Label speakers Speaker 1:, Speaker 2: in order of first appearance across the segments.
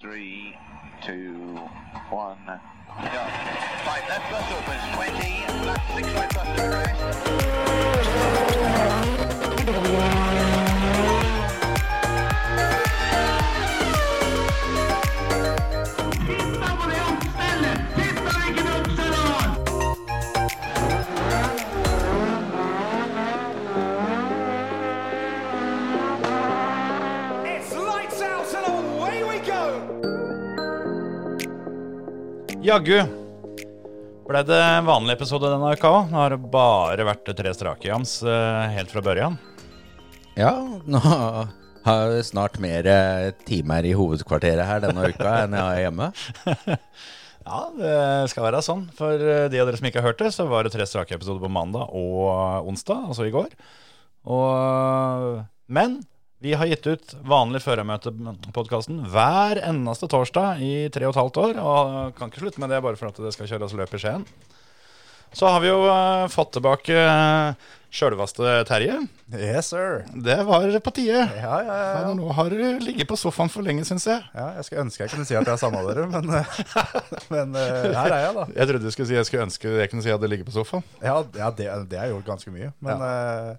Speaker 1: Three, two, one, go. Right, left bus opens 20, left six right bus to crest.
Speaker 2: It's lights out and away we go!
Speaker 3: Jaggu ble det en vanlig episode denne uka òg. Nå har det bare vært tre strake jams eh, helt fra børjan.
Speaker 4: Ja, nå har jeg snart mer eh, timer i hovedkvarteret her denne uka enn jeg har hjemme.
Speaker 3: Ja, det skal være sånn. For eh, de av dere som ikke har hørt det, så var det tre strake episoder på mandag og onsdag, altså i går. Og, eh, men vi har gitt ut vanlig Førermøte-podkasten hver eneste torsdag i tre og et halvt år. Og eh, kan ikke slutte med det bare for at det skal kjøres løp i Skien. Så har vi jo eh, fått tilbake uh, sjølveste Terje.
Speaker 5: Yes, sir.
Speaker 3: Det var på tide.
Speaker 5: Ja, ja, ja,
Speaker 3: Ja,
Speaker 5: ja.
Speaker 3: men nå har du ligget på sofaen for lenge, syns jeg.
Speaker 5: ja. Jeg skulle ønske jeg kunne si at jeg er samme dere, men, eh, men eh, her er jeg, da.
Speaker 3: Jeg trodde du skulle si jeg skulle ønske jeg kunne si at jeg hadde ligget på sofaen.
Speaker 5: Ja, ja det, det har jeg gjort ganske mye. Men, eh,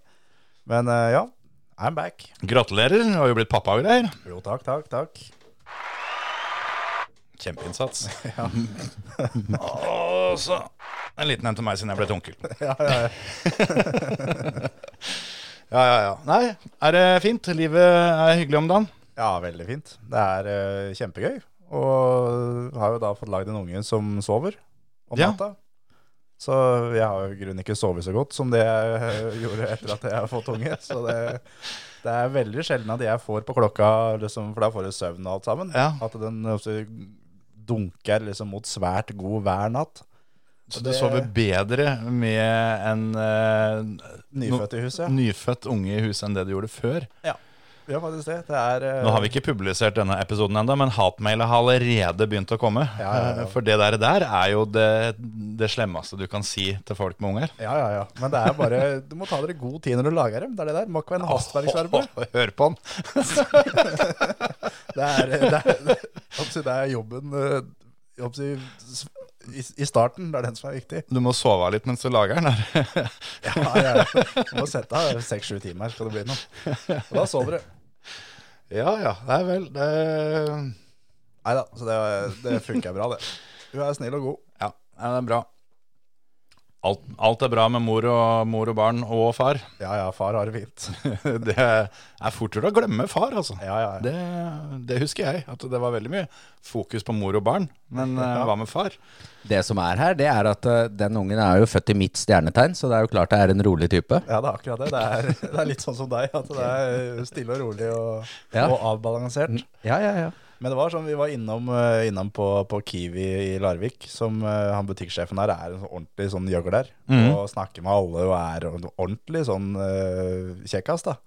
Speaker 5: men eh, ja, I'm back.
Speaker 3: Gratulerer, du har jo blitt pappa og greier.
Speaker 5: Jo, takk, takk, takk.
Speaker 3: Kjempeinnsats. og så en liten en til meg siden jeg ble til onkel.
Speaker 5: Ja, ja, ja.
Speaker 3: Ja, ja, ja. Nei, er det fint? Livet er hyggelig om dagen.
Speaker 5: ja veldig fint. Det er eh, kjempegøy. Og har jo da fått lagd en unge som sover om
Speaker 3: Ja.
Speaker 5: natta. Så jeg har jo i grunnen ikke sovet så godt som det jeg eh, gjorde etter at jeg har fått unge. Så det, det er veldig sjelden at jeg får på klokka, liksom, for da får du søvn og alt sammen.
Speaker 3: Ja.
Speaker 5: At den også dunker liksom mot svært god hver natt.
Speaker 3: Så
Speaker 5: det-
Speaker 3: du sover bedre med en eh,
Speaker 5: Nyfødt i huset.
Speaker 3: nyfødt unge i huset enn det du gjorde før.
Speaker 5: Ja, faktisk det. Det er eh,
Speaker 3: Nå har vi ikke publisert denne episoden ennå, men hatmailet har allerede begynt å komme.
Speaker 5: Ja, ja, ja.
Speaker 3: Eh, For det der, der er jo det, det slemmeste du kan si til folk med unger.
Speaker 5: eh, Ja, ja, ja. Men det er bare Du må ta dere god tid når du lager dem. Det er det der. Må ikke være en hastverksarbeid.
Speaker 3: Hør på han.
Speaker 5: Det er, eh, det er, det, hoppsi, det er jobben eh, hoppsi, s- i, i starten, det er den som er viktig.
Speaker 3: Du må sove av litt mens du lager den. her.
Speaker 5: Ja, ja, ja. Du må sette av seks-sju timer, skal det bli noe. Og da sover du.
Speaker 3: ja, ja. Nei vel. Det...
Speaker 5: Nei da, så det, det funker bra, det. Du er snill og god.
Speaker 3: Ja, nei, det er bra. Alt, alt er bra med mor og, mor og barn og far.
Speaker 5: Ja ja, far har det fint.
Speaker 3: Det er fort gjort å glemme far, altså.
Speaker 5: Ja ja. ja.
Speaker 3: Det, det husker jeg, at det var veldig mye fokus på mor og barn. Men eh, hva med far?
Speaker 4: Det som er her, det er at eh, den ungen er jo født i mitt stjernetegn, så det er jo klart det er en rolig type.
Speaker 5: Ja, det er akkurat det. Det er, det er litt sånn som deg, at det er stille og rolig og,
Speaker 4: Ja.
Speaker 5: og avbalansert.
Speaker 4: Ja, ja, ja.
Speaker 5: Men det var sånn, vi var innom, eh, innom på, på Kiwi i Larvik, som eh, han butikksjefen her er en sånn ordentlig sånn gjøgler der,
Speaker 3: Mhm.
Speaker 5: og snakker med alle og er en ordentlig sånn eh, kjekkas da.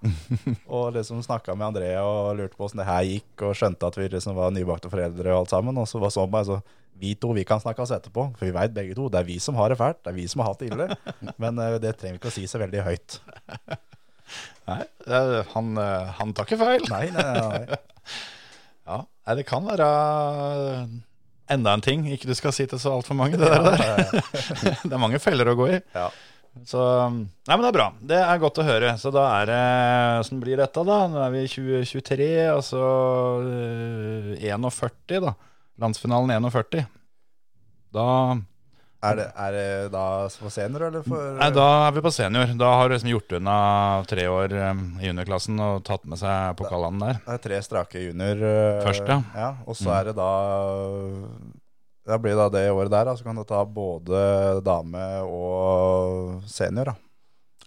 Speaker 5: og liksom snakket med Andrea og lurte på hvordan det her gikk, og skjønte at vi liksom var nybakte foreldre og alt sammen, og så var sånn bare så, vi to, vi kan snakke oss etterpå, for vi vet begge to, det er vi som har det fælt, det er vi som har hatt det ille, men eh, det trenger vi ikke å si så veldig høyt.
Speaker 3: Nei, det, han, eh, han tar ikke feil.
Speaker 5: Nei, nei, nei, nei.
Speaker 3: Ja, nei, det kan være eh, enda en ting ikke du skal si til så altfor mange. Det, der, det er mange feller å gå i.
Speaker 5: Ja.
Speaker 3: Så, nei, men det er bra. Det er godt å høre. Så da er det Åssen blir dette, da? Nå er vi i 2023, altså eh, 41, da. Landsfinalen 41. Da
Speaker 5: Er det, er det da for senere, eller for...
Speaker 3: Nei, da er vi på senior. Da har du liksom gjort unna tre år eh, i juniorklassen og tatt med seg pokalene der.
Speaker 5: Det er tre strake junior. øh,
Speaker 3: Først, ja. Mm.
Speaker 5: ja og så er det da Da blir det da det året der, da. Så kan du ta både dame og senior, da.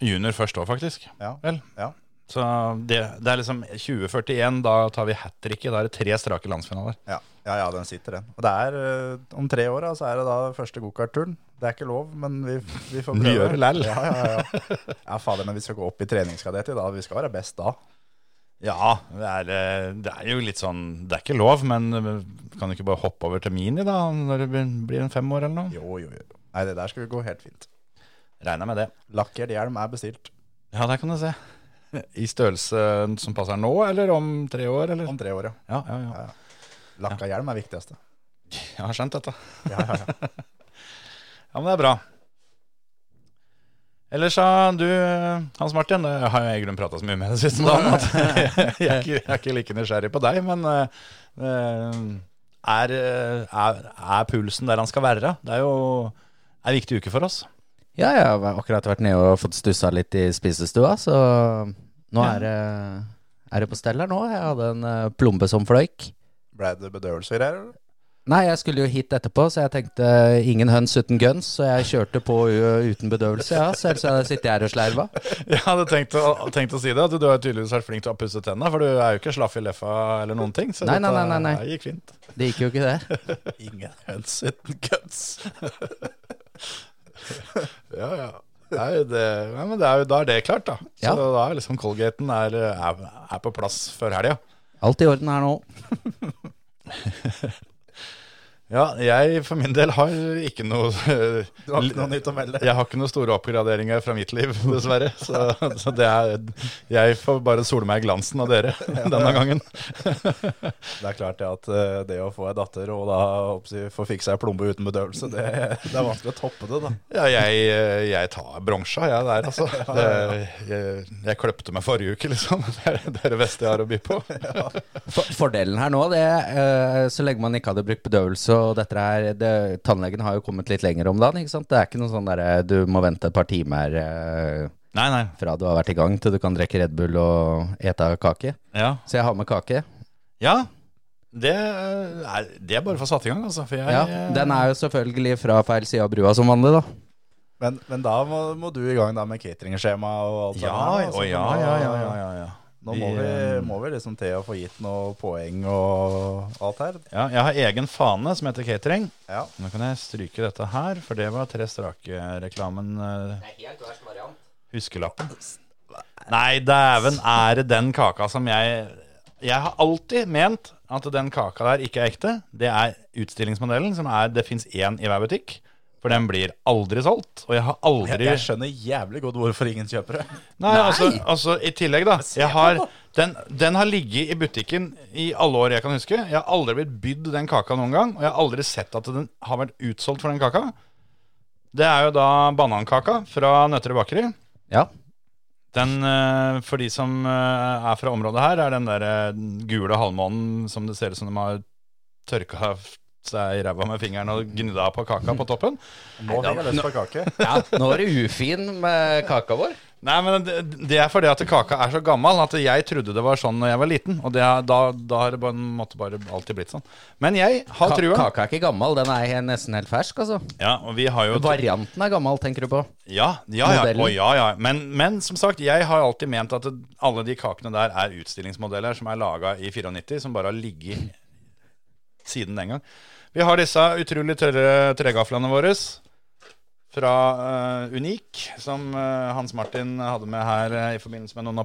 Speaker 3: Junior først òg, faktisk.
Speaker 5: Ja.
Speaker 3: Vel.
Speaker 5: Ja.
Speaker 3: Så det, det er liksom 2041, da tar vi hat tricket. Da er det tre strake landsfinaler.
Speaker 5: Ja, ja, ja den sitter, den. Og det er øh, om tre år, da, så er det da første gokartturen. Det er ikke lov, men vi, vi får
Speaker 3: Vi
Speaker 5: prøve.
Speaker 3: gjør det lell.
Speaker 5: Ja, ja, ja. ja, fader, men vi skal gå opp i treningskadett i dag. Vi skal være best da.
Speaker 3: Ja, det er, eh, det er jo litt sånn Det er ikke lov, men eh, kan du ikke bare hoppe over til mini, da? Når det blir- blir en fem år eller noe?
Speaker 5: Jo, jo, jo. Nei, det der skal vi gå helt fint.
Speaker 3: Regner med det.
Speaker 5: Lakkert hjelm er bestilt
Speaker 3: Ja, der kan du se. I størrelse som passer nå, eller om tre år, eller?
Speaker 5: om tre år, ja.
Speaker 3: Ja, ja, ja.
Speaker 5: Lakka hjelm er viktigste.
Speaker 3: Jeg har skjønt dette.
Speaker 5: Ja, ja, ja.
Speaker 3: Ja, men det er bra. Ellers så, du, Hans Martin, det har jeg i grunnen prata så mye med det siste dagen at jeg, er ikke, jeg er ikke like nysgjerrig på deg, men eh, er, eh, er, er pulsen der han skal være? Det er jo en viktig uke for oss.
Speaker 4: Ja, jeg har akkurat vært nede og fått stussa litt i spisestua, så nå er det, er det på stell her nå. Jeg hadde en eh, plombe som fløyk.
Speaker 5: Ble det bedøvelse og greier? eller?
Speaker 4: Nei, jeg skulle jo hit etterpå, så jeg tenkte eh, ingen høns uten guns, så jeg kjørte på u- uten bedøvelse, ja. Så ellers hadde jeg sittet her og slerva.
Speaker 3: Jeg hadde tenkt å, tenkt å si det, at du har jo tydeligvis vært flink til å pusse tenna, for du er jo ikke slaff i leffa eller noen ting. Så
Speaker 4: Nei, nei,
Speaker 3: dette-
Speaker 4: nei, nei, nei.
Speaker 3: det gikk fint.
Speaker 4: Det gikk jo ikke det.
Speaker 5: Ingen høns uten guts.
Speaker 3: Ja, ja. Det er jo det, nei, men det er jo, da er det klart, da. Så
Speaker 4: Ja.
Speaker 3: da er liksom Colgaten er, er, er på plass før helga.
Speaker 4: Alt i orden her nå.
Speaker 3: Ja, jeg for min del har ikke noe
Speaker 5: Du har ikke noe nytt å melde.
Speaker 3: Jeg har ikke noen store oppgraderinger fra mitt liv, dessverre. Så, så det er Jeg får bare sole meg i glansen av dere denne gangen.
Speaker 5: Det er klart det at eh, det å få ei datter og da oppsi, få fiksa ei plombe uten bedøvelse, det, det er vanskelig å toppe det, da.
Speaker 3: Ja, jeg, eh, jeg tar bronsa, jeg der, altså. Det, jeg, jeg kløpte meg forrige uke, liksom. Det er det er det beste jeg har å by på.
Speaker 4: For, fordelen her nå, det eh, Så lenge man ikke hadde brukt bedøvelse og dette her det, Tannlegen har jo kommet litt lenger om dagen, ikke sant. Det er ikke noe sånn derre du må vente et par timer eh,
Speaker 3: Nei, nei.
Speaker 4: fra du har vært i gang til du kan drikke Red Bull og ete kake.
Speaker 3: Ja.
Speaker 4: Så jeg har med kake.
Speaker 3: Ja. Det eh, er, det er bare for å få satt i gang, altså. For jeg,
Speaker 4: Ja, Den er jo selvfølgelig fra feil side av brua som vanlig, da.
Speaker 5: Men, men da må, må du i gang da med cateringskjema og alt
Speaker 3: ja,
Speaker 5: sånt. her, da,
Speaker 3: å,
Speaker 5: så
Speaker 3: altså. ja,
Speaker 5: nå-
Speaker 3: ja, ja, ja, ja, ja.
Speaker 5: Nå må vi, må vi liksom til å få gitt noe poeng og alt her.
Speaker 3: ja. Jeg har egen fane som heter catering.
Speaker 5: Ja.
Speaker 3: Nå kan jeg stryke dette her, for det var tre strake-reklamen. eh, Huskelappen. Nei, dæven, er det den kaka som jeg Jeg har alltid ment at den kaka der ikke er ekte. Det er utstillingsmodellen, som er Det fins én i hver butikk. For den blir aldri solgt. Og jeg har
Speaker 5: Jeg,
Speaker 3: aldri
Speaker 5: jeg skjønner jævlig godt hvorfor ingen kjøper det.
Speaker 3: Nei, Altså, altså i tillegg da jeg har, den, den har ligget i butikken i alle år jeg kan huske Jeg har aldri blitt bydd den kaka noen gang Og jeg har aldri sett at den har vært utsolgt for den kaka Det er jo da banankaka fra Nøtterøy Bakeri
Speaker 4: Ja.
Speaker 3: Den, eh, for de som eh, er fra området her Er den der eh, gule halvmånen som det ser ut som de har tørka seg i ræva med fingeren Og gnidda på kaka på toppen
Speaker 5: Nå fikk jeg lyst på kake.
Speaker 4: ja. Nå er du ufin med kaka vår.
Speaker 3: Nei, men det, det er fordi at kaka er så gammel at jeg trodde det var sånn når jeg var liten. Og det, er- da, da har det på en måte bare alltid blitt sånn. Men jeg har
Speaker 4: Ka
Speaker 3: trua.
Speaker 4: kaka er ikke gammel, den er he- nesten helt fersk, altså.
Speaker 3: Ja, og vi har jo
Speaker 4: Varianten er gammel, tenker du på.
Speaker 3: Ja, ja, ja.
Speaker 4: Modellen.
Speaker 3: Å, ja, ja. Men, men som sagt, jeg har alltid ment at det- alle de kakene der er utstillingsmodeller som er laga i 94, som bare har ligget siden den gang. Vi har disse utrolig tørre tregaflene våre fra eh, Unik, som eh, Hans Martin hadde med her eh, i forbindelse med noen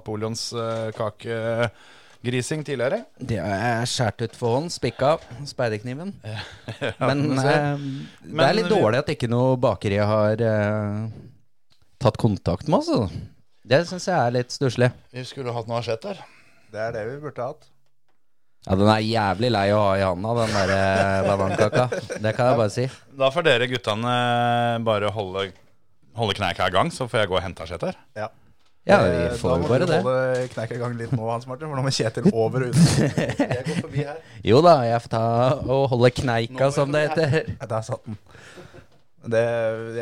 Speaker 3: napoleonskakegrising tidligere.
Speaker 4: Det er skåret ut for hånd, spikka, speiderkniven. Men
Speaker 3: men se.
Speaker 4: eh, det
Speaker 3: Men
Speaker 4: er litt
Speaker 3: vi-
Speaker 4: dårlig at ikke noe bakeri har eh, tatt kontakt med oss. Altså. Det syns jeg er litt stusslig.
Speaker 3: Vi skulle hatt noe asjett der.
Speaker 5: Det er det vi burde hatt.
Speaker 4: Ja, den er jævlig lei å ha i handa, den der eh, banankaka. Det kan jeg bare si.
Speaker 3: Da får dere guttene eh, bare holde, holde kneika i gang, så får jeg gå og hente asjett her.
Speaker 5: Ja.
Speaker 4: Ja,
Speaker 5: Eh,
Speaker 4: vi
Speaker 5: da
Speaker 4: får
Speaker 5: må
Speaker 4: jo bare
Speaker 5: du
Speaker 4: det.
Speaker 5: holde knekk i gang litt nå, Hans Martin, for nå må Kjetil over og ut. Jeg går forbi her.
Speaker 4: Jo da, jeg får ta og holde kneika, som det heter.
Speaker 5: Ja, Der satt den. Det,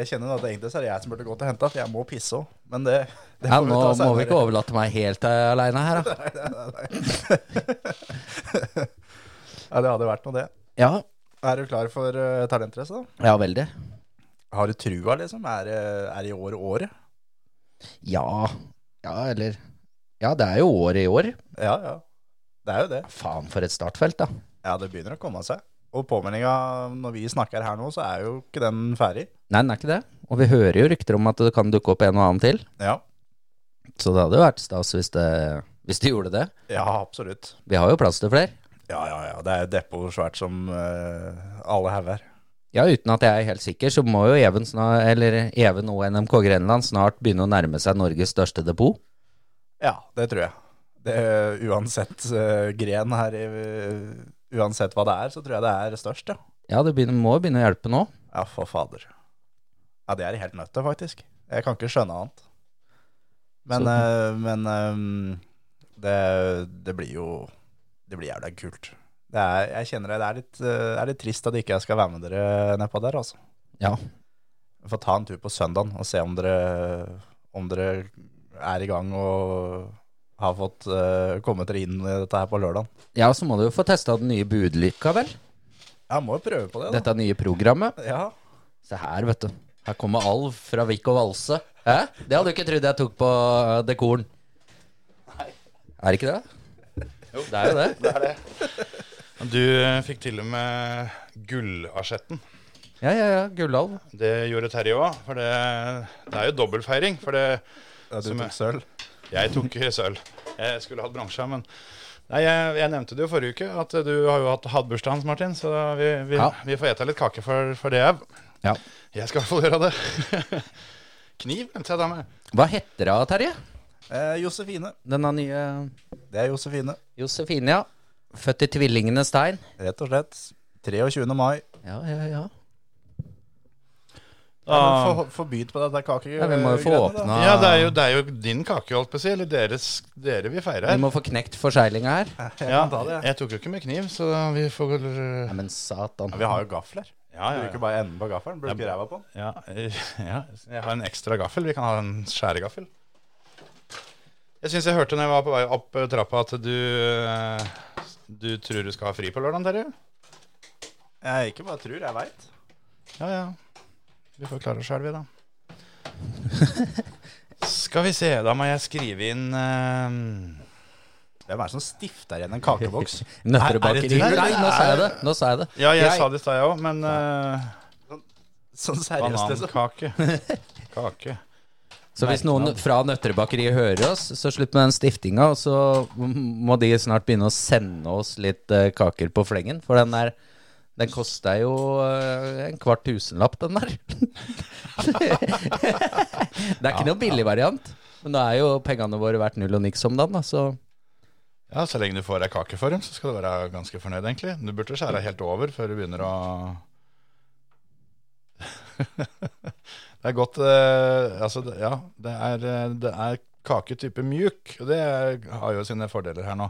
Speaker 5: jeg kjenner at egentlig så er det jeg som burde gå til å hente, for jeg må pisse òg. Men det, det
Speaker 4: Ja,
Speaker 5: får
Speaker 4: nå
Speaker 5: ta
Speaker 4: må
Speaker 5: senere.
Speaker 4: vi ikke overlate meg helt eh, aleine her, da.
Speaker 5: Ja, det hadde vært noe, det.
Speaker 4: Ja,
Speaker 5: Er du klar for uh, talentrace, da?
Speaker 4: ja veldig.
Speaker 5: Har du trua, liksom? Er, eh, er i år året?
Speaker 4: Ja. Ja, eller Ja, det er jo år i år.
Speaker 5: Ja, ja. Det er jo det.
Speaker 4: Faen, for et startfelt, da.
Speaker 5: Ja, det begynner å komme seg. Og påmeldinga når vi snakker her nå, så er jo ikke den ferdig.
Speaker 4: Nei, den er ikke det. Og vi hører jo rykter om at det kan dukke opp en og annen til.
Speaker 5: Ja,
Speaker 4: Så det hadde jo vært stas hvis det, hvis de gjorde det.
Speaker 5: ja absolutt.
Speaker 4: Vi har jo plass til flere.
Speaker 5: Ja, ja, ja. Det er depot svært som eh, alle hauger.
Speaker 4: Ja, uten at jeg er helt sikker, så må jo Even, sna- eller Even og NMK Grenland snart begynne å nærme seg Norges største depot.
Speaker 5: eh, Ja, det tror jeg. Det er uansett eh, gren her i uansett hva det er, så tror jeg det er størst, ja.
Speaker 4: Ja, det begynner, må begynne å hjelpe nå.
Speaker 5: Ja, for fader. Ja, det er helt nødt til, faktisk. Jeg kan ikke skjønne annet. Men, eh, men eh, det, det blir jo Det blir jævla kult. Det er, jeg kjenner det, det er litt, eh, det er litt trist at ikke jeg skal være med dere nedpå der, altså.
Speaker 4: Ja.
Speaker 5: Vi får ta en tur på søndagen og se om dere, om dere er i gang og har fått eh, kommet dere inn i dette her på lørdag.
Speaker 4: Ja, så må du jo få testa den nye budlykka, vel.
Speaker 5: Jeg må jo prøve på det, da.
Speaker 4: Dette nye programmet.
Speaker 5: Ja.
Speaker 4: Se her, vet du. Her kommer Alv fra Vik og Valse. Hæ? Det hadde du ikke trodd jeg tok på øh, dekoren. Er det ikke det? Jo, det er jo det.
Speaker 3: Du eh, fikk til og med gullasjetten.
Speaker 4: Ja, ja, ja. Gullalv.
Speaker 3: Det gjorde Terje òg, for det, det er jo dobbeltfeiring. For det,
Speaker 5: Du
Speaker 3: Som jeg-
Speaker 5: tok sølv.
Speaker 3: jeg tok sølv. Jeg skulle hatt bransje, men Nei, jeg, jeg nevnte det jo forrige uke, at du har jo hatt, hatt bursdagen hans, Martin. Så vi, vi,
Speaker 4: Ja.
Speaker 3: vi får ete litt kake for, for det òg.
Speaker 4: Ja.
Speaker 3: Jeg skal i hvert fall gjøre det. Kniv glemte jeg da med.
Speaker 4: Hva heter det, Terje?
Speaker 5: Eh, Josefine.
Speaker 4: Denne nye
Speaker 5: Det er Josefine.
Speaker 4: Josefine, ja. Født i tvillingenes tegn.
Speaker 5: Rett og slett. 23. mai.
Speaker 4: Ja, ja, ja.
Speaker 3: Ah.
Speaker 5: Ja, men for, Forbyd på dette kake...
Speaker 4: Ja, vi må jo få
Speaker 5: greiene, da.
Speaker 4: åpna
Speaker 3: Ja, det er jo, det er jo din kake, holdt på å si. Eller deres, dere vi feirer.
Speaker 4: Vi må få knekt forseglinga her. Nei,
Speaker 5: Jeg
Speaker 3: Ja,
Speaker 5: kan ta det, jeg.
Speaker 3: jeg tok jo ikke med kniv, så vi får vel Ja,
Speaker 4: men satan.
Speaker 5: Ja, vi har jo gafler.
Speaker 3: ja, ja.
Speaker 5: Bruker bare enden på gaffelen. Bruker ræva på den.
Speaker 3: ja, ja. Jeg har en ekstra gaffel. Vi kan ha en skjæregaffel. Jeg syns jeg hørte når jeg var på vei opp eh, trappa, at du eh, Du tror du skal ha fri på lørdag, Terje?
Speaker 5: Jeg ikke bare tror, jeg veit.
Speaker 3: Ja, ja. Vi får klare oss sjøl, vi, da. Skal vi se, da må jeg skrive inn eh,
Speaker 5: Hvem er det som stifter igjen en kakeboks?
Speaker 4: Nøtterbakeri.
Speaker 5: Er- er det du?
Speaker 4: Nei, nå sa jeg det. Nå sa jeg det.
Speaker 3: Ja, jeg
Speaker 4: Grei.
Speaker 3: sa det i stad, jeg òg, men eh,
Speaker 5: Sånn seriøst, liksom.
Speaker 3: Banankake. Kake.
Speaker 4: Så hvis noen fra Nøtterbakeriet hører oss, så slutt med den stiftinga, og så må de snart begynne å sende oss litt eh, kaker på flengen, for den der den kosta jo eh, en kvart tusenlapp, den der. det er ikke noen billig variant. Men da er jo pengene våre verdt null og niks om dagen, da, så
Speaker 3: Ja, Så lenge du får ei kake for dem, så skal du være ganske fornøyd, egentlig. Du burde skjære helt over før du begynner å Det er godt eh, Altså, det- ja. Det er, eh, det er kake type mjuk, og det er- har jo sine fordeler her nå.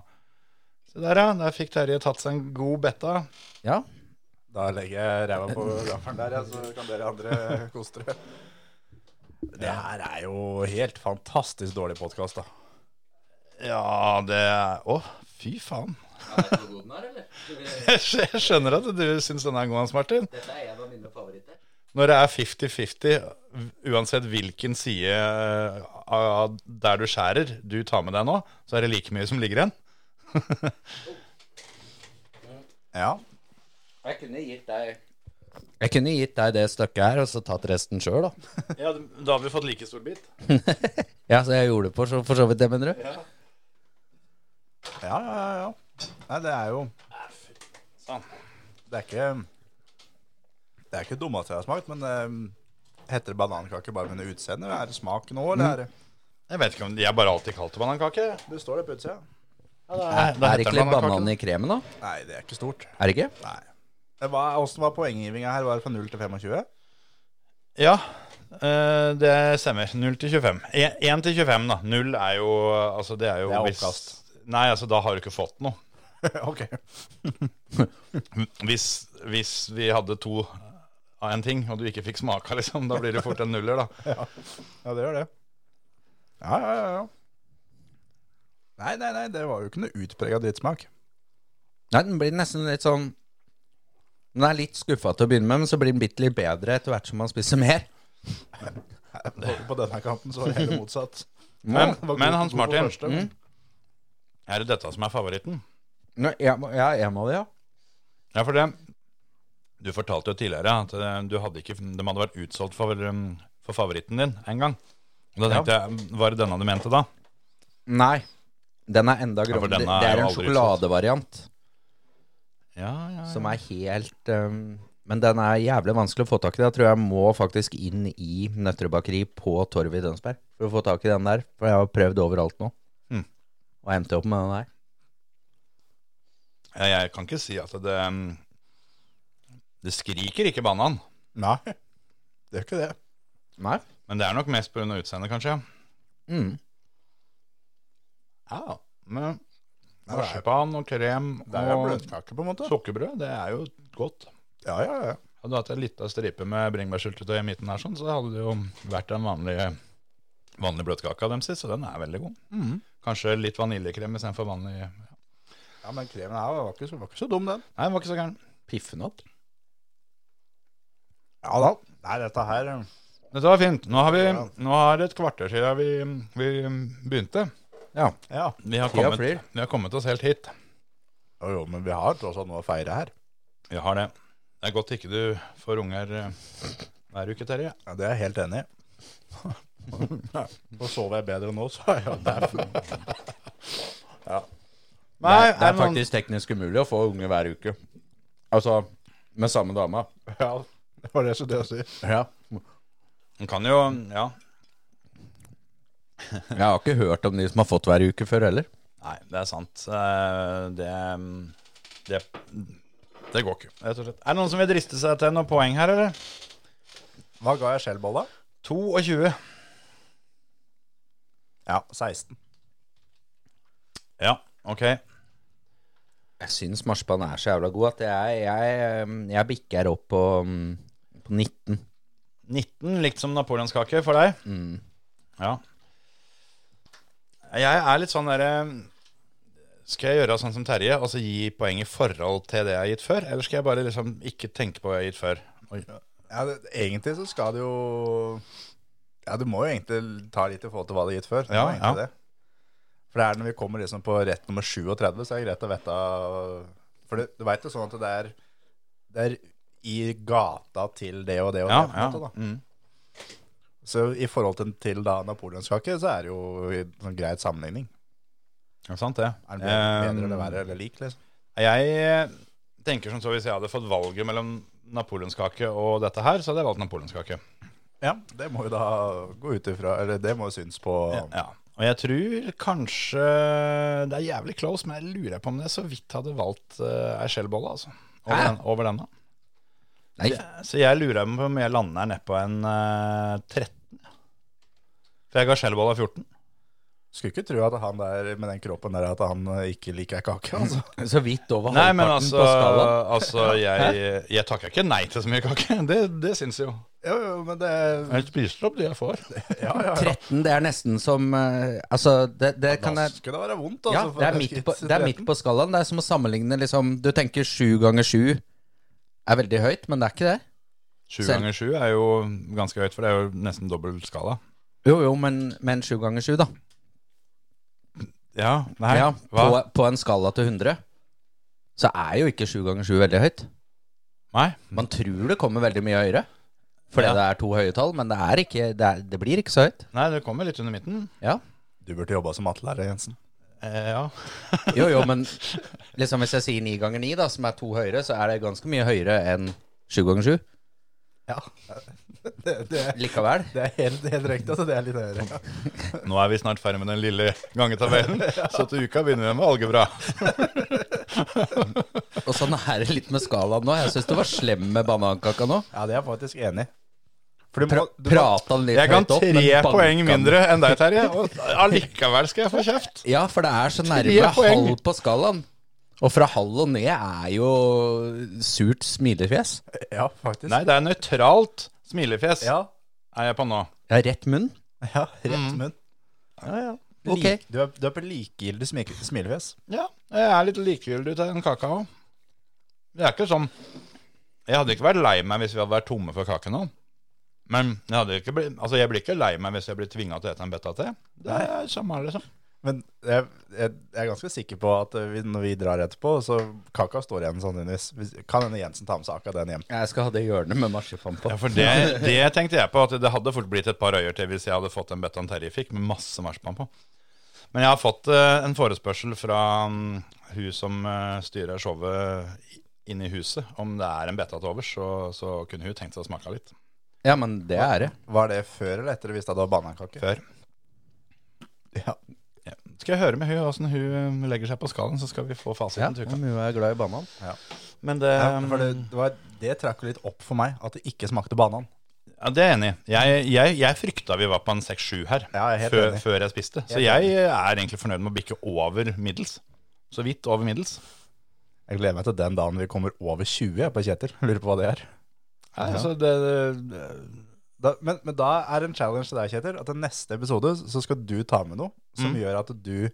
Speaker 3: Se der, ja. Der fikk Terje tatt seg en god betta.
Speaker 4: ja.
Speaker 5: Da legger jeg ræva på gaffelen der, ja, så kan dere andre kose dere. Det her er jo helt fantastisk dårlig podkast, da.
Speaker 3: Ja, det er Å, fy faen. Jeg skj- jeg skjønner at du syns den er god, Hans Martin.
Speaker 4: Dette er en av mine favoritter.
Speaker 3: Når det er 50-50, uansett hvilken side eh, av der du skjærer, du tar med deg nå, så er det like mye som ligger igjen.
Speaker 5: Ja.
Speaker 4: Jeg kunne gitt deg Jeg kunne gitt deg det stykket her, og så tatt resten sjøl, da.
Speaker 3: Ja, Da har vi fått like stor bit.
Speaker 4: Ja, så jeg gjorde det for så, for så vidt det, mener du?
Speaker 5: Ja, ja, ja, ja. Nei, det er jo
Speaker 3: Sånn.
Speaker 5: Det er ikke Det er ikke det dummeste jeg har smakt, men eh, heter det banankake bare pga. utseendet? Er det smak nå, eller? er det-
Speaker 3: Jeg vet ikke om Jeg har bare alltid kalt det banankake.
Speaker 5: Mm. Det står det på utsida.
Speaker 3: Ja,
Speaker 4: Er det ikke litt banan i kremen, da?
Speaker 5: Nei, det er ikke stort.
Speaker 4: Er det ikke?
Speaker 5: Nei. Det var- Åssen var poenggivinga her? Var det fra 0 til 25?
Speaker 3: Ja, eh, det stemmer. 0 til 25. 1 til 25, da. 0 er jo Altså, det er jo
Speaker 5: Det er
Speaker 3: hvis-
Speaker 5: oppkast.
Speaker 3: Nei, altså, da har du ikke fått noe.
Speaker 5: ok.
Speaker 3: Hvis, hvis vi hadde to av en ting, og du ikke fikk smaka, liksom, da blir det fort en nuller, da.
Speaker 5: Ja, det gjør det. Ja, ja, ja. ja. Nei, nei, nei, det var jo ikke noe utprega drittsmak.
Speaker 4: Nei, den blir nesten litt sånn Den er litt skuffa til å begynne med, men så blir den bitte litt bedre etter hvert som man spiser mer.
Speaker 5: På, på denne kanten så var det hele motsatt.
Speaker 3: Men,
Speaker 5: Det var god-
Speaker 3: men Hans
Speaker 5: god på
Speaker 3: Martin,
Speaker 5: første, men-
Speaker 3: er det dette som er favoritten?
Speaker 4: Nå, jeg, må- jeg er en av de, ja.
Speaker 3: Ja, for det Du fortalte jo tidligere at eh, du hadde ikke, de hadde vært utsolgt for, um, for favoritten din en gang. Og da tenkte jeg, Var det denne du mente da?
Speaker 4: Nei. Den er enda
Speaker 3: Ja, for
Speaker 4: grovere.
Speaker 3: den er jo
Speaker 4: det er en
Speaker 3: aldri
Speaker 4: sjokoladevariant
Speaker 3: Ja, ja,
Speaker 4: som er helt øhm, Men den er jævlig vanskelig å få tak i. Jeg tror jeg må faktisk inn i Nøtterøy bakeri på Torvet i Tønsberg for å få tak i den der. Hm. For jeg har prøvd overalt nå.
Speaker 3: Mm.
Speaker 4: Og endte opp med den der.
Speaker 3: Ja, Jeg kan ikke si at det um, Det skriker ikke banan,
Speaker 5: Nei, det gjør ikke det.
Speaker 4: Nei.
Speaker 3: men det er nok mest pga. utseendet, kanskje.
Speaker 4: Mm.
Speaker 3: Ja, men
Speaker 5: Nei, det er,
Speaker 3: marsipan og krem
Speaker 5: det er
Speaker 3: og
Speaker 5: bløtkake, på en måte.
Speaker 3: sukkerbrød, det er jo godt.
Speaker 5: Ja, ja, ja.
Speaker 3: Hadde du hatt en lita stripe med bringebærsyltetøy i midten her, sånn, så hadde det jo vært den vanlige, vanlige bløtkaka dem sist, så den er veldig god.
Speaker 5: Mm.
Speaker 3: Kanskje litt vaniljekrem istedenfor vanlig ja.
Speaker 5: ja men kremen her var ikke, så, var ikke så dum, den.
Speaker 3: Nei, den var ikke så gæren.
Speaker 4: Piffen opp.
Speaker 5: Ja da. Nei, dette her eh,
Speaker 3: Dette var fint. Nå har vi nå har det et kvarter siden vi, vi begynte.
Speaker 4: Ja.
Speaker 5: Ja.
Speaker 3: Vi har,
Speaker 4: Tida
Speaker 3: kommet,
Speaker 4: flyr.
Speaker 3: vi har kommet oss helt hit.
Speaker 5: Jo, jo, men vi har tross alt noe å feire her.
Speaker 3: Vi har det. Det er godt ikke du får unger eh, hver uke, Terje.
Speaker 5: Ja, Det er jeg helt enig i. Nå sover jeg bedre nå, så ja, det er
Speaker 4: Det er, det
Speaker 3: er
Speaker 4: er
Speaker 3: noen-
Speaker 4: faktisk teknisk umulig å få unge hver uke. Altså med samme dama.
Speaker 5: Ja, det var det som det å si.
Speaker 4: Ja.
Speaker 3: Du kan jo Ja.
Speaker 4: Jeg har ikke hørt om de som har fått hver uke før heller.
Speaker 3: Nei, det er sant. Eh, Det Det, det går ikke, rett og slett. Er det noen som vil driste seg til noen poeng her, eller?
Speaker 5: Hva ga jeg skjellbolla?
Speaker 3: 22.
Speaker 5: Ja, 16.
Speaker 3: Ja, ok.
Speaker 4: Jeg syns marsipan er så jævla god at jeg, jeg, um, jeg bikker opp på, mm, på 19.
Speaker 3: 19, likt som napoleonskake for deg.
Speaker 4: Mm.
Speaker 3: Ja. Jeg er litt sånn derre Skal jeg gjøre sånn som Terje, og så gi poeng i forhold til det jeg har gitt før? Eller skal jeg bare liksom ikke tenke på hva jeg har gitt før? Oi.
Speaker 5: Ja, det, egentlig så skal det jo Ja, du må jo egentlig ta litt i forhold til hva det har gitt før. Du
Speaker 3: Ja,
Speaker 5: må egentlig
Speaker 3: ja.
Speaker 5: det. For det er når vi kommer liksom på rett nummer 37, så er det greit å vite For du, du veit jo sånn at det er Det er i gata til det og det og
Speaker 3: Ja,
Speaker 5: det. på en
Speaker 3: ja.
Speaker 5: måte, da.
Speaker 3: Mm.
Speaker 5: Så i forhold til, til da napoleonskake, så er det jo i sånn greit sammenligning.
Speaker 3: Det er sant, det.
Speaker 5: Er den bedre, bedre
Speaker 3: Eh,
Speaker 5: eller verre eller lik, liksom?
Speaker 3: Jeg eh, tenker som så hvis jeg hadde fått valget mellom napoleonskake og dette her, så hadde jeg valgt napoleonskake.
Speaker 5: Ja, det må jo da gå ut ifra Eller det må jo synes på
Speaker 3: Ja. Og jeg tror kanskje Det er jævlig close, men jeg lurer på om jeg så vidt hadde valgt uh, ei skjellbolle, altså. Over,
Speaker 4: Hæ?
Speaker 3: den, over denne.
Speaker 4: Nei,
Speaker 3: Så jeg lurer på om jeg lander nedpå en eh, 13. For jeg ga skjellbolla 14.
Speaker 5: Skulle ikke tro at han der med den kroppen der at han eh, ikke liker kake, altså.
Speaker 4: så vidt over
Speaker 3: Nei, men
Speaker 4: halvparten
Speaker 3: altså,
Speaker 4: på skalaen.
Speaker 3: altså jeg, jeg takker ikke nei til så mye kake. Det, det syns jeg jo.
Speaker 5: Jo, jo, men det
Speaker 3: Jeg spiser opp det jeg får.
Speaker 5: Ja, ja.
Speaker 4: 13, det er nesten som eh, Altså, det, det kan
Speaker 5: Da
Speaker 4: jeg
Speaker 5: skulle det være vondt, altså.
Speaker 4: Ja,
Speaker 5: for
Speaker 4: det er,
Speaker 5: en
Speaker 4: midt
Speaker 5: skritt
Speaker 4: på, det er midt på skalaen. Det er som å sammenligne liksom Du tenker sju ganger sju er veldig høyt, men det er ikke det.
Speaker 3: Sju
Speaker 4: Selv-
Speaker 3: ganger sju er jo ganske høyt, for det er jo nesten dobbel skala.
Speaker 4: Jo, jo, men, men sju ganger sju, da.
Speaker 3: Ja, nei,
Speaker 4: ja, på,
Speaker 3: hva?
Speaker 4: på en skala til 100, så er jo ikke sju ganger sju veldig høyt.
Speaker 3: Nei,
Speaker 4: Man tror det kommer veldig mye høyere fordi
Speaker 3: Ja.
Speaker 4: det er to høye tall, men det, er ikke, det, er, det blir ikke så høyt.
Speaker 3: nei, det kommer litt under midten.
Speaker 4: Ja.
Speaker 5: Du burde jobba som mattelærer, Jensen.
Speaker 3: Eh, ja.
Speaker 4: Jo, jo, men liksom hvis jeg sier ni ganger ni, da, som er to høyere, så er det ganske mye høyere enn sju ganger sju.
Speaker 5: Ja. Det, det,
Speaker 4: Likevel.
Speaker 5: det er helt, helt riktig, altså. Det er litt høyere.
Speaker 3: Nå er vi snart ferdig med den lille gangetabellen, så til uka begynner vi med algebra.
Speaker 4: Og sånn er det litt med skalaen nå. Jeg syns du var slem med banankaka nå.
Speaker 5: Ja, det er jeg faktisk enig i. For du
Speaker 4: Pra,
Speaker 5: må, du må
Speaker 4: prata den litt
Speaker 3: Jeg kan
Speaker 4: høyt opp, men
Speaker 3: tre
Speaker 4: banka
Speaker 3: poeng
Speaker 4: den.
Speaker 3: mindre enn deg, Terje, og allikevel skal jeg få kjeft.
Speaker 4: Ja, for det er så nærme
Speaker 3: Tre poeng.
Speaker 4: halv på skalaen. Og fra halv og ned er jo surt smilefjes.
Speaker 5: Ja, faktisk.
Speaker 3: Nei, det er nøytralt smilefjes
Speaker 5: Ja,
Speaker 3: er jeg på nå.
Speaker 4: Ja, rett munn.
Speaker 5: ja
Speaker 3: Mm.
Speaker 5: rett munn.
Speaker 4: Ok.
Speaker 5: Lik- Du, er, du er på likegyldig smike- smilefjes.
Speaker 3: Ja, jeg er litt likegyldig til den kaka òg. Det er ikke sånn Jeg hadde ikke vært lei meg hvis vi hadde vært tomme for kake nå. Men jeg, hadde ikke blitt, altså jeg blir ikke lei meg hvis jeg blir tvinga til å ete en beta til. Det er samme, liksom.
Speaker 5: Men jeg, jeg, jeg er ganske sikker på at eh, vi, når vi drar etterpå, så kaka står igjen sånn sannsynligvis. Hvis- Kan hende Jensen tar med seg akkurat den hjem.
Speaker 4: Jeg skal ha det hjørnet med marsipan på.
Speaker 3: Ja, for det, det tenkte jeg på, at det hadde fort blitt et par øyer til hvis jeg hadde fått en Betan Terje fikk, med masse marsipan på. Men jeg har fått eh, en forespørsel fra mm, hun som eh, styrer showet i- inne i huset, om det er en beta til overs, så, så kunne hun tenkt seg å smake litt
Speaker 4: Ja, men det er det.
Speaker 5: Var det før eller etter du visste at det var banankake?
Speaker 3: før.
Speaker 5: Ja.
Speaker 3: Skal jeg høre med hun åssen hun legger seg på skalaen, så skal vi få
Speaker 4: Ja,
Speaker 3: fasiten til uka.
Speaker 4: men hun er glad i banan.
Speaker 3: Men det,
Speaker 5: Ja, for det, det, var, det trakk jo litt opp for meg at det ikke smakte banan.
Speaker 3: ja, det er jeg enig i. Jeg, jeg, jeg frykta vi var på en 6-7 her
Speaker 5: Ja, jeg er helt
Speaker 3: før,
Speaker 5: enig.
Speaker 3: før jeg spiste. Så
Speaker 5: Helt
Speaker 3: jeg er egentlig fornøyd med å bikke over middels. Så vidt over middels.
Speaker 5: Jeg gleder meg til den dagen vi kommer over 20 jeg, på Kjetil. Lurer på hva det er.
Speaker 3: Ja,
Speaker 5: Ja.
Speaker 3: altså, det, det,
Speaker 5: eh, Da, men, men da er en challenge til deg, Kjetil, at i neste episode så skal du ta med noe som gjør at du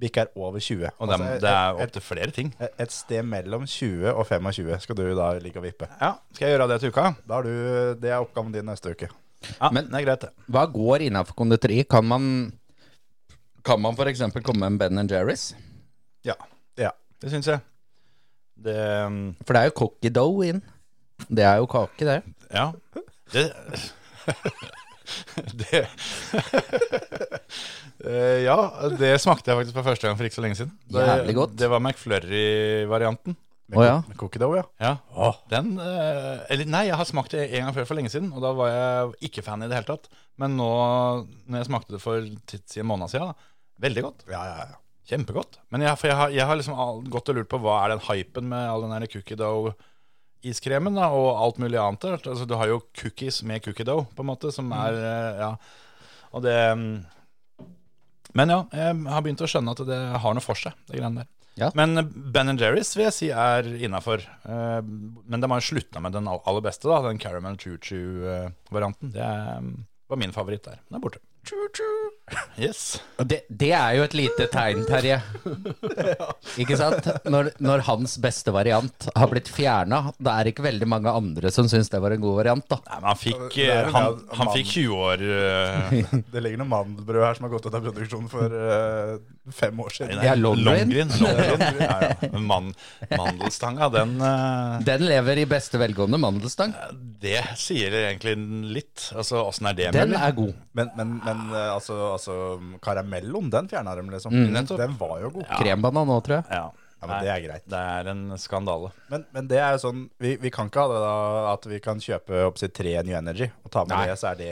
Speaker 5: bikker over 20.
Speaker 3: og det,
Speaker 5: Altså,
Speaker 3: det er
Speaker 5: et,
Speaker 3: opptil flere ting.
Speaker 5: et, et sted mellom 20 og 25 skal du da ligge og vippe.
Speaker 3: Ja, Skal jeg gjøre det til uka?
Speaker 5: Da er du, det er oppgaven din neste uke.
Speaker 3: Ja,
Speaker 4: Men-
Speaker 3: det er greit, det.
Speaker 4: Hva går innafor konditori? Kan man, kan man f.eks. komme med en Ben Jerry's?
Speaker 3: Ja,
Speaker 5: Ja.
Speaker 3: Det syns jeg. Det mm,
Speaker 4: For det er jo cocky dough inn. Det er jo kake, det.
Speaker 3: Ja. Det, det Eh, Ja, det smakte jeg faktisk for første gang for ikke så lenge siden. Det,
Speaker 4: Jævlig godt.
Speaker 3: det var McFlurry-varianten.
Speaker 4: Å ja.
Speaker 5: Med cookie dough, ja.
Speaker 3: Ja. Den eh, Eller nei, jeg har smakt det en gang før for lenge siden, og da var jeg ikke fan i det hele tatt. Men nå, når jeg smakte det for tid siden måneder siden, da, veldig godt.
Speaker 5: Ja, ja, ja.
Speaker 3: Kjempegodt. Men jeg, for jeg, har, jeg har liksom all, gått og lurt på hva er den hypen med all den der cookie dough-iskremen da, og alt mulig annet. der. Altså, du har jo cookies med cookie dough, på en måte,
Speaker 5: Mm.
Speaker 3: som er eh, Ja. Og det mm, Men ja, jeg har begynt å skjønne at det har noe for seg, det greiene der.
Speaker 4: Ja.
Speaker 3: Men eh, Ben Jerry's vil jeg si er innafor. Eh, Men de har jo slutta med den all- aller beste, da, den caramel choo-choo-varianten. Det er, mm, var min favoritt der. Den er borte. Yes.
Speaker 4: Og Det, det er jo et lite tegn, Terje. Ikke sant? Når, når hans beste variant har blitt fjerna, da er det ikke veldig mange andre som syns det var en god variant, da.
Speaker 3: Nei, men han fikk, eh,
Speaker 5: Det er en
Speaker 3: han,
Speaker 5: gav-
Speaker 3: han
Speaker 5: mann.
Speaker 3: fikk 20 år eh,
Speaker 5: Det ligger noe mandelbrød her som har gått ut av produksjon for eh, fem år siden.
Speaker 3: nei,
Speaker 4: Ja, Longgreen.
Speaker 3: Longgreen, Longgreen. Ja, ja. Men Man, mandelstanga, den eh,
Speaker 4: Den lever i beste velgående, mandelstang.
Speaker 3: Det sier egentlig litt. Altså, åssen er det
Speaker 4: Den
Speaker 3: mulig?
Speaker 4: er god.
Speaker 5: Men, men, men eh, altså, altså Karamelloen, den fjerna de, liksom.
Speaker 4: Mm.
Speaker 3: nettopp.
Speaker 5: Den var jo god.
Speaker 4: Krembanan òg, tror jeg.
Speaker 3: Ja.
Speaker 5: Ja, men det er greit.
Speaker 3: Det er en skandale.
Speaker 5: Men, men det er jo sånn vi, vi kan ikke ha det da at vi kan kjøpe opp sitt tre New Energy og ta med
Speaker 4: Nei.
Speaker 5: det, så er det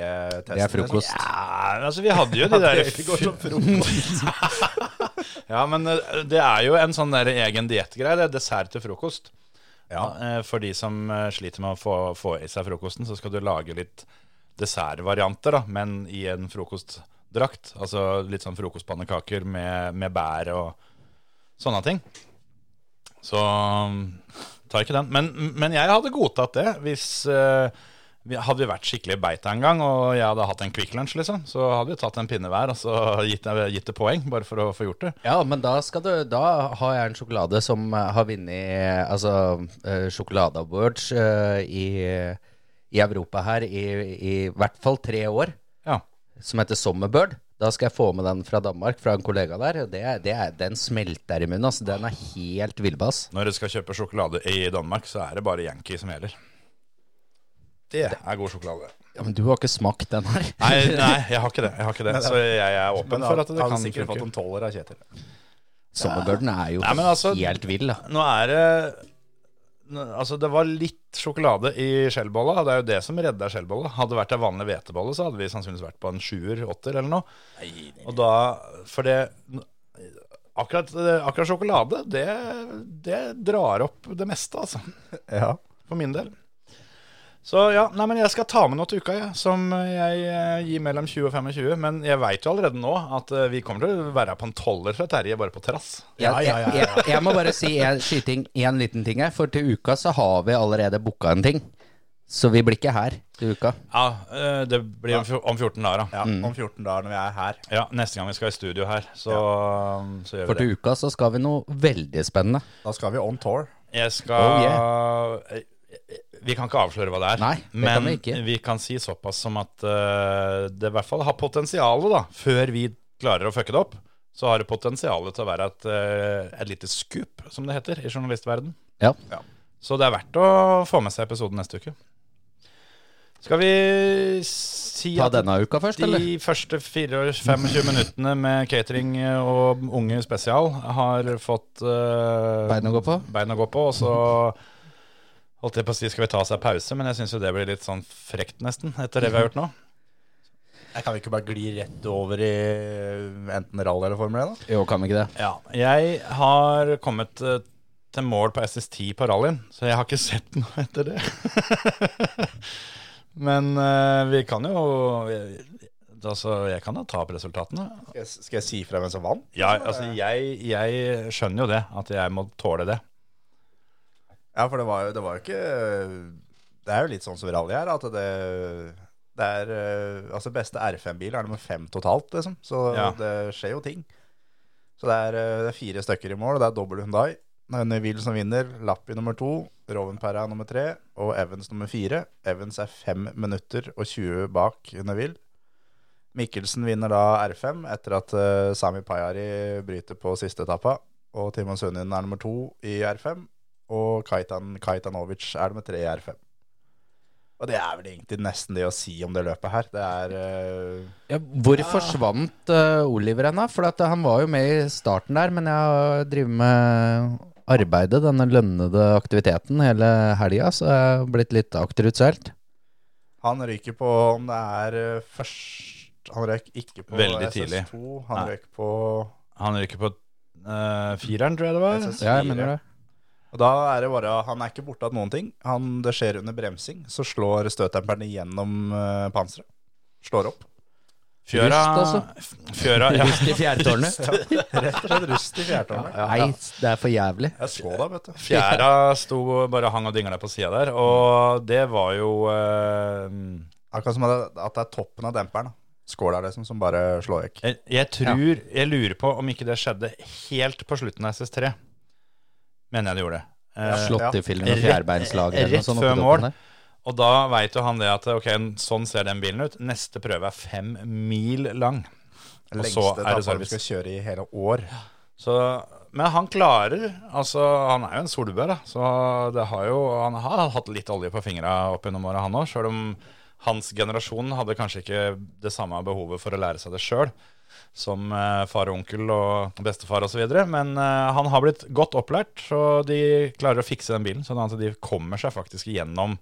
Speaker 5: testen. liksom.
Speaker 4: Det er frokost.
Speaker 3: Ja, altså, vi hadde jo de der
Speaker 5: Det går som frokost.
Speaker 3: Ja, men eh, det er jo en sånn der egen diettgreie. Det er dessert til frokost.
Speaker 5: Ja.
Speaker 3: Eh, For de som eh, sliter med å få, få i seg frokosten, så skal du lage litt dessertvarianter, da, men i en frokostdrakt. Altså litt sånn frokostpannekaker med, med bær og sånne ting. Så mm, tar ikke den. Men, men jeg hadde godtatt det hvis eh, vi, hadde vi vært skikkelig beita en gang, og jeg hadde hatt en Quick Lunch, liksom, så hadde vi tatt en pinne hver og så gitt, det- gitt det poeng, bare for å få gjort det.
Speaker 4: Ja, men da, skal du, da har jeg en sjokolade som eh, har vunnet altså, eh, Sjokolade Awards eh, i, i Europa her i, i hvert fall tre år,
Speaker 3: Ja.
Speaker 4: som heter Sommerbird. Da skal jeg få med den fra Danmark, fra en kollega der. Det, er- det er, den smelter i munnen. Altså. Den er helt villbass.
Speaker 3: Når du skal kjøpe sjokolade i Danmark, så er det bare Yankee som gjelder. Det er god sjokolade.
Speaker 4: Ja, men du har ikke smakt den her.
Speaker 3: Nei, nei jeg har ikke det. Jeg har ikke det. Så jeg er åpen
Speaker 5: Men
Speaker 3: for at
Speaker 5: han,
Speaker 3: det
Speaker 5: han
Speaker 3: kan
Speaker 5: sikkert fått
Speaker 3: funke.
Speaker 5: en tolver av Kjetil.
Speaker 4: Sommerbirden er jo
Speaker 3: Nei, men altså-
Speaker 4: helt vill. Da.
Speaker 3: Nå er det nå- Altså, det var litt sjokolade i skjellbolla. Det er jo det som redda skjellbolla. Hadde det vært ei vanlig hvetebolle, så hadde vi sannsynligvis vært på en sjuer, åtter eller noe. Og da For det Akkurat, eh, akkurat sjokolade, det, det drar opp det meste, altså.
Speaker 5: Ja.
Speaker 3: For min del. Så ja, nei, men jeg skal ta med noe til uka, jeg, som jeg eh, gir mellom 20 og 25. Men jeg veit jo allerede nå at eh, vi kommer til å være på en toller fra Terje, bare på trass.
Speaker 5: Ja, ja, ja, ja.
Speaker 4: Jeg, jeg, jeg må bare si en skyting, en liten ting her. For til uka så har vi allerede booka en ting. Så vi blir ikke her til uka.
Speaker 3: Ja, eh, det blir om, fjo- om 14 dager, da. Mm.
Speaker 5: ja. Om 14 dager når vi er her.
Speaker 3: Ja, Neste gang vi skal i studio her, så, mm, så gjør
Speaker 4: For
Speaker 3: vi det.
Speaker 4: til uka så skal vi noe veldig spennende.
Speaker 5: Da skal vi on tour.
Speaker 3: Jeg
Speaker 4: Oh,
Speaker 3: skal eh, Vi kan ikke avsløre hva det er,
Speaker 4: Nei, det kan
Speaker 3: men
Speaker 4: vi ikke.
Speaker 3: kan si såpass som at eh, det i hvert fall har potensialet, da, før vi klarer å fucke det opp, så har det potensialet til å være et, eh, et lite scoop, som det heter, i journalistverden.
Speaker 4: Ja.
Speaker 3: Så det er verdt å få med seg episoden neste uke. Skal vi si
Speaker 4: Ta
Speaker 3: at
Speaker 4: denne uka først, eller?
Speaker 3: de første 24-25 minuttene med catering og unge spesial har fått eh,
Speaker 4: Bein å gå på?
Speaker 3: bein å gå på, og så holdt jeg på å si skal vi ta oss en pause, men jeg syns jo det blir litt sånn frekt nesten, etter det vi har gjort nå.
Speaker 5: Jeg kan vi ikke bare gli rett over i eh, enten rally eller Formel 1? da?
Speaker 4: Jo, kan vi ikke det?
Speaker 3: Ja, jeg har kommet eh, til mål på SS10 på rallyen, så jeg har ikke sett noe etter det. Men eh, vi kan jo eh, Altså, jeg kan da ta opp resultatene.
Speaker 5: Skal jeg, skal jeg si fra hvem som vant?
Speaker 3: Ja, altså, jeg, jeg skjønner jo det, at jeg må tåle det.
Speaker 5: Ja, for det var jo, det var jo ikke Det er jo litt sånn som rally her, at det, det er eh, Altså, beste R5-bil er nummer fem totalt, liksom. Så
Speaker 3: Ja.
Speaker 5: det skjer jo ting. Så det er, eh, det er fire stykker i mål, og det er dobbel Hundai. Neville som vinner, Lappi nummer to, Rovenpera nummer tre og Evans nummer fire. Evans er fem minutter og 20 bak Neville. Mikkelsen vinner da R5 etter at eh, Sami Pajari bryter på siste etappa. Og Timon Sundin er nummer to i R5. Og Kaitan Kaitanovic er nummer tre i R5. Og det er vel egentlig nesten det å si om det løpet her. Det er eh,
Speaker 4: Ja, hvor forsvant eh, Oliver hen, da? For at eh, han var jo med i starten der, men jeg driver med arbeidet, denne lønnede aktiviteten, hele helga, så jeg har blitt litt akterut selv.
Speaker 5: Han ryker på om det er eh, først Han røyk ikke på
Speaker 3: Veldig tidlig.
Speaker 5: SS2. Han
Speaker 3: Nei.
Speaker 5: røyk på
Speaker 3: Han rykker på eh, fireren, tror jeg det var.
Speaker 5: SS4.
Speaker 4: Ja, jeg mener det.
Speaker 5: Og da er det bare Han er ikke borte av noen ting. Han, det skjer under bremsing. Så slår støtdemperen igjennom eh, panseret. Slår opp.
Speaker 3: Fjøra,
Speaker 4: Rust,
Speaker 3: fjøra ja.
Speaker 4: Rust i fjærtårnet.
Speaker 5: Rett og slett rust i fjærtårnet.
Speaker 4: Nei, det er for jævlig.
Speaker 5: Jeg så deg, vet du.
Speaker 3: Fjæra sto og bare hang og dingla på sida der, og det var jo eh,
Speaker 5: Akkurat som at det- at det er toppen av demperen. da. Skåla, liksom, som bare slår vekk.
Speaker 3: Jeg, jeg tror Jeg lurer på om ikke det skjedde helt på slutten av SS3. Mener jeg det gjorde. Eh,
Speaker 4: Slått i film med
Speaker 3: Rett-
Speaker 4: fjærbeinslager eller
Speaker 3: rett
Speaker 4: noe sånt.
Speaker 3: før
Speaker 4: oppi
Speaker 3: mål.
Speaker 4: toppen der.
Speaker 3: Og da veit jo han det at ok, sånn ser den bilen ut. Neste prøve er fem mil lang. Og
Speaker 5: Lengste
Speaker 3: så er det
Speaker 5: etappa de
Speaker 3: service.
Speaker 5: skal kjøre i hele år.
Speaker 3: Så, men han klarer Altså, han er jo en solbær, da. Så det har jo Han har hatt litt olje på fingra opp gjennom åra, han òg. Sjøl om hans generasjon hadde kanskje ikke det samme behovet for å lære seg det sjøl som eh, far og onkel og bestefar osv. Men eh, han har blitt godt opplært, så de klarer å fikse den bilen. Sånn at de kommer seg faktisk gjennom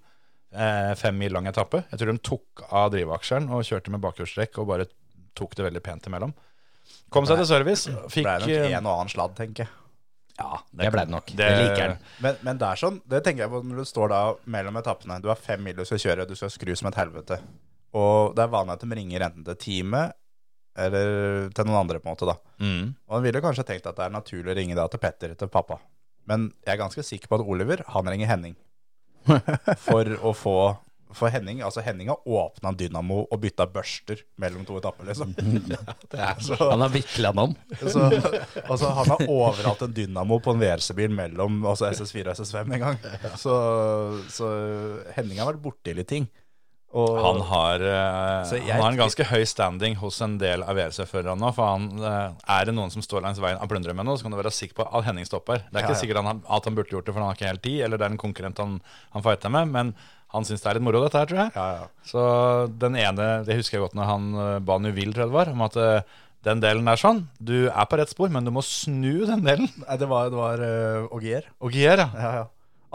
Speaker 3: eh, fem mil lang etappe. Jeg tror de tok av drivaksjeren og kjørte med bakhjulstrekk og bare tok det veldig pent imellom. Kom seg til service. Fikk
Speaker 5: Det er nok
Speaker 3: eh,
Speaker 5: en og annen sladd, tenker jeg.
Speaker 3: ja,
Speaker 4: Det ble det nok. Det liker han.
Speaker 5: Men, men det er sånn, det tenker jeg på når du står da mellom etappene. Du har fem mil du skal kjøre, du skal skru som et helvete. Og det er vanlig at de ringer enten til teamet eller til noen andre, på en måte. da.
Speaker 3: Mm.
Speaker 5: Og han ville kanskje tenkt at det er naturlig å ringe da til Petter, til pappa. Men jeg er ganske sikker på at Oliver, han ringer Henning. For å få For Henning altså Henning har åpna dynamo og bytta børster mellom to etapper, liksom. Det er så
Speaker 4: Han har vikla den om.
Speaker 5: så, altså, han har overhatt en dynamo på en VRC-bil mellom altså SS4 og SS5 en gang. Så, så Henning har vært borti litt ting. Og
Speaker 3: Han har, eh,
Speaker 5: Så jeg-
Speaker 3: han har en ganske høy standing hos en del av VRC-førerne nå. For han, eh, er det noen som står langs veien og plundrer med noe, så kan du være sikker på at Henning stopper. Det er
Speaker 5: Ja,
Speaker 3: ikke
Speaker 5: ja.
Speaker 3: sikkert han, har- at han burde gjort det, for han har ikke helt tid, eller det er en konkurrent han, han fighter med. Men han syns det er litt moro, dette her, tror jeg.
Speaker 5: ja, ja.
Speaker 3: Så den ene, det husker jeg godt når han eh, ba Nuvil, tror jeg det var, om at eh, den delen er sånn. Du er på rett spor, men du må snu den delen.
Speaker 5: Nei, det var, det var eh, Ogier.
Speaker 3: Og Gier, ja.
Speaker 5: Ja, ja.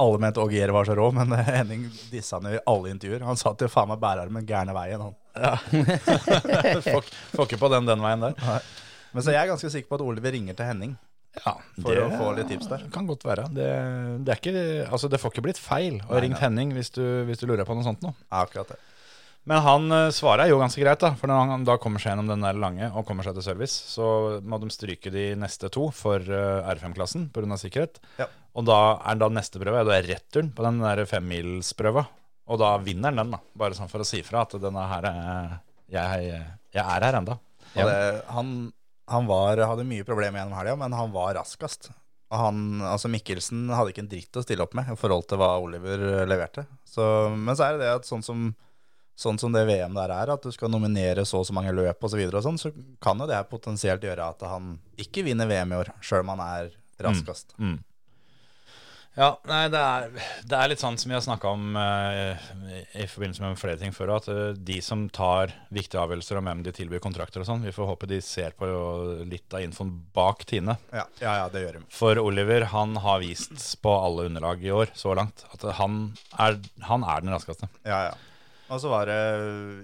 Speaker 5: Alle mente Ogier var så rå, men eh, Henning dissa han jo i alle intervjuer. Han satt jo faen meg bærarmen gærne veien, han.
Speaker 3: Får ikke- får ikke på den den veien der.
Speaker 5: Men så jeg er ganske sikker på at Oliver ringer til Henning
Speaker 3: Ja,
Speaker 5: for å få litt tips der.
Speaker 3: Det kan godt være. Det, det, er ikke, altså det får ikke blitt feil å ha
Speaker 5: Nei,
Speaker 3: ringt
Speaker 5: nei.
Speaker 3: Henning hvis du, hvis du lurer på noe sånt nå.
Speaker 5: Ja, akkurat det.
Speaker 3: Men han eh, svarer jo ganske greit, da. For når han da kommer seg gjennom den der lange og kommer seg til service, så må de stryke de neste to for eh, R5-klassen pga. sikkerhet.
Speaker 5: Ja.
Speaker 3: Og da er da neste prøve, ja, da er returen på den der femmilsprøva. Og da vinner han den, da. Bare sånn for å si fra at denne her er Jeg, jeg er her enda.
Speaker 5: Og det, han han var, hadde mye problemer gjennom helga, men han var raskest. Og han, altså Mikkelsen hadde ikke en dritt å stille opp med i forhold til hva Oliver eh, leverte. Så, men så er det det at sånn som, sånn som det VM der er, at du skal nominere så og så mange løp osv., så, videre og sånn, så kan jo det her potensielt gjøre at han ikke vinner VM i år, sjøl om han er raskest.
Speaker 3: Ja, nei, det er, det er litt sånn som vi har snakka om eh, i forbindelse med flere ting før, at eh, de som tar viktige avgjørelser om hvem de tilbyr kontrakter og sånn, vi får håpe de ser på jo litt av infoen bak Tine.
Speaker 5: Ja, ja, ja, det gjør de.
Speaker 3: For Oliver han har vist på alle underlag i år så langt at han er, han er den raskeste.
Speaker 5: Ja, ja. Og så var det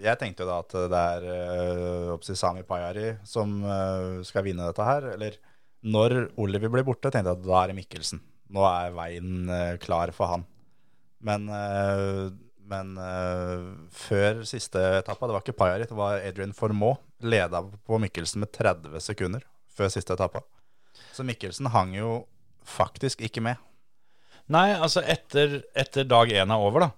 Speaker 5: Jeg tenkte jo da at det er eh, oppsi Sami Pajari som eh, skal vinne dette her. Eller når Oliver blir borte, tenkte jeg at da er det Mikkelsen. Nå er veien eh, klar for han. Men, eh, men eh, før siste etappa, det var ikke Pajari, det var Adrian Formoe. Leda på Mikkelsen med 30 sekunder før siste etappa. Så Mikkelsen hang jo faktisk ikke med.
Speaker 3: Nei, altså etter, etter dag én er over, da.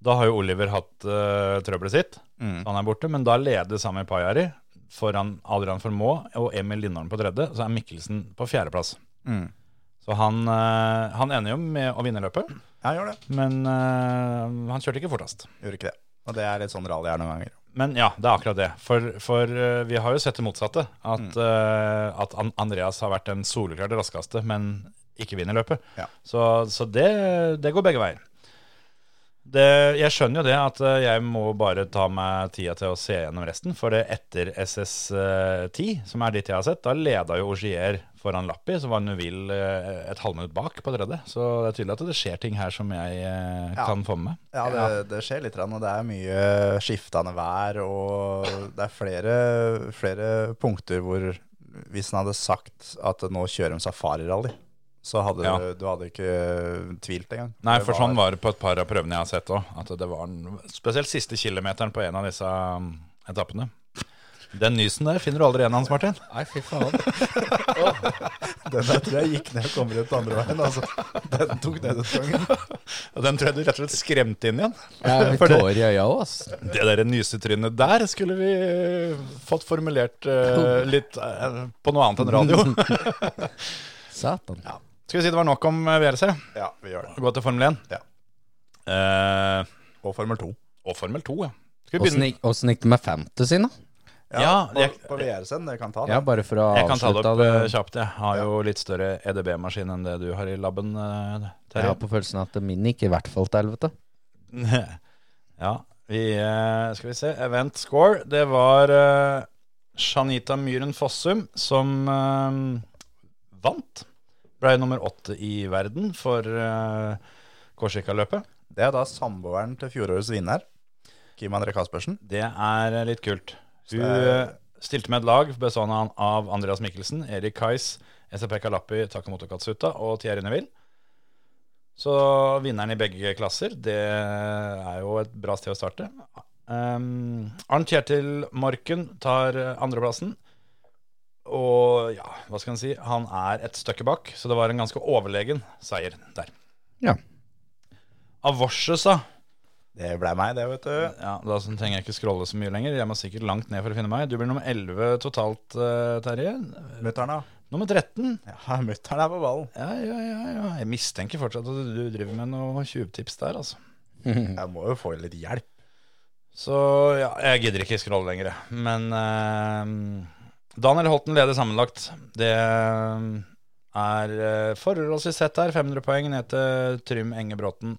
Speaker 3: Da har jo Oliver hatt eh, trøbbelet sitt.
Speaker 5: Mm.
Speaker 3: Han er borte, men da leder Sami Pajari foran Adrian Formoe og Emil Lindholm på tredje. Så er Mikkelsen på fjerdeplass.
Speaker 5: Mm.
Speaker 3: Så han, eh, han ender jo med å vinne løpet,
Speaker 5: Ja, gjør det.
Speaker 3: men eh, han kjørte ikke fortest.
Speaker 5: Gjorde ikke det. Og det er litt sånn rally er noen ganger.
Speaker 3: Men ja, det er akkurat det. For, for eh, vi har jo sett det motsatte. At,
Speaker 5: Mm.
Speaker 3: eh, at An- Andreas har vært den soleklart raskeste, men ikke vinner løpet.
Speaker 5: Ja.
Speaker 3: Så, så det, det går begge veier. Det, jeg skjønner jo det at eh, jeg må bare ta meg tida til å se gjennom resten. For det etter SS10, som er dit jeg har sett, da leda jo Ogier foran Lappi, så var Nuville eh, et halvminutt bak på tredje. Så det er tydelig at det skjer ting her som jeg eh,
Speaker 5: Ja.
Speaker 3: kan få med meg.
Speaker 5: Ja, det, det skjer litt, og det er mye skiftende vær, og det er flere, flere punkter hvor hvis han hadde sagt at nå kjører de safarirally, så hadde
Speaker 3: Ja.
Speaker 5: du, du hadde ikke tvilt engang.
Speaker 3: Nei,
Speaker 5: Det
Speaker 3: for sånn var det på et par av prøvene jeg har sett òg. At det var en, spesielt siste kilometeren på en av disse um, etappene. Den nysen der finner du aldri igjen, Hans Martin.
Speaker 4: Nei, fy faen.
Speaker 5: Den der tror jeg gikk ned og kommer ut andre veien, altså. Den tok nedutgangen.
Speaker 3: Og den tror jeg du rett og slett skremte inn igjen.
Speaker 4: Jeg har
Speaker 3: For det,
Speaker 4: tårer i øya òg, ass.
Speaker 3: det der nysetrynet der skulle vi eh, fått formulert eh, litt eh, på noe annet enn radio.
Speaker 4: Satan.
Speaker 3: Skal vi si det var nok om eh, VRC?
Speaker 5: Ja, vi gjør det.
Speaker 3: Gå til Formel 1.
Speaker 5: Ja.
Speaker 3: Eh,
Speaker 5: Og Formel 2.
Speaker 3: og Formel 2, ja. Skal vi
Speaker 4: Åssen
Speaker 3: begynne?
Speaker 4: gikk, hvordan gikk det med fantasyen, da?
Speaker 3: Ja,
Speaker 5: på,
Speaker 3: jeg-
Speaker 5: på VRC-en, det kan ta det.
Speaker 4: Ja, bare for å
Speaker 3: Jeg kan ta det
Speaker 4: avslutte
Speaker 3: opp eh,
Speaker 4: det.
Speaker 3: kjapt. Jeg har jo litt større EDB-maskin enn det du har i laben, eh,
Speaker 4: Jeg
Speaker 3: Terje.
Speaker 4: har på følelsen at min gikk i hvert fall til helvete.
Speaker 3: Ja, vi eh, skal vi se. Event score. Det var eh, Shanita Myhren Fossum som eh, vant. Ble nummer åtte i verden for eh, Korsika-løpet.
Speaker 5: Det er da samboeren til fjorårets vinner, Kim André Kaspersen.
Speaker 3: Det er eh, litt kult. Hun
Speaker 5: Så-
Speaker 3: eh, stilte med et lag bestående av Andreas Mikkelsen, Erik Kais, SAP Kalappi, Takamoto Katsuta og Thierry Neville. Så vinneren i begge klasser, det er jo et bra sted å starte. Um, Arnt Kjetil Morken tar eh, andreplassen. Og ja, hva skal en si? Han er et stykke bak, så det var en ganske overlegen seier der.
Speaker 4: Ja.
Speaker 3: Avorsesa
Speaker 5: Det ble meg, det, vet du.
Speaker 3: ja, Da så trenger jeg ikke scrolle så mye lenger. Jeg må sikkert langt ned for å finne meg. Du blir nummer 11 totalt, eh, Terje.
Speaker 5: Mutter'n, da.
Speaker 3: Nummer 13.
Speaker 5: Ja, mutter'n er på ballen.
Speaker 3: Ja, ja, ja, ja. Jeg mistenker fortsatt at du driver med noe tjuvtips der, altså.
Speaker 5: Jeg må jo få litt hjelp.
Speaker 3: Så ja, jeg gidder ikke scrolle lenger, jeg. Men eh, Daniel Holten leder sammenlagt. Det er eh, forholdsvis sett her. 500 poeng ned til Trym Engebråten.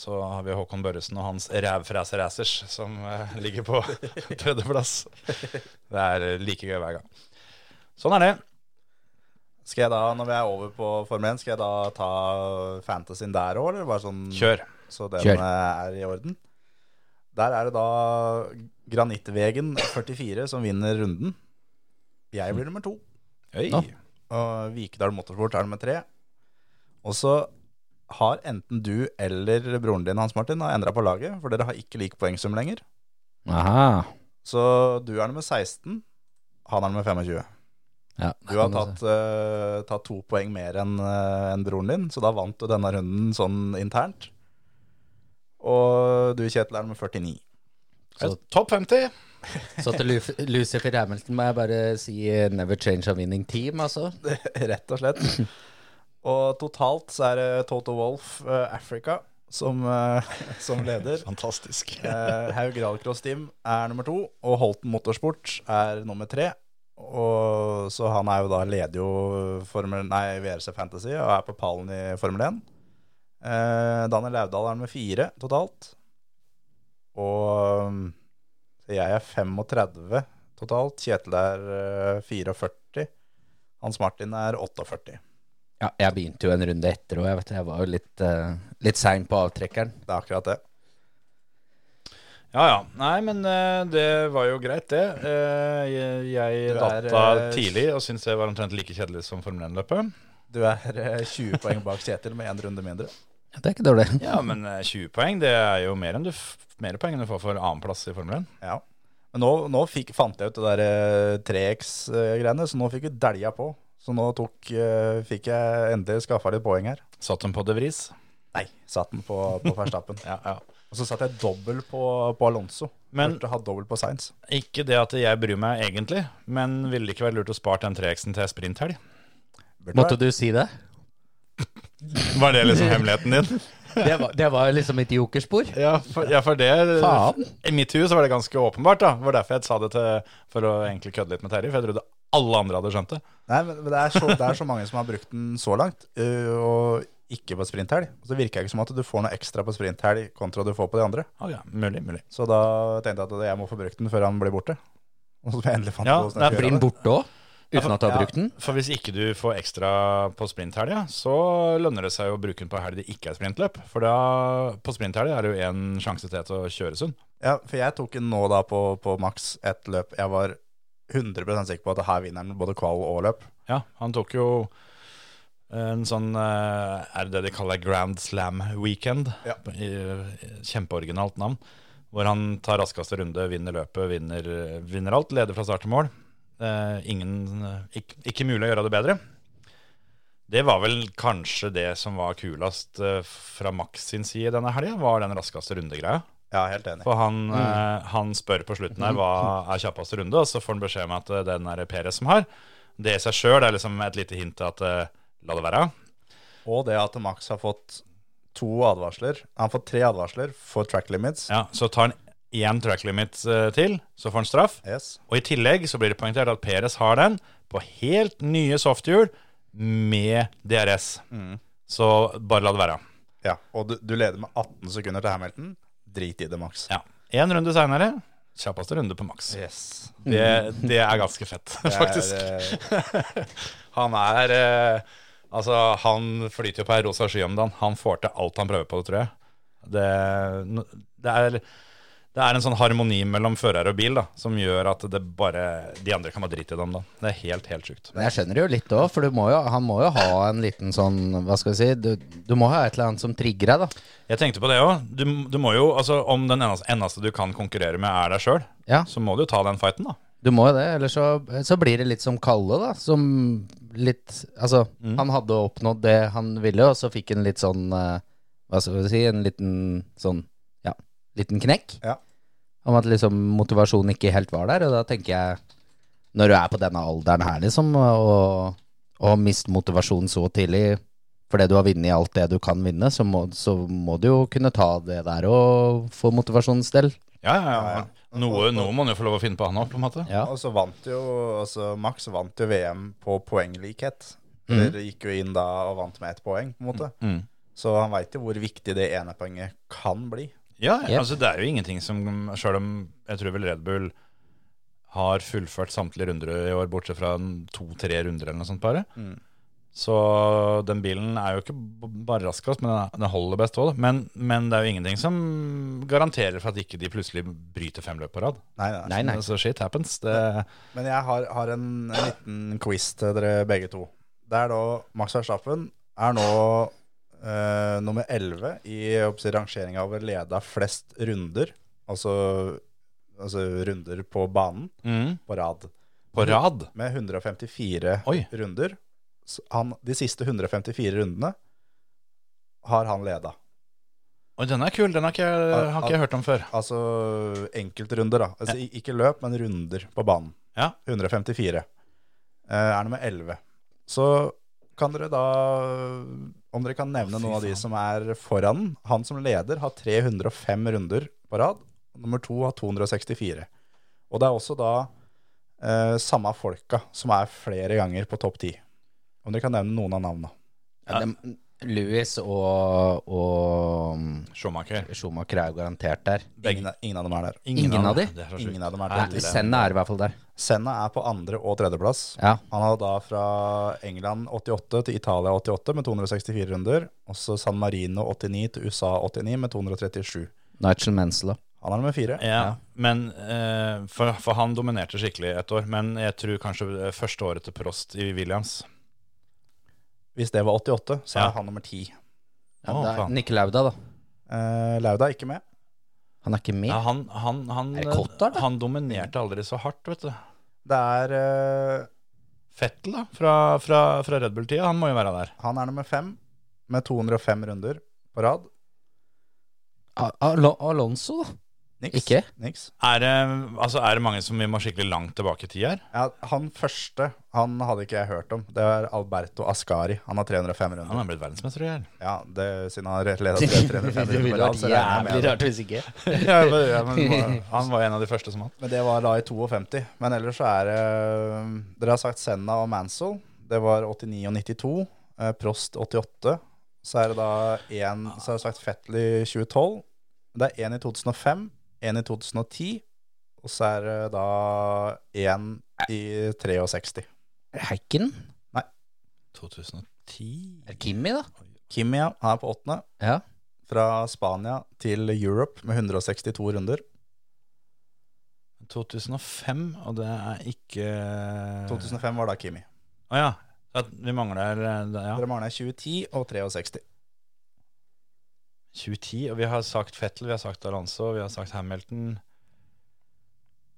Speaker 3: Så har vi Håkon Børresen og hans rævfrese racers som eh, ligger på tredjeplass. Det er eh, like gøy hver gang. Sånn er det.
Speaker 5: Skal jeg da, når vi er over på Formel 1, skal jeg da ta fantasyen der òg, eller bare sånn
Speaker 3: Kjør.
Speaker 5: så den
Speaker 4: Kjør.
Speaker 5: eh, er i orden? Der er det da Granittvegen 44 som vinner runden. Jeg blir nummer to.
Speaker 3: Oi.
Speaker 4: Ja.
Speaker 5: Og Vikedal Motorsport er nummer tre. Og så har enten du eller broren din, Hans Martin, har endra på laget, for dere har ikke lik poengsum lenger.
Speaker 4: Aha.
Speaker 5: Så du er nummer 16, han er nummer 25.
Speaker 4: Ja.
Speaker 5: Du har tatt, eh, tatt to poeng mer enn eh, enn broren din, så da vant du denne runden sånn internt. Og du, Kjetil, er nummer 49.
Speaker 4: Så-
Speaker 3: Eh, Topp 50.
Speaker 4: altså. Så til Luf- Lucifer Hamilton må jeg bare si eh, never change a winning team, altså.
Speaker 5: Rett og slett. Og totalt så er det Toto Wolff eh, Africa som, eh, som leder.
Speaker 3: Fantastisk.
Speaker 5: Eh, Haug Rallycross Team er nummer to, og Holten Motorsport er nummer tre. Og så han er jo da leder jo Formel, nei, VRC Fantasy og er på pallen i Formel 1. Eh, Daniel Lauvdal er nummer fire totalt. Og um, jeg er 35 totalt. Kjetil er eh, 44. Hans Martin er 48.
Speaker 4: Ja, jeg begynte jo en runde etter, og eh, jeg vet det, jeg var jo litt, uh, litt sein på avtrekkeren.
Speaker 5: Det er akkurat det.
Speaker 3: Ja ja. Nei, men eh, det var jo greit, det. Eh, jeg jeg
Speaker 5: Du er,
Speaker 3: datta
Speaker 5: eh,
Speaker 3: tidlig og syntes det var omtrent like kjedelig som Formel 1-løpet.
Speaker 5: Du er eh, 20 poeng bak Kjetil med én runde mindre.
Speaker 4: Det er ikke dårlig.
Speaker 3: Ja, men eh, 20 poeng, det er jo mer, enn du f mer poeng enn du får for annenplass i Formel 1.
Speaker 5: Ja. Men nå, nå fikk, fant jeg ut det der 3X-greiene, så nå fikk vi dælja på. Så nå tok, eh, fikk jeg endelig skaffa litt poeng her.
Speaker 3: Satt hun på de vris?
Speaker 5: Nei, satt den på, på Verstappen.
Speaker 3: Ja, ja.
Speaker 5: Og så satt jeg dobbel på, på Alonso.
Speaker 3: Men-
Speaker 5: Burde ha dobbel på Sainz.
Speaker 3: Ikke det at jeg bryr meg egentlig, men ville det ikke vært lurt å spart den 3X-en til sprinthelg?
Speaker 5: Burde
Speaker 4: Måtte
Speaker 5: vært.
Speaker 4: du si det?
Speaker 3: Var det liksom hemmeligheten din?
Speaker 4: Det var, det var liksom mitt jokerspor.
Speaker 3: Ja, for, ja, for det
Speaker 4: Faen.
Speaker 3: I mitt hus var det ganske åpenbart, da. Det var derfor jeg sa det til, for å egentlig kødde litt med Terje, for jeg trodde alle andre hadde skjønt det.
Speaker 5: Nei, men men det er, så, det er så mange som har brukt den så langt, øh, og ikke på sprinthelg. Og så virker det ikke som at du får noe ekstra på sprinthelg kontra du får på de andre.
Speaker 3: Å ja, mulig, mulig.
Speaker 5: Så da tenkte jeg at jeg må få brukt den før han blir borte. Og så endelig fant
Speaker 3: Ja,
Speaker 5: på hvordan
Speaker 3: nei,
Speaker 4: Blir
Speaker 5: jeg skulle
Speaker 4: den
Speaker 5: gjøre det.
Speaker 4: borte òg? Uten at du har brukt den?
Speaker 3: For hvis ikke du får ekstra på sprinthelga, så lønner det seg å bruke den på helg det ikke er sprintløp. For da, på sprinthelga er det jo én sjanse til til å kjøre sund.
Speaker 5: Ja, for jeg tok den nå da på, på maks ett løp. Jeg var 100 sikker på at her vinner den både kval og løp.
Speaker 3: Ja, han tok jo en sånn eh, Er det det de kaller Grand Slam Weekend?
Speaker 5: Ja.
Speaker 3: I, i- kjempeoriginalt navn. Hvor han tar raskeste runde, vinner løpet, vinner, vinner alt. Leder fra start til mål. Eh, ingen, ikke, ikke mulig å gjøre det bedre. Det var vel kanskje det som var kulest eh, fra Max sin side denne helga, var den raskeste rundegreia.
Speaker 5: Ja, helt enig.
Speaker 3: For han, eh, han spør på slutten her hva er kjappeste runde, og så får han beskjed om at eh, den er det Perez som har. Det i seg sjøl er liksom et lite hint til at eh, la det være.
Speaker 5: Og det at Max har fått to advarsler Han har fått tre advarsler for track limits.
Speaker 3: Ja, så tar han én track limit eh, til, så får han straff.
Speaker 5: Yes.
Speaker 3: Og i tillegg så blir det poengtert at Perez har den på helt nye softhjul med DRS.
Speaker 5: Mm.
Speaker 3: Så bare la det være.
Speaker 5: Ja, og du, du leder med 18 sekunder til Hamilton. Drit i det, Max.
Speaker 3: Ja. Én runde seinere, kjappeste runde på maks.
Speaker 5: Yes.
Speaker 3: Det, det er ganske fett, faktisk.
Speaker 5: Det er, eh,
Speaker 3: Han er eh, Altså, han flyter jo på ei rosa sky om dagen. Han får til alt han prøver på, det tror jeg. Det, n- det, er, det er en sånn harmoni mellom fører og bil da, som gjør at det bare De andre kan bare drite i det om dagen. Det er helt, helt sjukt.
Speaker 4: Men jeg skjønner det jo litt òg, for du må jo, han må jo ha en liten sånn Hva skal vi si? Du, du må ha et eller annet som trigger deg, da.
Speaker 3: Jeg tenkte på det òg. Du, du må jo Altså, om den eneste, eneste du kan konkurrere med, er deg sjøl,
Speaker 4: Ja,
Speaker 3: så må du jo ta den fighten, da.
Speaker 4: du må jo det. Eller så, så blir det litt som Kalle, da. Som litt Altså, han hadde oppnådd det han ville, og så fikk han litt sånn eh, Hva skal vi si? En liten sånn Ja, liten knekk.
Speaker 5: Ja.
Speaker 4: Om at liksom motivasjonen ikke helt var der. Og da tenker jeg, når du er på denne alderen her, liksom, og, og mister motivasjonen så tidlig fordi du har vunnet i alt det du kan vinne, så må, så må du jo kunne ta det der og få motivasjonens del.
Speaker 3: Ja, ja, ja. Noe, noe må han jo få lov å finne på, han òg, på en måte.
Speaker 4: Ja.
Speaker 5: og så vant jo altså Max vant jo VM på poenglikhet. Dere gikk jo inn da og vant med ett poeng, på en måte.
Speaker 3: Mm.
Speaker 5: Så han veit jo hvor viktig det ene poenget kan bli.
Speaker 3: Ja,
Speaker 4: Yep.
Speaker 3: altså det er jo ingenting som Selv om jeg tror vel Red Bull har fullført samtlige runder i år, bortsett fra en to-tre runder eller noe sånt bare.
Speaker 5: Mm.
Speaker 3: Så den bilen er jo ikke b- bare raskest, men den- den holder best òg. Men, men det er jo ingenting som garanterer for at ikke de plutselig bryter fem løp på rad. Sånn,
Speaker 5: Nei, nei.
Speaker 4: Nei, nei.
Speaker 3: Så shit happens. Det,
Speaker 5: Men jeg har, har en, en liten quiz til dere begge to. Det er da Max Verstappen er nå eh, nummer 11 i rangeringa over leda flest runder. Altså, altså runder på banen
Speaker 3: mm.
Speaker 5: på rad.
Speaker 3: På rad?
Speaker 5: Med 154
Speaker 3: Oi.
Speaker 5: runder. Så Han, de siste 154 rundene har han leda.
Speaker 3: Oi, den er kul. Den har ikke jeg, har ikke jeg hørt om før.
Speaker 5: Altså enkeltrunder, da. Altså, i- Ikke løp, men runder på banen.
Speaker 3: Ja.
Speaker 5: 154. Eh, Er nummer 11. Så kan dere da Om dere kan nevne noen av de som er foran den. Han som leder har 305 runder på rad. Nummer to har 264. Og det er også da eh, samme folka som er flere ganger på topp ti. Om dere kan nevne noen av navnene.
Speaker 4: Ja, det, Lewis og, og mm,
Speaker 3: Schumacher.
Speaker 4: Schumacher er jo garantert der.
Speaker 5: Ingen, ingen av dem er der.
Speaker 4: Ingen av de?
Speaker 3: Det er så
Speaker 5: Ingen
Speaker 3: sjukt.
Speaker 5: av dem er
Speaker 3: Herlig.
Speaker 5: der.
Speaker 4: Senna er i hvert fall der.
Speaker 5: Senna er på andre- og tredjeplass.
Speaker 4: Ja.
Speaker 5: Han har da fra England 88 til Italia 88 med 264 runder. Også San Marino 89 til USA 89 med 237.
Speaker 4: Nigel Mansell òg.
Speaker 5: Han er nummer fire.
Speaker 3: Ja, men eh, for, for han dominerte skikkelig et år. Men jeg tror kanskje det første året til Prost i Williams.
Speaker 5: Hvis det var 88, så er
Speaker 3: Ja.
Speaker 5: han nummer 10.
Speaker 4: Ja,
Speaker 3: Å,
Speaker 4: det er
Speaker 3: faen.
Speaker 4: Nikke Lauda, da.
Speaker 5: Eh, Lauda er ikke med.
Speaker 4: Han er ikke med.
Speaker 3: Ja, han, han, han,
Speaker 4: Er det Cotard, da?
Speaker 3: han dominerte aldri så hardt, vet du.
Speaker 5: Det er eh,
Speaker 3: Fettel, da, fra, fra, fra Red Bull-tida, han må jo være der.
Speaker 5: Han er nummer fem med 205 runder på rad.
Speaker 4: Al- Al- Alonso, da.
Speaker 5: Niks.
Speaker 4: Ikke?
Speaker 5: Niks.
Speaker 3: Er det, altså, er det mange som vi må skikkelig langt tilbake i tid her?
Speaker 5: Ja, han første han hadde ikke jeg hørt om. Det er Alberto Ascari. Han har 305 runder.
Speaker 3: Han er blitt verdensmester i hjel.
Speaker 5: Ja, det, siden han har ledet 305 runder på rad. så regner jeg med det.
Speaker 4: hvis ikke.
Speaker 3: Ja, men- ja, men hva- han var en av de første som han.
Speaker 5: Men det var da i 52. Men ellers så er det Dere har sagt Senna og Mansell. Det var 89 og 92. Eh, Prost 88. Så er det da én Så har jeg sagt Fettel i 2012. Det er én i 2005, én i 2010, og så er det da én i 63.
Speaker 4: Hacken?
Speaker 3: 2010
Speaker 4: Er det Kimi, da?
Speaker 5: Kimi ja, han er på åttende.
Speaker 4: Ja.
Speaker 5: Fra Spania til Europe med 162 runder.
Speaker 3: 2005, og det er ikke
Speaker 5: 2005 var da Kimi.
Speaker 3: Å ja. At vi mangler eh, ja.
Speaker 5: Dere mangler 2010 og 63.
Speaker 3: 2010, og vi har sagt Fettel, vi har sagt Alonso, vi har sagt Hamilton.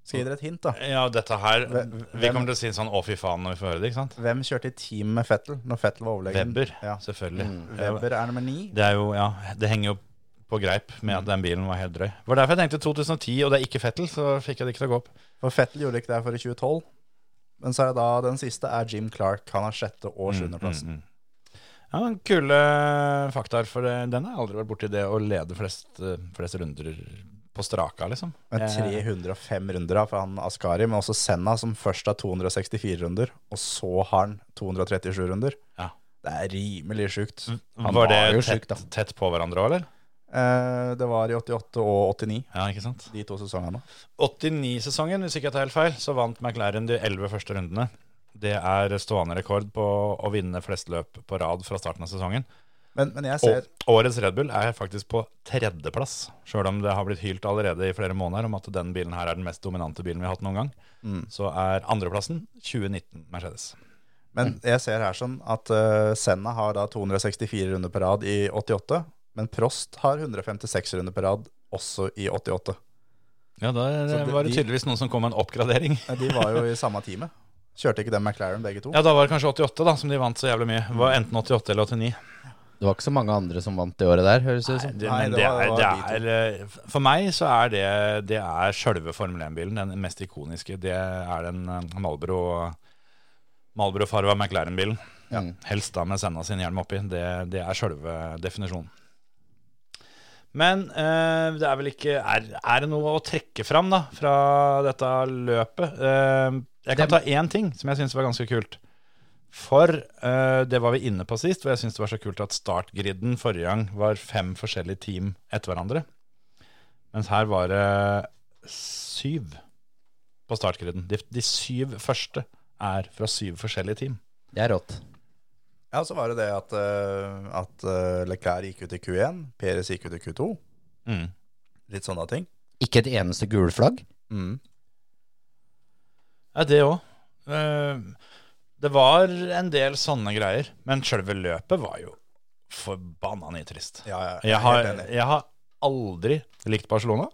Speaker 5: Skal jeg gi dere et hint, da?
Speaker 3: Ja, dette her
Speaker 5: Hvem-
Speaker 3: Vi kommer til å si sånn 'å, fy faen' når vi får høre det, ikke sant?
Speaker 5: Hvem kjørte i team med Fettel når Fettel var overlegen?
Speaker 3: Webber,
Speaker 5: Ja.
Speaker 3: selvfølgelig.
Speaker 4: Mm.
Speaker 3: Ja,
Speaker 5: Webber er nummer ni.
Speaker 3: Det er jo, ja, det henger jo på greip med at den bilen var helt drøy. Det var derfor jeg tenkte 2010, og det er ikke Fettel, så fikk jeg det ikke til å gå opp.
Speaker 5: For Fettel gjorde ikke det for i 2012. Men så er det da den siste er Jim Clark. Han har sjette-
Speaker 3: Mm,
Speaker 5: og sjuendeplassen.
Speaker 3: Ja, men Kule eh, faktaer, for det- den har jeg aldri vært borti, det å lede flest, eh, flest runder på straka, liksom.
Speaker 5: Med
Speaker 3: Eh,
Speaker 5: 305 runder da, for han Askari, men også Senna, som først har 264 runder, og så har han 237 runder.
Speaker 3: Ja. Mm.
Speaker 5: Det er rimelig sjukt.
Speaker 4: Han
Speaker 3: var
Speaker 4: var jo
Speaker 3: det
Speaker 4: sjuk,
Speaker 3: tett,
Speaker 4: da.
Speaker 3: tett på hverandre òg, eller?
Speaker 5: Eh, det var i 88 og 89,
Speaker 3: Ja, ikke sant?
Speaker 5: de to sesongene.
Speaker 3: 89-sesongen, hvis ikke jeg tar helt feil, så vant McLaren de elleve første rundene. Det er stående rekord på å vinne flest løp på rad fra starten av sesongen.
Speaker 5: Men, men jeg ser
Speaker 3: Og årets Red Bull er faktisk på tredjeplass, sjøl om det har blitt hylt allerede i flere måneder om at den bilen her er den mest dominante bilen vi har hatt noen gang.
Speaker 5: Mm.
Speaker 3: Så er andreplassen 2019 Mercedes. Mm.
Speaker 5: Men jeg ser her sånn at eh, Senna har da 264 runder på rad i 88, men Prost har 156 runder på rad også i 88.
Speaker 3: Ja, der
Speaker 5: Så det-
Speaker 3: var det
Speaker 5: de-
Speaker 3: tydeligvis noen som kom med en oppgradering.
Speaker 5: Eh, De var jo i samme teamet. Kjørte ikke den McLaren begge to?
Speaker 3: Ja, da var det kanskje 88, da, som de vant så jævlig mye. Det var enten 88 eller 89.
Speaker 4: Det var ikke så mange andre som vant det året der, høres det ut som.
Speaker 3: Det,
Speaker 5: Nei,
Speaker 3: men
Speaker 5: det
Speaker 3: det,
Speaker 5: var- det var
Speaker 3: er, det er eh, For meg så er det Det er sjølve Formel 1-bilen, den mest ikoniske. Det er den eh, Marlboro Malboro-farva McLaren-bilen.
Speaker 4: Mm.
Speaker 3: Helst da med Senna sin hjelm oppi. Det, det er sjølve definisjonen. Men eh, det er vel ikke er, er det noe å trekke fram da fra dette løpet? Eh, jeg kan ta én ting som jeg syns var ganske kult. For eh, det var vi inne på sist, og jeg syns det var så kult at startgriden forrige gang var fem forskjellige team etter hverandre. Mens her var det syv på startgriden. De, de syv første er fra syv forskjellige team.
Speaker 4: Det er rått.
Speaker 5: Ja, så var det det at, eh, at eh, Leclerc gikk ut i Q1, Perez gikk ut i Q2.
Speaker 3: Mm.
Speaker 5: Litt sånne ting.
Speaker 4: Ikke et eneste gule flagg.
Speaker 3: mm. Ja, det òg. det var en del sånne greier. Men sjølve løpet var jo forbanna nitrist.
Speaker 5: Ja, ja,
Speaker 3: Jeg har,
Speaker 5: helt enig.
Speaker 3: jeg har aldri likt Barcelona.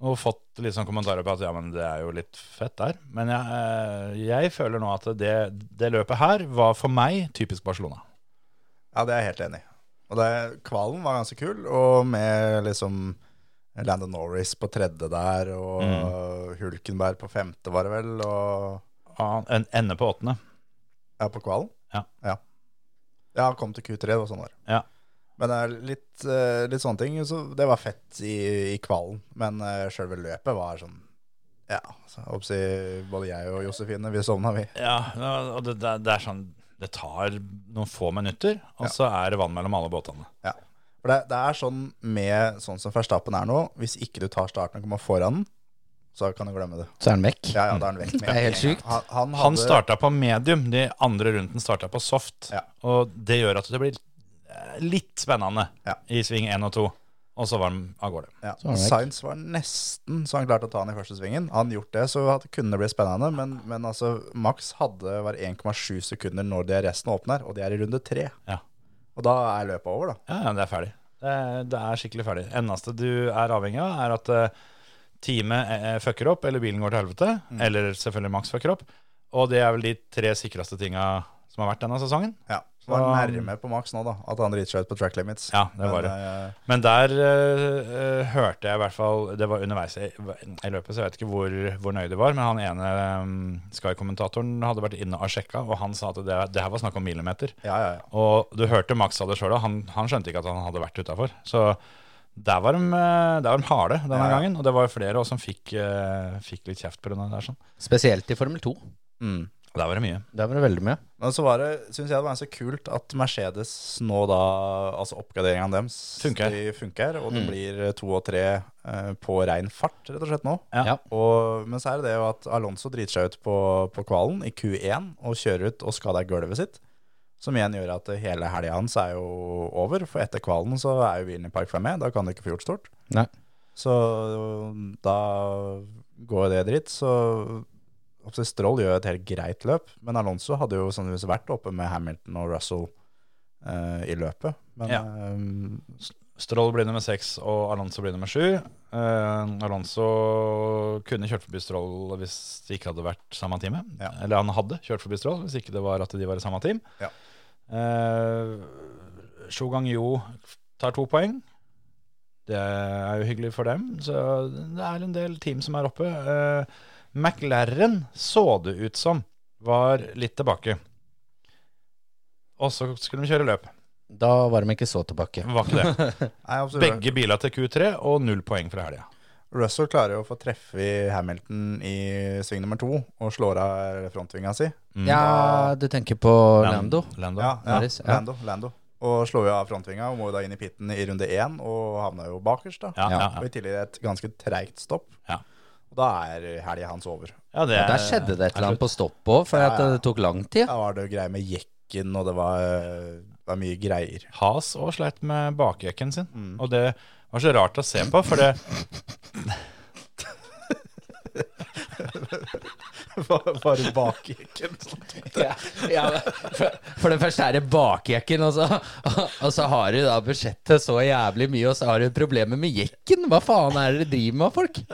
Speaker 3: Og fått litt sånn kommentarer på at ja, men det er jo litt fett der. Men jeg, eh, jeg føler nå at det, det løpet her var for meg typisk Barcelona.
Speaker 5: Ja, det er jeg helt enig i. Og det, kvalen var ganske kul, og med liksom Landon Norris på tredje der, og
Speaker 3: Mm.
Speaker 5: Hulkenberg på femte, var det vel, og
Speaker 3: Ah, En ende på åttende.
Speaker 5: Ja, på kvalen?
Speaker 3: Ja.
Speaker 5: Ja, Ja, han kom til Q3, det var sånn år.
Speaker 3: Ja.
Speaker 5: Men det er litt, eh, litt sånne ting, så det var fett i, i kvalen. Men uh, sjølve løpet var sånn Ja, så jeg håper å si både jeg og Josefine, vi sovna, vi.
Speaker 3: Ja, og det, det, det er sånn Det tar noen få minutter, og så er det vann mellom alle båtene.
Speaker 5: Ja. For det, det er sånn med sånn som Verstappen er nå, hvis ikke du tar starten og kommer foran den, så kan du glemme det.
Speaker 4: Så er den vekk.
Speaker 5: Ja, ja, da er han vekk. med
Speaker 4: Det er helt
Speaker 5: en gang.
Speaker 4: sykt.
Speaker 5: Han, han,
Speaker 3: Han
Speaker 5: hadde-
Speaker 3: starta på medium, de andre runden starta på soft.
Speaker 5: Ja.
Speaker 3: Og det gjør at det blir eh, litt spennende
Speaker 5: Ja.
Speaker 3: i sving 1 og 2. og så var han av gårde.
Speaker 5: Ja.
Speaker 4: Så var det
Speaker 5: Sainz var nesten så han klarte å ta han i første svingen. Han gjort det, så at- kunne det bli spennende. Men, men altså, Max hadde var 1,7 sekunder når det resten åpner, og det er i runde tre.
Speaker 3: Ja.
Speaker 5: Og da er løpet over, da.
Speaker 3: Ja, ja, det er ferdig. Det er, det er skikkelig ferdig. Eneste du er avhengig av, er at eh, teamet eh, fucker opp, eller bilen går til helvete, eller selvfølgelig Max fucker opp. Og det er vel de tre sikreste tinga som har vært denne sesongen.
Speaker 5: Ja. Så var han nærme på Max nå, da. At han driter seg ut på track limits.
Speaker 3: Ja, det var det. Men der eh, eh, hørte jeg i hvert fall Det var underveis i, i løpet, så jeg vet ikke hvor, hvor nøye det var. Men han ene eh, Sky-kommentatoren hadde vært inne og sjekka, og han sa at det, det her var snakk om millimeter.
Speaker 5: Ja, ja, ja.
Speaker 3: Og du hørte Max sa det sjøl, og han, han skjønte ikke at han hadde vært utafor. Så der var de, eh, der var de harde denne
Speaker 5: Ja, ja.
Speaker 3: gangen, og det var jo flere også som fikk, eh, fikk litt kjeft pga. det der. Sånn.
Speaker 4: Spesielt i Formel 2.
Speaker 5: Mm.
Speaker 3: Og der var det mye.
Speaker 4: Der var det veldig mye.
Speaker 5: Men så var det, synes jeg det var så kult at Mercedes nå da, altså oppgraderingen deres
Speaker 3: Funker. Mm.
Speaker 5: De funker, og det blir to og tre eh, på rein fart rett og slett nå.
Speaker 3: Ja.
Speaker 4: Ja.
Speaker 5: Og, men så er det det jo at Alonso driter seg ut på, på kvalen i Q1 og kjører ut og skader gulvet sitt. Som igjen gjør at hele helga hans er jo over, for etter kvalen så er jo bilen i Park 5E. Da kan du ikke få gjort stort.
Speaker 4: Nei.
Speaker 5: Så da går det dritt. Så altså, Stroll gjør et helt greit løp, men Alonso hadde jo sannsynligvis vært oppe med Hamilton og Russell eh, i løpet. Men
Speaker 3: Ja.
Speaker 5: eh,
Speaker 3: Stroll blir nummer seks, og Alonso blir nummer sju. Eh, Alonso kunne kjørt forbi Stroll hvis det ikke hadde vært samme teamet.
Speaker 5: Ja.
Speaker 3: Eller han hadde kjørt forbi Stroll hvis ikke det var at de var i samme team.
Speaker 5: Ja.
Speaker 3: Eh, Shogang Yo tar to poeng. Det er jo hyggelig for dem. Så det er en del team som er oppe. Eh, McLaren så det ut som var litt tilbake. Og så skulle de kjøre løp.
Speaker 4: Da var de ikke så tilbake.
Speaker 5: Mm.
Speaker 3: Var ikke det.
Speaker 5: nei, absolutt.
Speaker 3: Begge biler til Q3 og null poeng fra helga.
Speaker 5: Russell klarer jo å få treffe i Hamilton i sving nummer to og slår av frontvinga si.
Speaker 4: Ja, du tenker på Lando?
Speaker 3: Lando.
Speaker 5: Ja, ja,
Speaker 4: Norris, ja.
Speaker 5: Lando, Lando. Og slår jo av frontvinga og må jo da inn i pitten i runde én og havna jo bakerst, da.
Speaker 3: Ja, ja, ja.
Speaker 5: Og i tillegg et ganske treigt stopp.
Speaker 3: Ja.
Speaker 5: Og da er helga hans over.
Speaker 3: Ja, det,
Speaker 4: Der skjedde det et eller annet på stopp òg, for at
Speaker 5: Ja, ja.
Speaker 4: det tok lang tid.
Speaker 5: Da var det jo greier med jekken, og det var, det var mye greier.
Speaker 3: Has og sleit med bakjekken sin.
Speaker 4: Mm.
Speaker 3: Og det var så rart å se på, for det
Speaker 5: Bare bakjekken.
Speaker 4: Ja, ja, for, for det første er det bakjekken, og så, og så har du da budsjettet så jævlig mye, og så har du problemer med jekken. Hva faen er det dere driver med, folk?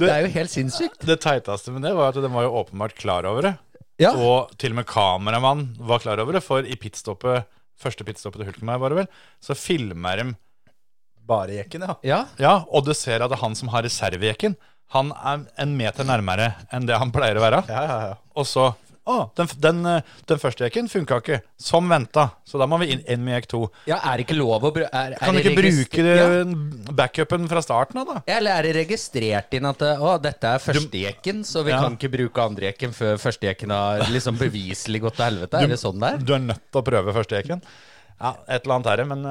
Speaker 4: Det er jo helt sinnssykt.
Speaker 3: Det teiteste med det var at de var jo åpenbart klar over det.
Speaker 4: Ja.
Speaker 3: Og til og med kameramann var klar over det, for i pitstoppet, første pitstoppet til Hulkenberg, var det vel, så filmer de
Speaker 5: Bare jekken, ja.
Speaker 4: Ja,
Speaker 3: Ja, og du ser at det er han som har reservejekken, han er en meter nærmere enn det han pleier å være.
Speaker 5: Ja, ja, ja.
Speaker 3: Og så Å, den, den, eh, den første jekken funka ikke. Som venta. Så da må vi inn, inn med jekk to.
Speaker 4: ja er det ikke lov å bruke er, er
Speaker 3: Kan du
Speaker 4: det
Speaker 3: ikke
Speaker 4: regist-
Speaker 3: bruke
Speaker 4: Ja.
Speaker 3: eh, backupen fra starten av, da?
Speaker 4: Eller er det registrert inn at å, dette er førstejekken, så vi
Speaker 3: Ja.
Speaker 4: kan ikke bruke andrejekken før førstejekken har liksom beviselig gått til helvete? Er det sånn det er?
Speaker 3: Du er nødt til å prøve førstejekken. Ja, et eller annet herre, men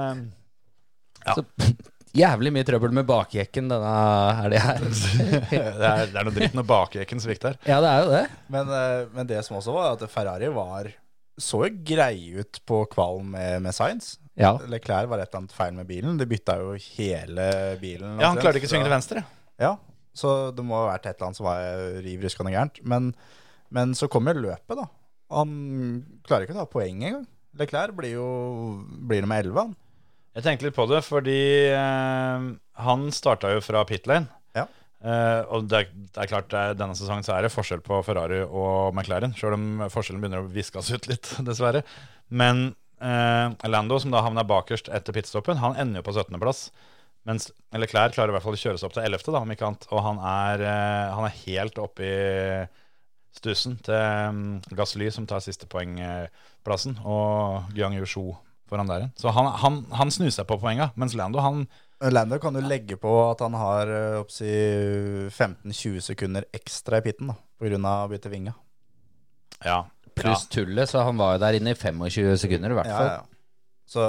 Speaker 3: eh,
Speaker 4: Jævlig mye trøbbel med bakjekken denne helga her.
Speaker 3: det er, det er noe dritt når bakjekken svikter.
Speaker 4: Ja, det er jo det.
Speaker 5: Men, eh, men det som også var, at Ferrari var så jo greie ut på kvalen med, med Science.
Speaker 4: Ja.
Speaker 5: Leclerc var et eller annet feil med bilen. De bytta jo hele
Speaker 3: Ja,
Speaker 5: bilen.
Speaker 3: han
Speaker 5: omtrent.
Speaker 3: klarte ikke å svinge til venstre.
Speaker 5: Ja, så det må ha vært et eller annet som var eh, riv ruskende gærent. Men, men så kom jo løpet, da. Han klarer ikke å ta poeng engang. Leclerc blir jo blir nummer 11, han.
Speaker 3: Jeg tenkte litt på det, fordi eh, han starta jo fra pit lane.
Speaker 5: Ja.
Speaker 3: Eh, og det er, det er klart, det er, denne sesongen så er det forskjell på Ferrari og McLaren, sjøl om forskjellen begynner å viskes ut litt, dessverre. Men eh, Lando, som da havna bakerst etter pitstoppen, han ender jo på 17.-plass. Mens Leclerc klarer i hvert fall å kjøres opp til 11., da, om ikke annet. Og han er, eh, han er helt oppe i stussen til um, Gasly, som tar siste poengplassen. Og Guillaume Yushu foran der igjen. Så han, han, han snur seg på poenga, mens Lando, han
Speaker 5: Lando kan jo legge på at han har eh, oppsi 15-20 sekunder ekstra i pitten da, pga. å bytte vinge.
Speaker 3: Ja.
Speaker 4: Pluss tullet, så han var jo der inne i 25 sekunder i hvert
Speaker 5: Ja,
Speaker 4: fall.
Speaker 5: ja. Så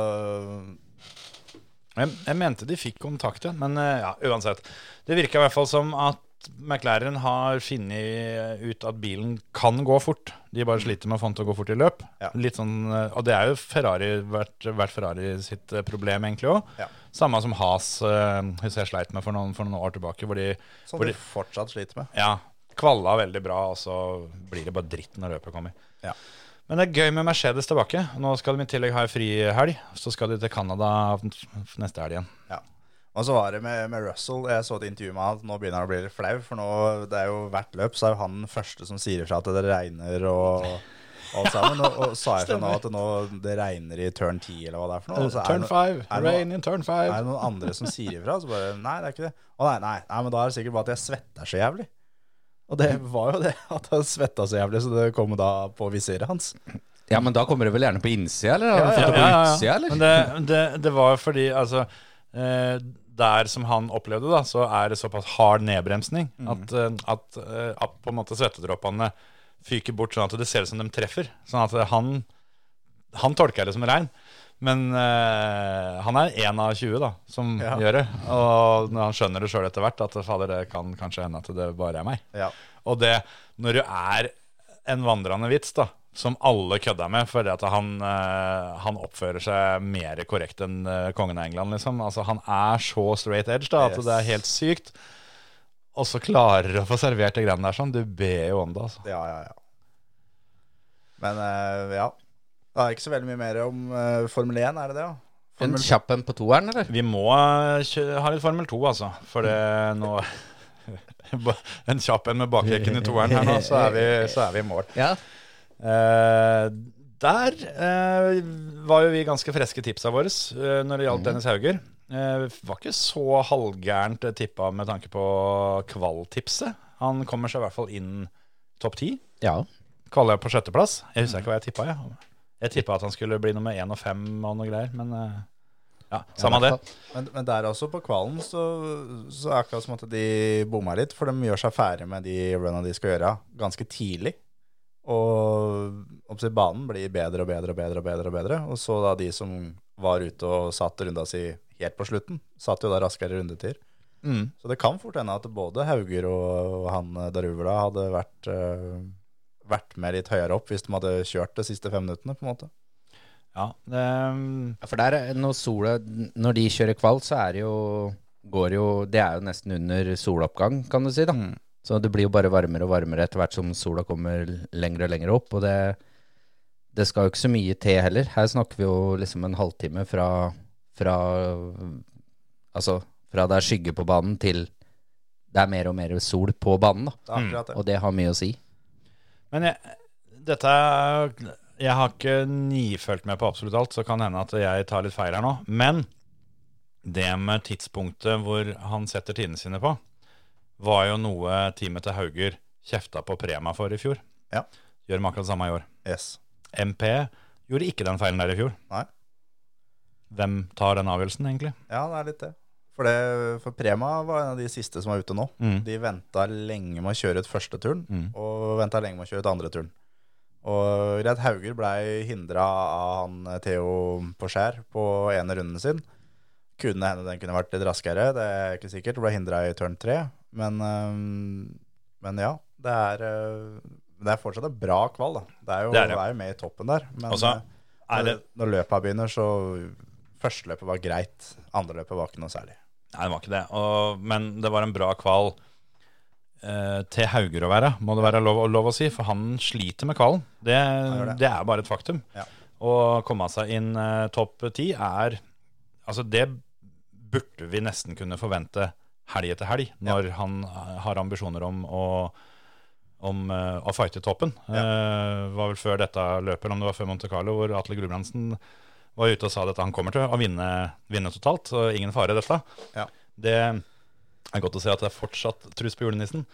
Speaker 3: Jeg, jeg mente de fikk kontakt igjen, men eh, ja, uansett. Det virka i hvert fall som at McLaren har funnet ut at bilen kan gå fort. De bare sliter med å få den til å gå fort i løp.
Speaker 5: Mm. Ja.
Speaker 3: Litt sånn, eh, og det er jo Ferrari, vært, vært Ferrari sitt eh, problem egentlig òg.
Speaker 5: Ja.
Speaker 3: Samme som Has eh, husker jeg sleit med for noen, for noen år tilbake. Hvor de,
Speaker 5: Som
Speaker 3: hvor
Speaker 5: de
Speaker 3: de
Speaker 5: fortsatt sliter med.
Speaker 3: ja, kvalla veldig bra, og så blir det bare dritt når løpet kommer.
Speaker 5: Ja.
Speaker 3: Men det er gøy med Mercedes tilbake. Nå skal de i tillegg ha en frihelg. Så skal de til Canada neste helg igjen.
Speaker 5: Ja. Og så var det med, med Russell. Jeg så et intervju med han at nå begynner han å bli litt flau. For nå, det er jo hvert løp så er jo han den første som sier ifra at det regner og alt sammen. Og, og sa ifra nå at det, nå, det regner i turn 10 eller hva det er for noe. og så er det
Speaker 3: Turn
Speaker 5: no-
Speaker 3: five,
Speaker 5: er det noe-
Speaker 3: rain in turn
Speaker 5: Er det
Speaker 3: five.
Speaker 5: noen andre som sier ifra? Så bare Nei, det er ikke det. Å nei, nei, nei, men da er det sikkert bare at jeg svetter så jævlig. Og det
Speaker 4: Mm.
Speaker 5: var jo det, at han svetta så jævlig, så det kom da på visiret hans.
Speaker 4: Ja, men da kommer det vel gjerne på innsida, eller? Har du
Speaker 3: Ja,
Speaker 4: fått det
Speaker 3: ja,
Speaker 4: på
Speaker 3: ja.
Speaker 4: utsida, eller?
Speaker 3: Men det, det, det var jo fordi altså eh, Der som han opplevde, da, så er det såpass hard nedbremsning
Speaker 5: Mm.
Speaker 3: at, eh, at, eh, at på en måte svettedråpene fyker bort sånn at det ser ut som de treffer. Sånn at han Han tolker det som regn. Men eh, han er én av 20 da, som
Speaker 5: Ja.
Speaker 3: gjør det. Og når han skjønner det sjøl etter hvert, at fader, det kan kanskje hende at det bare er meg.
Speaker 5: Ja.
Speaker 3: Og det, når du er en vandrende vits, da, som alle kødda med, fordi at han, eh, han oppfører seg mer korrekt enn eh, kongen av England, liksom. Altså, han er så straight edge, da, at
Speaker 5: Yes.
Speaker 3: det er helt sykt. Og så klarer du å få servert de greiene der sånn. Du ber jo om det, altså.
Speaker 5: Ja, ja, ja. Men eh, ja. Det er ikke så veldig mye mer om eh, Formel 1, er det det? Ja?
Speaker 4: En
Speaker 5: Formel,
Speaker 4: kjapp en på toeren, eller?
Speaker 3: Vi må eh, kjø- ha litt Formel 2, altså. For det nå En kjapp en med bakrekken i toeren her nå, så er vi, så er vi i mål.
Speaker 4: Ja.
Speaker 3: Eh, der eh, var jo vi ganske freske tipsa våre eh, når det gjaldt Dennis Hauger. Eh, var ikke så halvgærent eh, tippa med tanke på kvaltipset. Han kommer seg i hvert fall inn topp ti.
Speaker 4: ja.
Speaker 3: Kvala på sjetteplass. Jeg husker ikke hva jeg tippa. Jeg, jeg tippa at han skulle bli nummer én og fem og noe greier, men eh, ja, samme det.
Speaker 5: men, men der også, på kvalen, så, så er det akkurat som at de bomma litt. For de gjør seg ferdig med de runa de skal gjøre, ganske tidlig. Og oppsett, banen blir bedre og bedre og bedre og bedre. Og bedre Og så da de som var ute og satt runda si helt på slutten, satt jo da raskere rundetid.
Speaker 3: Mm.
Speaker 5: Så det kan fort hende at både Hauger og han eh, Daruvla hadde vært, eh, vært med litt høyere opp hvis de hadde kjørt de siste fem minuttene, på en måte.
Speaker 3: Ja, ehm,
Speaker 4: For der, er- når sola Når de kjører kvalt, så er det jo Går jo Det er jo nesten under soloppgang, kan du si, da. Så det blir jo bare varmere og varmere etter hvert som sola kommer l- lenger og lenger opp. Og det, det skal jo ikke så mye til heller. Her snakker vi jo liksom en halvtime fra, fra Altså fra det er skygge på banen til det er mer og mer sol på banen, da.
Speaker 5: Det er akkurat det.
Speaker 4: Og det har mye å si.
Speaker 3: Men jeg, dette er- Jeg har ikke nifølt med på absolutt alt, så kan det hende at jeg tar litt feil her nå. Men det med tidspunktet hvor han setter tidene sine på, var jo noe teamet til Hauger kjefta på Prema for i fjor.
Speaker 5: Ja.
Speaker 3: Gjør de akkurat det samme i år.
Speaker 5: Yes.
Speaker 3: MP gjorde ikke den feilen der i fjor.
Speaker 5: Nei.
Speaker 3: Hvem tar den avgjørelsen, egentlig?
Speaker 5: Ja, det er litt det. For, det, for Prema var en av de siste som var ute nå.
Speaker 3: Mm.
Speaker 5: De venta lenge med å kjøre ut første turen,
Speaker 3: Mm.
Speaker 5: og venta lenge med å kjøre ut andre turen. Og Redd Hauger blei hindra av han eh, Theo på skjær på ene runden sin. Kunne hende den kunne vært litt raskere, det er ikke sikkert. Ble hindra i turn tre. Men, eh, men ja, det er, eh, det er fortsatt en bra kval, da. Det er jo,
Speaker 3: Det er det.
Speaker 5: det er jo med i toppen der. Men
Speaker 3: Og så
Speaker 5: eh,
Speaker 3: er det-
Speaker 5: når, når løpa begynner, så Første løpet var greit, andre løpet var ikke noe særlig.
Speaker 3: Nei, det var ikke det. Og, men det var en bra kval eh, til Hauger å være, må det være lov, lov å si. For han sliter med kvalen. Det,
Speaker 5: gjør
Speaker 3: det.
Speaker 5: det.
Speaker 3: er bare et faktum.
Speaker 5: Ja.
Speaker 3: Å komme seg inn eh, topp ti er Altså, det burde vi nesten kunne forvente helg etter helg, når han eh, har ambisjoner om å om eh, å fighte toppen. Eh, var vel før dette løpet, eller om det var før Monte Carlo, hvor Atle Gulbrandsen var ute og sa dette. Han kommer til å vinne, vinne totalt, så ingen fare i dette.
Speaker 5: Ja.
Speaker 3: Det er godt å se at det er fortsatt trus på julenissen.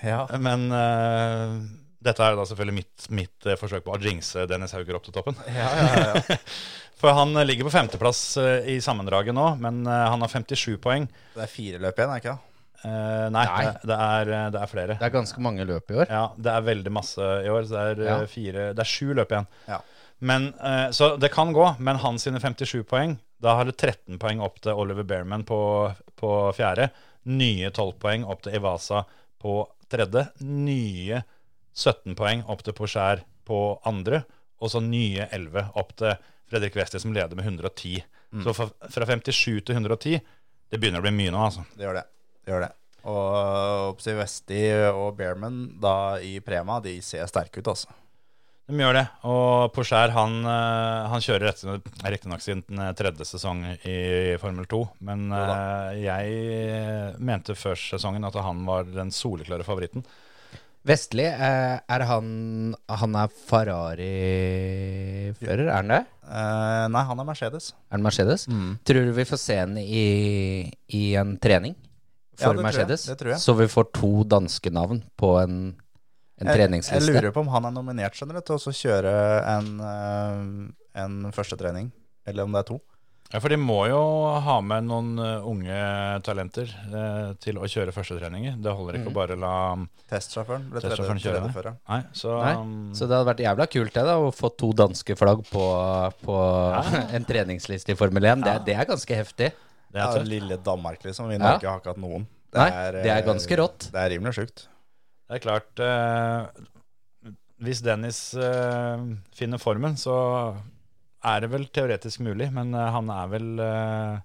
Speaker 5: Ja.
Speaker 3: Men eh, dette er da selvfølgelig mitt, mitt eh, forsøk på å jinxe Dennis Hauger opp til toppen. For han eh, ligger på femteplass eh, i sammendraget nå, men eh, han har 57 poeng.
Speaker 5: Det er fire løp igjen, er det ikke? det?
Speaker 3: Eh, nei,
Speaker 4: Nei.
Speaker 3: Det, det, er, eh, det er flere.
Speaker 4: Det er ganske mange løp i år.
Speaker 3: Ja, det er veldig masse i år. Så det er, eh,
Speaker 4: Ja.
Speaker 3: fire, det er sju løp igjen.
Speaker 5: Ja.
Speaker 3: Men, eh, så det kan gå, men hans sine 57 poeng Da har du 13 poeng opp til Oliver Bearman på, på fjerde. Nye 12 poeng opp til Ivasa på tredje. Nye 17 poeng opp til Porscher på andre. Og så nye 11 opp til Fredrik Wester, som leder med 110. Så fra, fra 57 til 110 Det begynner å bli mye nå, altså.
Speaker 5: Det gjør det. det, gjør det. Og Opsi Westi og Bearman da i Prema, de ser sterke ut, altså.
Speaker 3: De gjør det. Og Porscher han, eh, han kjører rett- riktignok sin eh, tredje sesong i Formel 2. Men eh, jeg eh, mente før sesongen at han var den soleklare favoritten.
Speaker 4: Vestli, eh, er han Han er Ferrari-fører, er han det?
Speaker 5: Eh, nei, han er Mercedes.
Speaker 4: Er han Mercedes? Tror du vi får se han i, i en trening
Speaker 5: Ja,
Speaker 4: for
Speaker 5: det tror jeg,
Speaker 4: Mercedes?
Speaker 5: det tror jeg.
Speaker 4: Så vi får to danske navn på en, en
Speaker 5: Jeg,
Speaker 4: treningsliste?
Speaker 5: jeg lurer på om han er nominert skjønner du, til å kjøre en, eh, en første trening. Eller om det er to.
Speaker 3: Ja, For de må jo ha med noen eh, unge talenter eh, til å kjøre førstetreninger. Det holder ikke å bare la
Speaker 5: Testsjåføren ble Mhm. tredje,
Speaker 3: testsjåføren kjøre.
Speaker 5: tredje
Speaker 3: det.
Speaker 5: fører.
Speaker 3: Nei, så,
Speaker 4: Nei?
Speaker 3: um,
Speaker 4: Så det hadde vært jævla kult det da å få to danske flagg på, på en treningsliste i Formel 1. Det, det er ganske heftig.
Speaker 3: det
Speaker 5: Ja,
Speaker 3: er
Speaker 5: altså,
Speaker 3: tøft.
Speaker 5: lille Danmark, liksom. Vi i
Speaker 4: Ja.
Speaker 5: Norge har ikke hatt noen.
Speaker 4: Nei,
Speaker 5: eh,
Speaker 4: det er ganske rått.
Speaker 5: Det er rimelig sjukt.
Speaker 3: Det er klart eh, Hvis Dennis eh, finner formen, så er det vel teoretisk mulig, men eh, han er vel eh,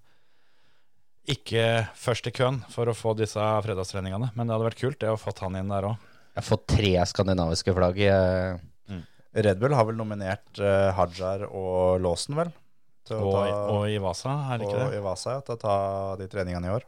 Speaker 3: ikke først i køen for å få disse fredagstreningene. Men det hadde vært kult det å fått han inn der òg.
Speaker 4: Jeg har fått tre skandinaviske flagg. eh,
Speaker 5: Red Bull har vel nominert eh, Hajar og Lawson, vel? Til
Speaker 3: Og, og i Vasa, er det ikke
Speaker 5: og
Speaker 3: det?
Speaker 5: Ivasa ja, til å ta de treningene i år.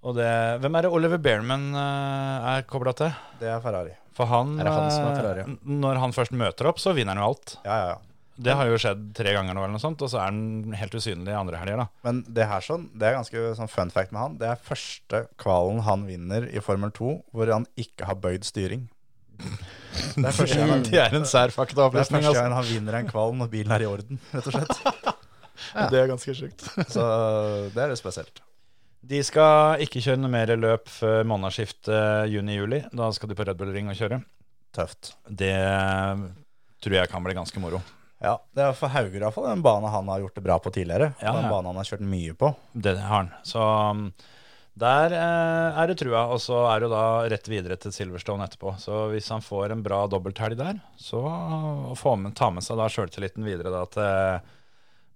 Speaker 3: Og det hvem er det Oliver Bearman eh, er kobla til?
Speaker 5: Det er Ferrari.
Speaker 3: For han,
Speaker 4: Er det han som er
Speaker 3: eh,
Speaker 4: Ferrari, ja?
Speaker 3: n- Når han først møter opp, så vinner han jo alt.
Speaker 5: Ja, ja, ja.
Speaker 3: Det har jo skjedd tre ganger nå, eller noe sånt, og så er han helt usynlig andre helger, da.
Speaker 5: Men det her sånn, det er ganske sånn fun fact med han. Det er første kvalen han vinner i Formel 2 hvor han ikke har bøyd styring. Det er første gang han,
Speaker 3: Det er en sær
Speaker 5: det er
Speaker 3: faktaopplysning.
Speaker 5: første gang han vinner en kval når bilen er i orden, rett og slett. Det er ganske sjukt. Så det er litt spesielt.
Speaker 3: De skal ikke kjøre noe mer løp før månedsskiftet juni-juli. Da skal de på Red Bull Ring og kjøre.
Speaker 5: Tøft.
Speaker 3: Det eh, tror jeg kan bli ganske moro.
Speaker 5: Ja, det er for Hauger iallfall den banen han har gjort det bra på tidligere.
Speaker 3: Ja,
Speaker 5: den
Speaker 3: ja.
Speaker 5: banen han har kjørt mye på.
Speaker 3: Det har han. Så um, der eh, er det trua. Og så er det jo da rett videre til Silverstone etterpå. Så hvis han får en bra dobbelthelg der, så får med, ta med seg da sjøltilliten videre da til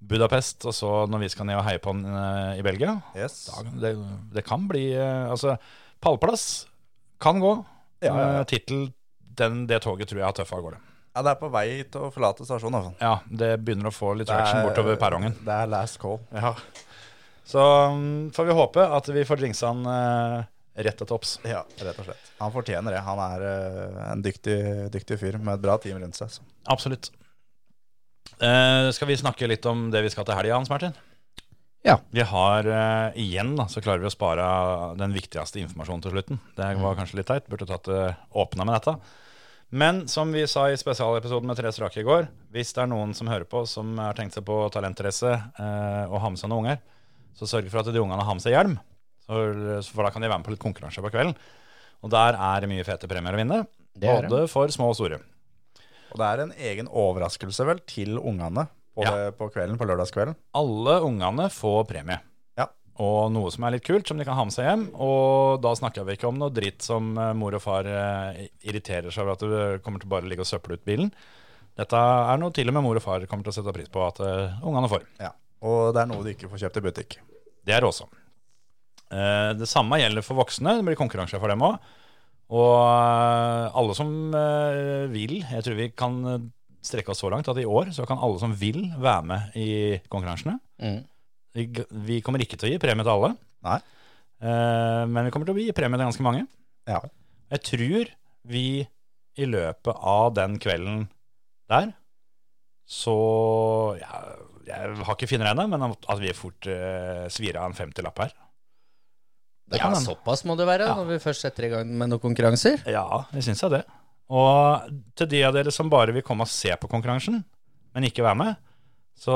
Speaker 3: Budapest, og så når vi skal ned og heie på han eh, i Belgia.
Speaker 5: Yes.
Speaker 3: Ja, Det, det kan bli eh, Altså, pallplass kan gå.
Speaker 5: Ja, ja, ja.
Speaker 3: Eh, Tittel, den, det toget tror jeg har tøffa av gårde.
Speaker 5: Ja, det er på vei til å forlate stasjonen. Altså.
Speaker 3: Ja, det begynner å få litt traction bortover perrongen.
Speaker 5: Det er last call.
Speaker 3: Ja. Så mm, får vi håpe at vi får dringsa han eh, rett til topps.
Speaker 5: Ja, rett og slett. Han fortjener det. Han er eh, en dyktig, dyktig fyr med et bra team rundt seg. Så.
Speaker 3: Absolutt. Eh, skal vi snakke litt om det vi skal til helga, Hans Martin?
Speaker 4: Ja.
Speaker 3: Vi har eh, igjen, da, så klarer vi å spare den viktigste informasjonen til slutten. Det
Speaker 5: Mm.
Speaker 3: var kanskje litt teit, burde tatt det åpna med dette. Men som vi sa i spesialepisoden med Therese Rake i går, hvis det er noen som hører på som har tenkt seg på talentrace eh, og har med seg noen unger, så sørg for at de ungene har med seg hjelm. For, for da kan de være med på litt konkurranse på kvelden. Og der er det mye fete premier å vinne.
Speaker 4: Det er det.
Speaker 3: både for små og store.
Speaker 5: Og det er en egen overraskelse, vel, til ungene på,
Speaker 3: Ja.
Speaker 5: på kvelden, på lørdagskvelden.
Speaker 3: alle ungene får premie.
Speaker 5: Ja.
Speaker 3: Og noe som er litt kult, som de kan ha med seg hjem. Og da snakker vi ikke om noe dritt som eh, mor og far eh, irriterer seg over at du kommer til bare å ligge og søple ut bilen. Dette er noe til og med mor og far kommer til å sette pris på at eh, ungene får.
Speaker 5: Ja. Og det er noe du ikke får kjøpt i butikk.
Speaker 3: Det er det også. Eh, Det samme gjelder for voksne. Det blir konkurranse for dem òg. Og eh, alle som eh, vil Jeg tror vi kan eh, strekke oss så langt at i år så kan alle som vil være med i konkurransene.
Speaker 4: Mm.
Speaker 3: Vi g- Vi kommer ikke til å gi premie til alle,
Speaker 5: Nei.
Speaker 3: eh, men vi kommer til å gi premie til ganske mange.
Speaker 5: Ja.
Speaker 3: Jeg tror vi i løpet av den kvelden der, så ja, Jeg har ikke finregna, men at vi fort eh, svir av en 50-lapp her.
Speaker 4: Det
Speaker 3: kan
Speaker 4: kan
Speaker 3: hende.
Speaker 4: såpass må det være
Speaker 3: Ja.
Speaker 4: når vi først setter i gang med noen konkurranser.
Speaker 3: Ja, jeg syns jeg det. Og til de av dere som bare vil komme og se på konkurransen, men ikke være med, så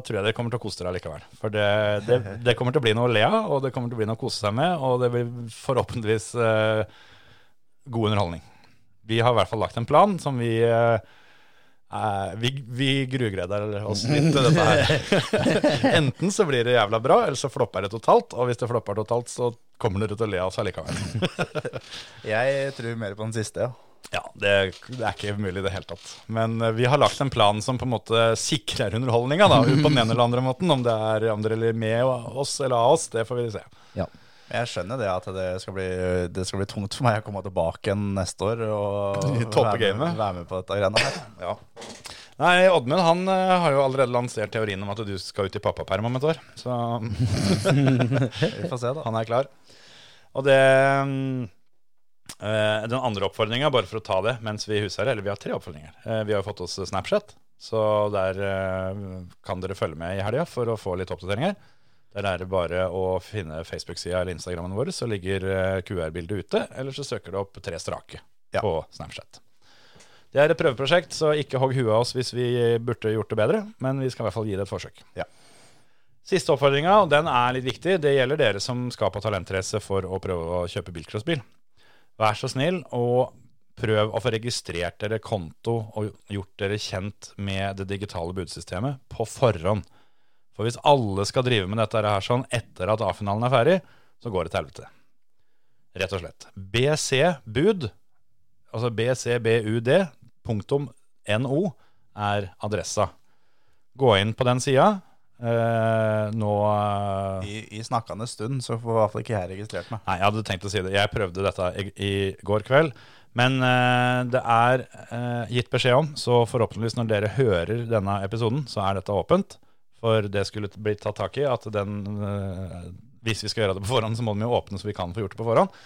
Speaker 3: tror jeg dere kommer til å kose dere likevel. For det, det, det kommer til å bli noe å le av, og det kommer til å bli noe å kose seg med, og det blir forhåpentligvis eh, god underholdning. Vi har i hvert fall lagt en plan som vi eh, eh, vi, vi grugreder oss litt til dette her. Enten så blir det jævla bra, eller så flopper det totalt. Og hvis det flopper totalt, så kommer dere til å le av oss allikevel.
Speaker 5: Jeg tror mer på den siste, ja.
Speaker 3: Ja, det, det er ikke mulig i det hele tatt. Men eh, vi har lagt en plan som på en måte sikrer underholdninga, da. På den ene eller andre måten. Om, det er, om dere ler med oss eller av oss, det får vi se.
Speaker 4: Ja.
Speaker 5: Jeg skjønner det at det skal, bli, det skal bli tungt for meg å komme tilbake igjen neste år og
Speaker 3: Toppe
Speaker 5: være,
Speaker 3: gamet.
Speaker 5: med, være med på dette greiene her.
Speaker 3: Ja. Nei, Oddmund han eh, har jo allerede lansert teorien om at du skal ut i pappaperm om et år. Så han
Speaker 5: Vi får se, da.
Speaker 3: er klar. Og det mm, eh, Den andre oppfordringa, bare for å ta det mens vi huser det, eller vi har tre oppfordringer. Eh, vi har jo fått oss Snapchat, så der eh, kan dere følge med i helga for å få litt oppdateringer. Der er det bare å finne Facebook-sida eller Instagrammen vår, så ligger eh, QR-bildet ute. Eller så søker du opp Tre strake
Speaker 5: Ja.
Speaker 3: på Snapchat. Det er et prøveprosjekt, så ikke hogg huet av oss hvis vi burde gjort det bedre. Men vi skal i hvert fall gi det et forsøk.
Speaker 5: Ja.
Speaker 3: Siste oppfordringa, og den er litt viktig, det gjelder dere som skal på talentrace for å prøve å kjøpe bilcrossbil. Vær så snill og prøv å få registrert dere konto og gjort dere kjent med det digitale budsystemet på forhånd. For hvis alle skal drive med dette her sånn etter at A-finalen er ferdig, så går det til helvete. Rett og slett. BC-bud, altså bcbud.no, er adressa. Gå inn på den sida. Eh, nå eh,
Speaker 5: I, i snakkende stund så får i hvert fall ikke jeg registrert meg.
Speaker 3: Nei, jeg hadde tenkt å si det. Jeg prøvde dette i, i går kveld. Men eh, det er eh, gitt beskjed om, så forhåpentligvis når dere hører denne episoden, så er dette åpent. For det skulle bli tatt tak i at den eh, Hvis vi skal gjøre det på forhånd, så må den jo åpne, så vi kan få gjort det på forhånd.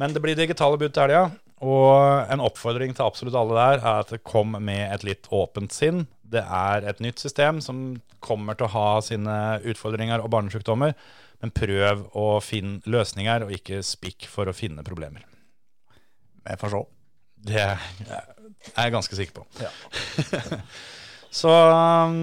Speaker 3: Men det blir digitale bud til helga. Og en oppfordring til absolutt alle der er at det kom med et litt åpent sinn. Det er et nytt system som kommer til å ha sine utfordringer og barnesjukdommer. Men prøv å finne løsninger, og ikke spikk for å finne problemer.
Speaker 5: Men Jeg får se.
Speaker 3: Det er jeg ganske sikker på.
Speaker 5: Ja.
Speaker 3: så um,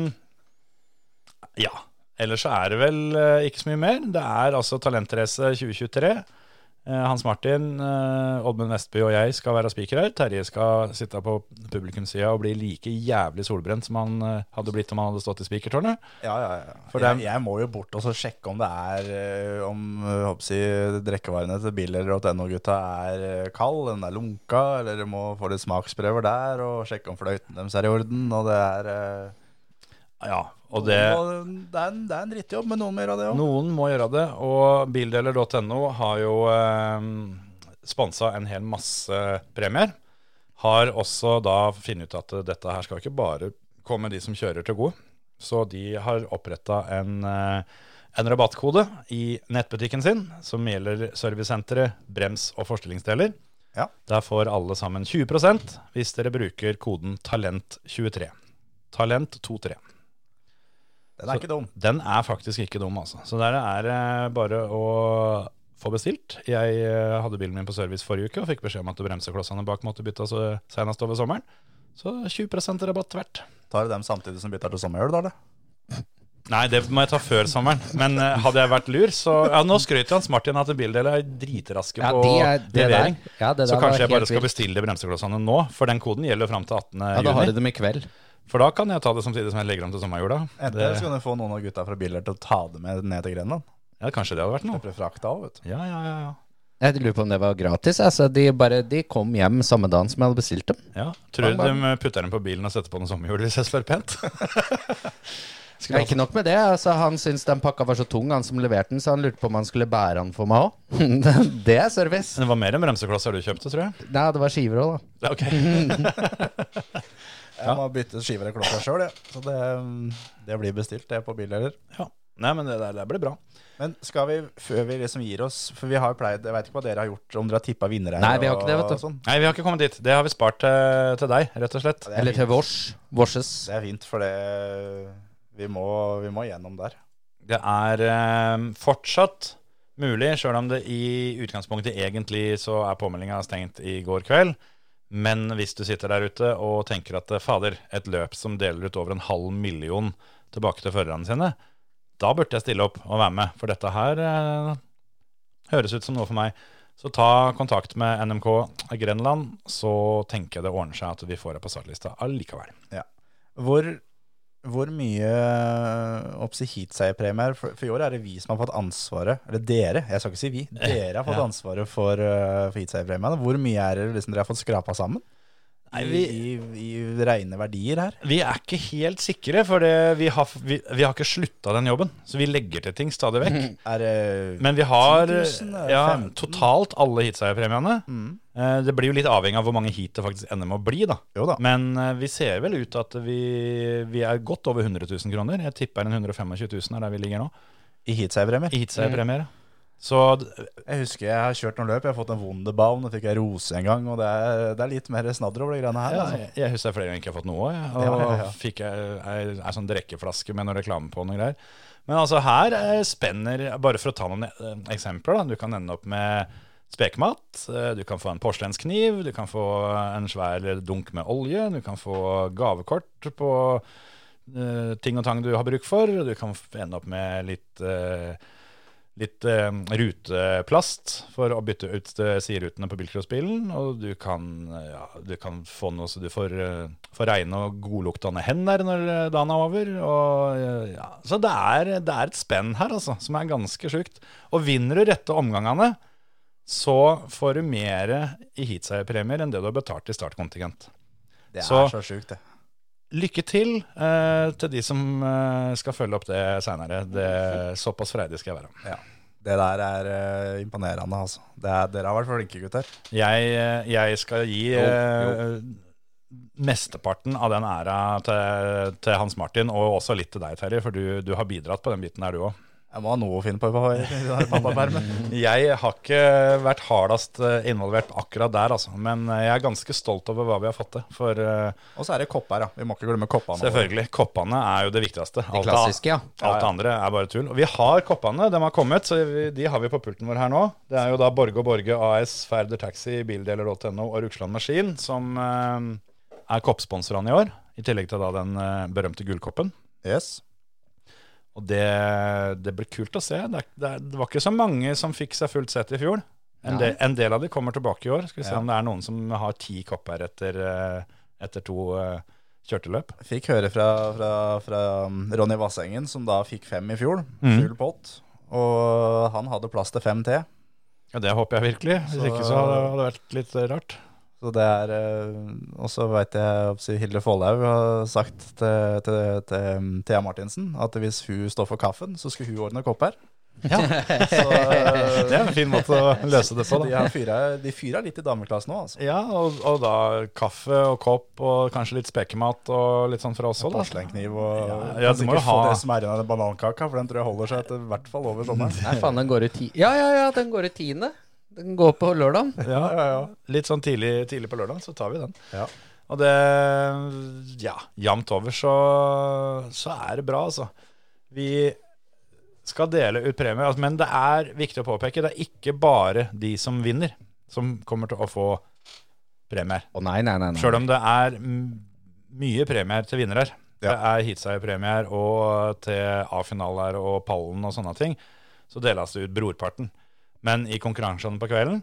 Speaker 3: ja. Ellers så er det vel eh, ikke så mye mer. Det er altså Talentrace 2023. Eh, Hans Martin, eh, Oddmund Vestby og jeg skal være speaker her. Terje skal sitte på publikumssida og bli like jævlig solbrent som han eh, hadde blitt om han hadde stått i speakertårnet.
Speaker 5: Ja, ja, ja.
Speaker 3: For
Speaker 5: jeg,
Speaker 3: dem-
Speaker 5: jeg må jo bort og så sjekke om det er eh, Om eh, håper jeg, drikkevarene til biler.no-gutta er eh, kald, den er lunka, eller du må få litt smaksprøver der, og sjekke om fløyten deres er i orden, og det er eh,
Speaker 3: Ja, og det...
Speaker 5: og det, er en, det er en drittjobb, men noen må gjøre det òg.
Speaker 3: Noen må gjøre det, og bildeler.no har jo eh, sponsa en hel masse premier. Har også da funnet ut at dette her skal ikke bare komme de som kjører til gode. Så de har oppretta en, eh, en rabattkode i nettbutikken sin som gjelder servicesenteret, brems og forstillingsdeler.
Speaker 5: Ja.
Speaker 3: Der får alle sammen 20 hvis dere bruker koden TALENT23. TALENT23.
Speaker 5: Den er ikke dum.
Speaker 3: Den er faktisk ikke dum, altså. Så der er det bare å få bestilt. Jeg eh, hadde bilen min på service forrige uke og fikk beskjed om at bremseklossene bak måtte byttes eh, senest over sommeren. Så 20 rabatt tvert.
Speaker 5: Tar du dem samtidig som bytter til sommerhjul, da? eller?
Speaker 3: Nei, det må jeg ta før sommeren. Men eh, hadde jeg vært lur, så Ja, nå skryter Hans Martin at bildeler er dritraske
Speaker 4: Ja,
Speaker 3: på
Speaker 4: de er- det der-
Speaker 3: levering.
Speaker 4: ja, det der
Speaker 3: så
Speaker 4: var
Speaker 3: kanskje jeg bare
Speaker 4: helt
Speaker 3: skal
Speaker 4: vilt.
Speaker 3: bestille bremseklossene nå, for den koden gjelder fram til 18.
Speaker 4: Ja, da har du
Speaker 3: juni.
Speaker 4: dem i kveld.
Speaker 3: For da kan jeg ta det samtidig som jeg legger om til sommerjula. Det,
Speaker 5: Enten så kan du få noen av gutta fra biler til å ta det med ned til Grenland.
Speaker 3: ja, kanskje det hadde vært noe.
Speaker 5: Kjøper frakta òg, vet du.
Speaker 3: Ja, ja, ja, ja.
Speaker 4: Jeg lurer på om det var gratis. Altså, de, bare, de kom hjem samme dagen som jeg hadde bestilt dem.
Speaker 3: Ja, Tror du
Speaker 4: Bang,
Speaker 3: de
Speaker 4: bang.
Speaker 3: putter den på bilen og setter på noen sommerhjul hvis jeg spør pent?
Speaker 4: Ja, ikke nok med det. Altså, han syntes den pakka var så tung, han som leverte den, så han lurte på om han skulle bære den for meg òg. det er service.
Speaker 3: Det var mer enn bremseklosser du kjøpte, tror jeg.
Speaker 4: Nei, det var skiver òg,
Speaker 3: Ja,
Speaker 4: da.
Speaker 3: Ok,
Speaker 5: Jeg må bytte skiver og klokka sjøl, jeg. Så det, mm, det blir bestilt, det, på bildeler.
Speaker 3: ja. Nei, men det der det blir bra.
Speaker 5: Men skal vi, før vi liksom gir oss For vi har jo pleid, jeg vet ikke hva dere har gjort, om dere har tippa vinnere
Speaker 4: Nei, vi har ikke det, vet du.
Speaker 5: og sånn.
Speaker 3: Nei, vi har ikke kommet dit. Det har vi spart eh, til deg, rett og slett.
Speaker 5: Det er
Speaker 4: Eller
Speaker 5: fint.
Speaker 4: til vårs. Vårses.
Speaker 5: Det er fint, for det vi må, vi må gjennom der.
Speaker 3: Det er eh, fortsatt mulig, sjøl om det i utgangspunktet egentlig så er påmeldinga stengt i går kveld. Men hvis du sitter der ute og tenker at eh, fader, et løp som deler ut over en halv million tilbake til førerne sine, da burde jeg stille opp og være med. For dette her eh, høres ut som noe for meg. Så ta kontakt med NMK Grenland, så tenker jeg det ordner seg at vi får deg på startlista allikevel.
Speaker 5: Ja. Hvor, hvor mye eh, oppsi heatseierpremier for, for i år er det vi som har fått ansvaret Eller dere, jeg skal ikke si vi. Dere har fått
Speaker 3: Ja.
Speaker 5: ansvaret for, eh, for heatseierpremiene. Hvor mye er det liksom dere har fått skrapa sammen?
Speaker 3: Nei,
Speaker 5: I,
Speaker 3: vi-
Speaker 5: i, I reine verdier her?
Speaker 3: Vi er ikke helt sikre, for det, vi, har, vi, vi har ikke slutta den jobben. Så vi legger til ting stadig vekk.
Speaker 5: Er det
Speaker 3: Men vi har
Speaker 5: 10 000, er det
Speaker 3: ja,
Speaker 5: 15 000?
Speaker 3: totalt alle heatseierpremiene.
Speaker 5: Mhm.
Speaker 3: Eh, Det blir jo litt avhengig av hvor mange heat det faktisk ender med å bli. da.
Speaker 5: Jo da.
Speaker 3: Men eh, vi ser vel ut til at vi, vi er godt over 100 000 kroner. Jeg tipper en 125 000 er der vi ligger nå.
Speaker 5: I heatseierpremier?
Speaker 3: I heatseierpremier.
Speaker 5: Mhm.
Speaker 3: Så d-
Speaker 5: Jeg husker jeg har kjørt noen løp. Jeg har fått en Wunderbaum, og fikk jeg rose en gang. Og det er, det er litt mer snadder over de greiene her.
Speaker 3: ja,
Speaker 5: altså.
Speaker 3: jeg, jeg husker flere ganger ikke har fått noe. Jeg, og
Speaker 5: Ja, ja, ja.
Speaker 3: fikk jeg ei, ei sånn drikkeflaske med noe reklame på og noe greier. Men altså her eh, spenner Bare for å ta noen eh, eksempler, da. Du kan ende opp med spekmat. eh, Du kan få en porselenskniv. Du kan få en svær dunk med olje. Du kan få gavekort på eh, ting og tang du har bruk for. Du kan f- ende opp med litt eh, Litt eh, ruteplast for å bytte ut eh, siderutene på bilcrossbilen. Og du kan, eh, ja, du kan få noe så du får, eh, får reine og godluktende hender når eh, dagen er over. Og, eh, ja. Så det er, det er et spenn her altså, som er ganske sjukt. Og vinner du rette omgangene, så får du mer i heatseierpremier enn det du har betalt i startkontingent.
Speaker 5: Det er
Speaker 3: Så-
Speaker 5: så sjukt, det.
Speaker 3: Lykke til eh, til de som eh, skal følge opp det seinere. Såpass freidig skal jeg være.
Speaker 5: Ja. Det der er eh, imponerende, altså. Det er, dere har vært flinke, gutter.
Speaker 3: Jeg, eh, jeg skal gi
Speaker 4: Jo,
Speaker 3: eh, mesteparten av den æra til, til Hans Martin, og også litt til deg, Terje, for du, du har bidratt på den biten her, du òg.
Speaker 5: Jeg må ha noe å finne på i den pappapermen.
Speaker 3: Jeg har ikke vært hardest eh, involvert akkurat der, altså, men jeg er ganske stolt over hva vi har fått til. For eh,
Speaker 5: Og så er det kopper, ja. Vi må ikke glemme koppene.
Speaker 3: selvfølgelig, koppene er jo det viktigste.
Speaker 4: De klassiske, ja.
Speaker 3: Alt det andre er bare tull. Og vi har koppene, de har kommet, så vi, de har vi på pulten vår her nå. Det er jo da Borge og Borge AS, Færder Taxi, Bildeler.no og Rugsland Maskin som eh, er koppsponsorene i år. I tillegg til da den eh, berømte gullkoppen.
Speaker 5: Yes.
Speaker 3: Og det, det blir kult å se. Det, er- det, er- det var ikke så mange som fikk seg fullt sett i fjor. En, del- en del av de kommer tilbake i år. Skal vi se om det er noen som har ti kopper etter, eh, etter to eh, kjørteløp.
Speaker 5: Fikk høre fra, fra, fra um, Ronny Vassengen, som da fikk fem i fjor.
Speaker 3: Mhm.
Speaker 5: Full pott. Og han hadde plass til fem til.
Speaker 3: Ja, det håper jeg virkelig. Hvis
Speaker 5: Så-
Speaker 3: ikke så hadde hadde det vært litt eh, rart.
Speaker 5: Så det er eh, Og så veit jeg oppsi- Hilde Follhaug har sagt til, til, til um, Thea Martinsen at hvis hun står for kaffen, så skulle hun ordne kopper.
Speaker 3: Ja.
Speaker 5: Så, eh,
Speaker 3: Det er en fin måte å løse det på,
Speaker 5: så de
Speaker 3: da.
Speaker 5: har fyra- de fyra litt i dameklassen nå, altså.
Speaker 3: Ja, og, og da kaffe og kopp og kanskje litt spekemat og litt sånn fra oss òg, da.
Speaker 5: Porselenskniv og
Speaker 3: Ja, ja,
Speaker 5: Kan
Speaker 3: du må
Speaker 5: sikkert
Speaker 3: jo ha-
Speaker 5: få det som er igjen av den banankaka, for den tror jeg holder seg til i hvert fall over sommeren.
Speaker 4: Nei, faen, den går ut ti... Ja, ja, ja, den går ut tiende. Den går på lørdag.
Speaker 3: Ja, Litt sånn tidlig, tidlig på lørdag, så tar vi den.
Speaker 5: Ja.
Speaker 3: Og det Ja, jevnt over så, så er det bra, altså. Vi skal dele ut premier, altså, men det er viktig å påpeke, det er ikke bare de som vinner, som kommer til å få premier.
Speaker 4: Å nei, nei, nei. nei.
Speaker 3: Sjøl om det er m- mye premier til vinnere. Det er heatseierpremier og til A-finaler og pallen og sånne ting. Så deles det ut brorparten. Men i konkurransene på kvelden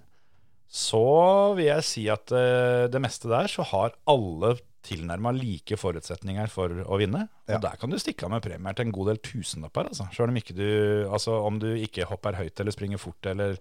Speaker 3: så vil jeg si at eh, det meste der så har alle tilnærma like forutsetninger for å vinne. Og
Speaker 5: Ja.
Speaker 3: der kan du stikke av med premier til en god del tusenlapper, altså. Sjøl om, ikke du- altså, om du ikke hopper høyt eller springer fort eller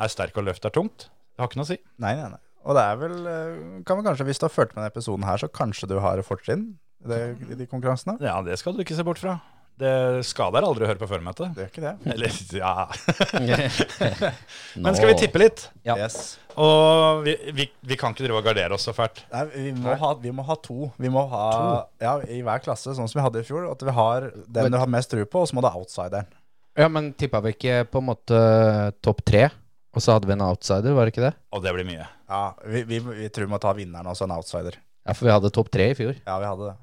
Speaker 3: er sterk og løfter tungt. Det har ikke noe å si.
Speaker 5: Nei, nei, nei. Og det er vel eh, kan vi kanskje, Hvis du har fulgt med denne episoden her, så kanskje du har fortrinn i det- i de konkurransene?
Speaker 3: Ja, det skal du ikke se bort fra. Det skader aldri å høre på førmøtet.
Speaker 5: Det gjør ikke det.
Speaker 3: Eller, ja.
Speaker 4: Nå.
Speaker 3: Men skal vi tippe litt?
Speaker 4: Ja.
Speaker 5: Yes.
Speaker 3: Og vi, vi, vi kan ikke drive og gardere oss så fælt.
Speaker 5: Nei, vi må, ha, vi må ha to. Vi må ha Ja, i hver klasse, sånn som vi hadde i fjor. At vi har den du har mest tro på, og så må du ha outsideren.
Speaker 4: Ja, men tippa vi ikke på en måte eh, topp tre? Og så hadde vi en outsider, var det ikke det?
Speaker 3: Og det blir mye.
Speaker 5: Ja, vi, vi, vi tror vi må ta vinneren og så en outsider.
Speaker 4: Ja, for vi hadde topp tre i fjor.
Speaker 5: Ja, vi hadde det.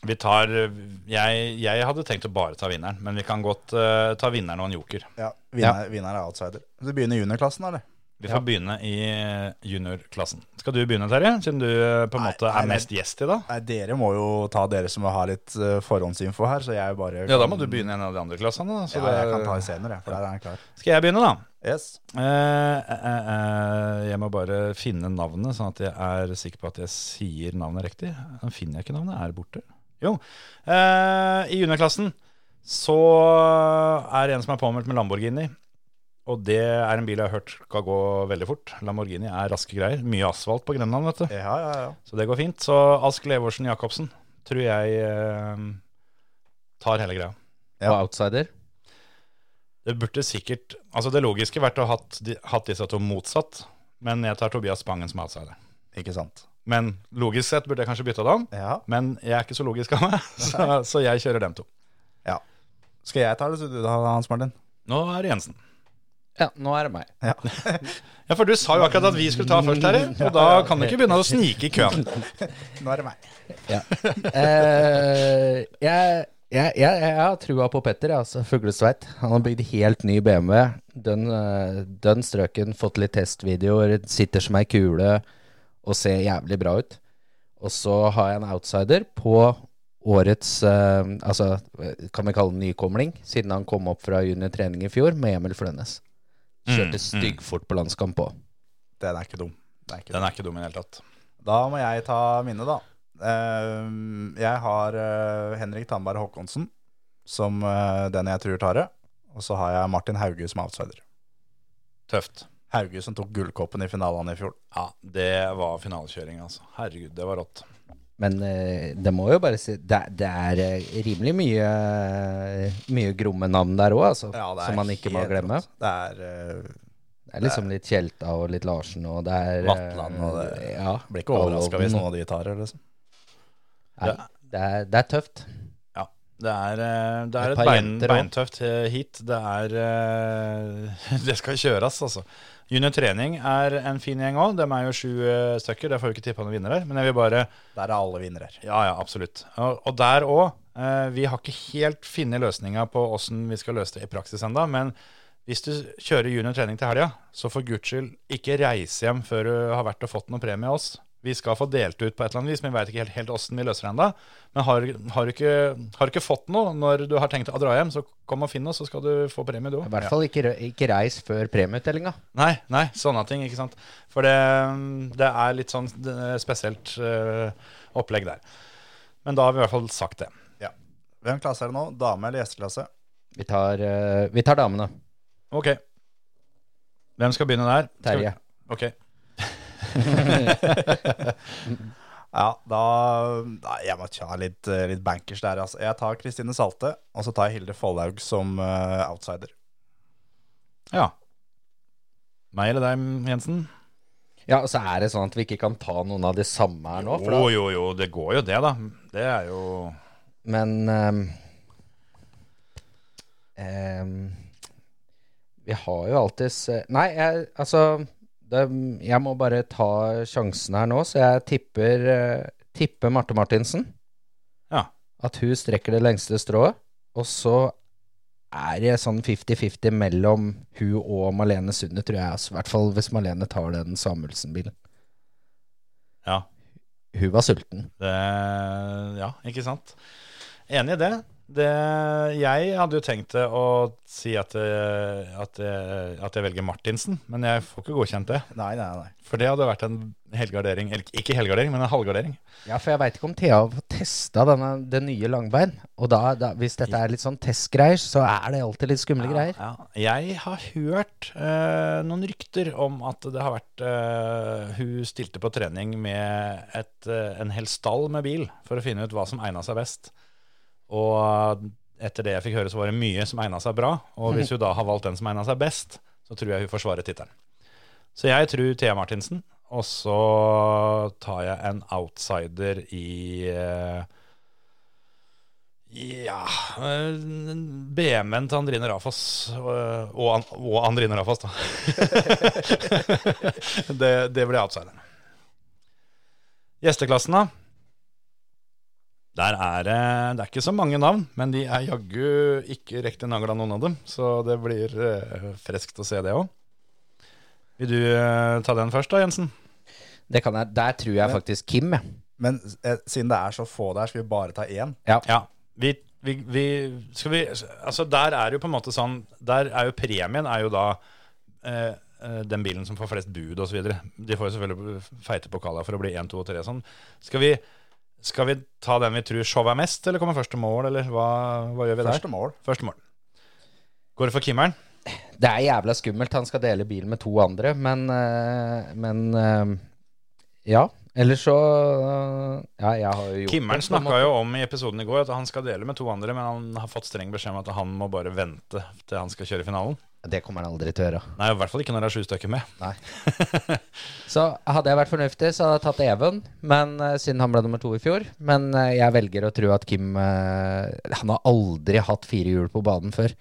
Speaker 3: Vi tar eh, Jeg, jeg hadde tenkt å bare ta vinneren, men vi kan godt eh, ta vinneren og en joker.
Speaker 5: Ja, vinner, Vinneren er outsider. Så Du begynner i juniorklassen, eller?
Speaker 3: Vi får begynne i eh, juniorklassen. Skal du begynne, Terje? Siden du eh, på en måte
Speaker 5: nei,
Speaker 3: er
Speaker 5: nei.
Speaker 3: mest gjest i dag.
Speaker 5: Nei, dere må jo ta dere som har litt eh, forhåndsinfo her, så jeg bare
Speaker 3: Ja, da må du begynne i en av de andre klassene. Da. Så
Speaker 5: Ja, jeg kan ta i senere, for der er han klar.
Speaker 3: Skal jeg begynne, da?
Speaker 5: Yes.
Speaker 3: Eh, eh, eh, jeg må bare finne navnet, sånn at jeg er sikker på at jeg sier navnet riktig. Nå finner jeg ikke navnet. Er det borte? Jo. Eh, I juniorklassen så er det en som er påmeldt med Lamborghini. Og det er en bil jeg har hørt skal gå veldig fort. Lamborghini er raske greier. Mye asfalt på Grenland, vet du.
Speaker 5: Ja, ja, ja.
Speaker 3: Så det går fint. Så Ask Levorsen Jacobsen tror jeg eh, tar hele greia.
Speaker 5: Ja.
Speaker 4: Og outsider.
Speaker 3: Det burde sikkert Altså det logiske vært å ha hatt, de, hatt disse to motsatt, men jeg tar Tobias Spangen som outsider.
Speaker 5: Ikke sant.
Speaker 3: Men logisk sett burde jeg kanskje bytta det om,
Speaker 5: Ja.
Speaker 3: men jeg er ikke så logisk av meg, så, så jeg kjører dem to.
Speaker 5: ja. Skal jeg ta det, så du da, Hans Martin?
Speaker 3: Nå er det Jensen.
Speaker 4: Ja, nå er det meg.
Speaker 5: Ja.
Speaker 3: Ja, for du sa jo akkurat at vi skulle ta først, Terje, og da kan du ikke begynne å snike i køen.
Speaker 5: Nå er det meg.
Speaker 4: Eh, jeg, jeg, jeg, jeg har trua på Petter, jeg, altså. Fuglesveit. Han har bygd helt ny BMW. Dønn eh, dønn strøken, fått litt testvideoer, sitter som ei kule og ser jævlig bra ut. Og så har jeg en outsider på årets eh, Altså, kan vi kalle den nykomling, siden han kom opp fra juniortrening i fjor, med Emil Flønnes.
Speaker 3: Mm, mm.
Speaker 4: Kjørte styggfort på landskamp òg.
Speaker 5: Den er ikke dum. Den er ikke
Speaker 3: Den er ikke dum i det hele tatt.
Speaker 5: Da må jeg ta mine, da. Ehm, jeg har eh, Henrik Tandberg Håkonsen som eh, den jeg tror tar det. Og så har jeg Martin Hauge som outsider.
Speaker 3: Tøft.
Speaker 5: Hauge som tok gullkoppen i finalene i fjor.
Speaker 3: Ja, det var finalekjøring, altså. Herregud, det var rått.
Speaker 4: Men eh, det må jo bare si Det, er- det er eh, rimelig mye eh, Mye gromme navn der òg, altså. som man ikke må
Speaker 5: helt
Speaker 4: glemme.
Speaker 5: rått. Det er eh,
Speaker 4: Det er liksom litt Tjelta og litt Larsen og det er eh,
Speaker 5: Vatland og det-
Speaker 4: Ja.
Speaker 5: Blir ikke overraska hvis
Speaker 4: Alvdalen.
Speaker 5: noen av de tar det, liksom.
Speaker 4: Nei, det, er, det er tøft.
Speaker 3: Ja, det er, eh, det er
Speaker 4: Et
Speaker 3: et,
Speaker 4: par
Speaker 3: bein,
Speaker 4: jenter også.
Speaker 3: beintøft eh, hit. Det er eh, Det skal kjøres, altså. Junior trening er en fin gjeng òg. De er jo sju eh, stykker. Der får vi ikke tippa noen vinnere. Men jeg vil bare
Speaker 5: Der er alle vinnere.
Speaker 3: Ja, ja, absolutt. Og, og der òg. Vi har ikke helt funnet løsninga på åssen vi skal løse det i praksis ennå. Men hvis du kjører junior trening til helga, så for guds skyld ikke reise hjem før du har vært og fått noen premie av oss. Vi skal få delt ut på et eller annet vis, men vi veit ikke helt- helt åssen vi løser det ennå. Men har, har, du ikke, har du ikke fått noe når du har tenkt å dra hjem, så kom og finn oss, så skal du få premie, du
Speaker 4: I
Speaker 3: òg.
Speaker 4: hvert fall ikke, rø- ikke reis før premieutdelinga.
Speaker 3: Nei, nei, sånne ting, ikke sant. For det, det er litt sånn eh, spesielt eh, opplegg der. Men da har vi i hvert fall sagt det.
Speaker 5: Ja. Hvem klasse er det nå? Dame eller gjesteklasse?
Speaker 4: Vi, tar, eh, vi tar damene.
Speaker 3: Ok. Hvem skal begynne der? Skal vi-
Speaker 4: Terje.
Speaker 3: Ok.
Speaker 5: Ja, da Nei, jeg må ta litt, eh, litt bankers der, altså. Jeg tar Kristine Salte, og så tar jeg Hilde Follhaug som eh, outsider.
Speaker 3: Ja. Meg eller deg, Jensen?
Speaker 4: Ja, og så er det sånn at vi ikke kan ta noen av de samme her nå. For da,
Speaker 3: Jo, jo, jo. Det går jo det, da. Det er jo
Speaker 4: men ehm, eh, eh, Vi har jo alltids Nei, jeg, altså det, Jeg må bare ta sjansen her nå, så jeg tipper, eh, tipper Marte Martinsen.
Speaker 3: Ja.
Speaker 4: At hun strekker det lengste strået. Og så er det sånn 50-50 mellom hun og Malene Sunde, tror jeg. Altså, I hvert fall hvis Malene tar den Samuelsen-bilen.
Speaker 3: Ja.
Speaker 4: Hun var sulten.
Speaker 3: Det, ja, ikke sant? Enig i det. det. Jeg hadde jo tenkt det å si at, eh, at, eh, at jeg velger Martinsen, men jeg får ikke godkjent det.
Speaker 5: Nei, nei, nei.
Speaker 3: For det hadde vært en helgardering. eller Ikke helgardering, men en halvgardering.
Speaker 4: Ja, for jeg veit ikke om Thea har fått testa denne, det nye langbein. Og da, da, hvis dette er litt sånn testgreier, så er det alltid litt skumle greier.
Speaker 3: Ja, ja. Jeg har hørt eh, noen rykter om at det har vært eh, Hun stilte på trening med et, eh, en hel stall med bil for å finne ut hva som egna seg best. Og etter det jeg fikk høre, så var det mye som egna seg bra. Og hvis hun da har valgt den som egna seg best, så tror jeg hun forsvarer tittelen. Så jeg tror Thea Martinsen, og så tar jeg en outsider i eh, ja eh, BMW-en til Andrine Rafoss eh, og, An- og Andrine Rafoss, da. det, det blir outsideren. Gjesteklassen, da. Der er det Det er ikke så mange navn, men de er jaggu ikke riktig nagla, noen av dem. Så det blir eh, friskt å se det òg. Vil du eh, ta den først da, Jensen?
Speaker 4: Det kan jeg, der tror jeg faktisk Kim, jeg.
Speaker 5: Men eh, siden det er så få der, skal vi bare ta én?
Speaker 4: Ja.
Speaker 3: Ja. Vi, vi, vi, skal vi Altså, der er jo på en måte sånn Der er jo premien er jo da eh, eh, den bilen som får flest bud osv. De får jo selvfølgelig feite pokaler for å bli 1, 2 og 3 sånn. Skal vi, skal vi ta den vi tror showet er mest, eller kommer første mål, eller hva, hva gjør vi der?
Speaker 5: Første mål.
Speaker 3: Første mål. Går det for Kimmeren?
Speaker 4: Det er jævla skummelt. Han skal dele bil med to andre, men, eh, men eh, Ja. Eller så eh, Ja, jeg har jo gjort
Speaker 3: Kimmeren
Speaker 4: det på en
Speaker 3: snakka jo om i episoden i går at han skal dele med to andre, men han har fått streng beskjed om at han må bare vente til han skal kjøre finalen.
Speaker 4: måte. Det kommer han aldri til å gjøre.
Speaker 3: Nei, i hvert fall ikke når det er sju stykker med.
Speaker 4: Så hadde jeg vært fornuftig, så hadde jeg tatt Even, men eh, siden han ble nummer to i fjor. Men eh, jeg velger å tro at Kim eh, Han har aldri hatt fire hjul på banen før.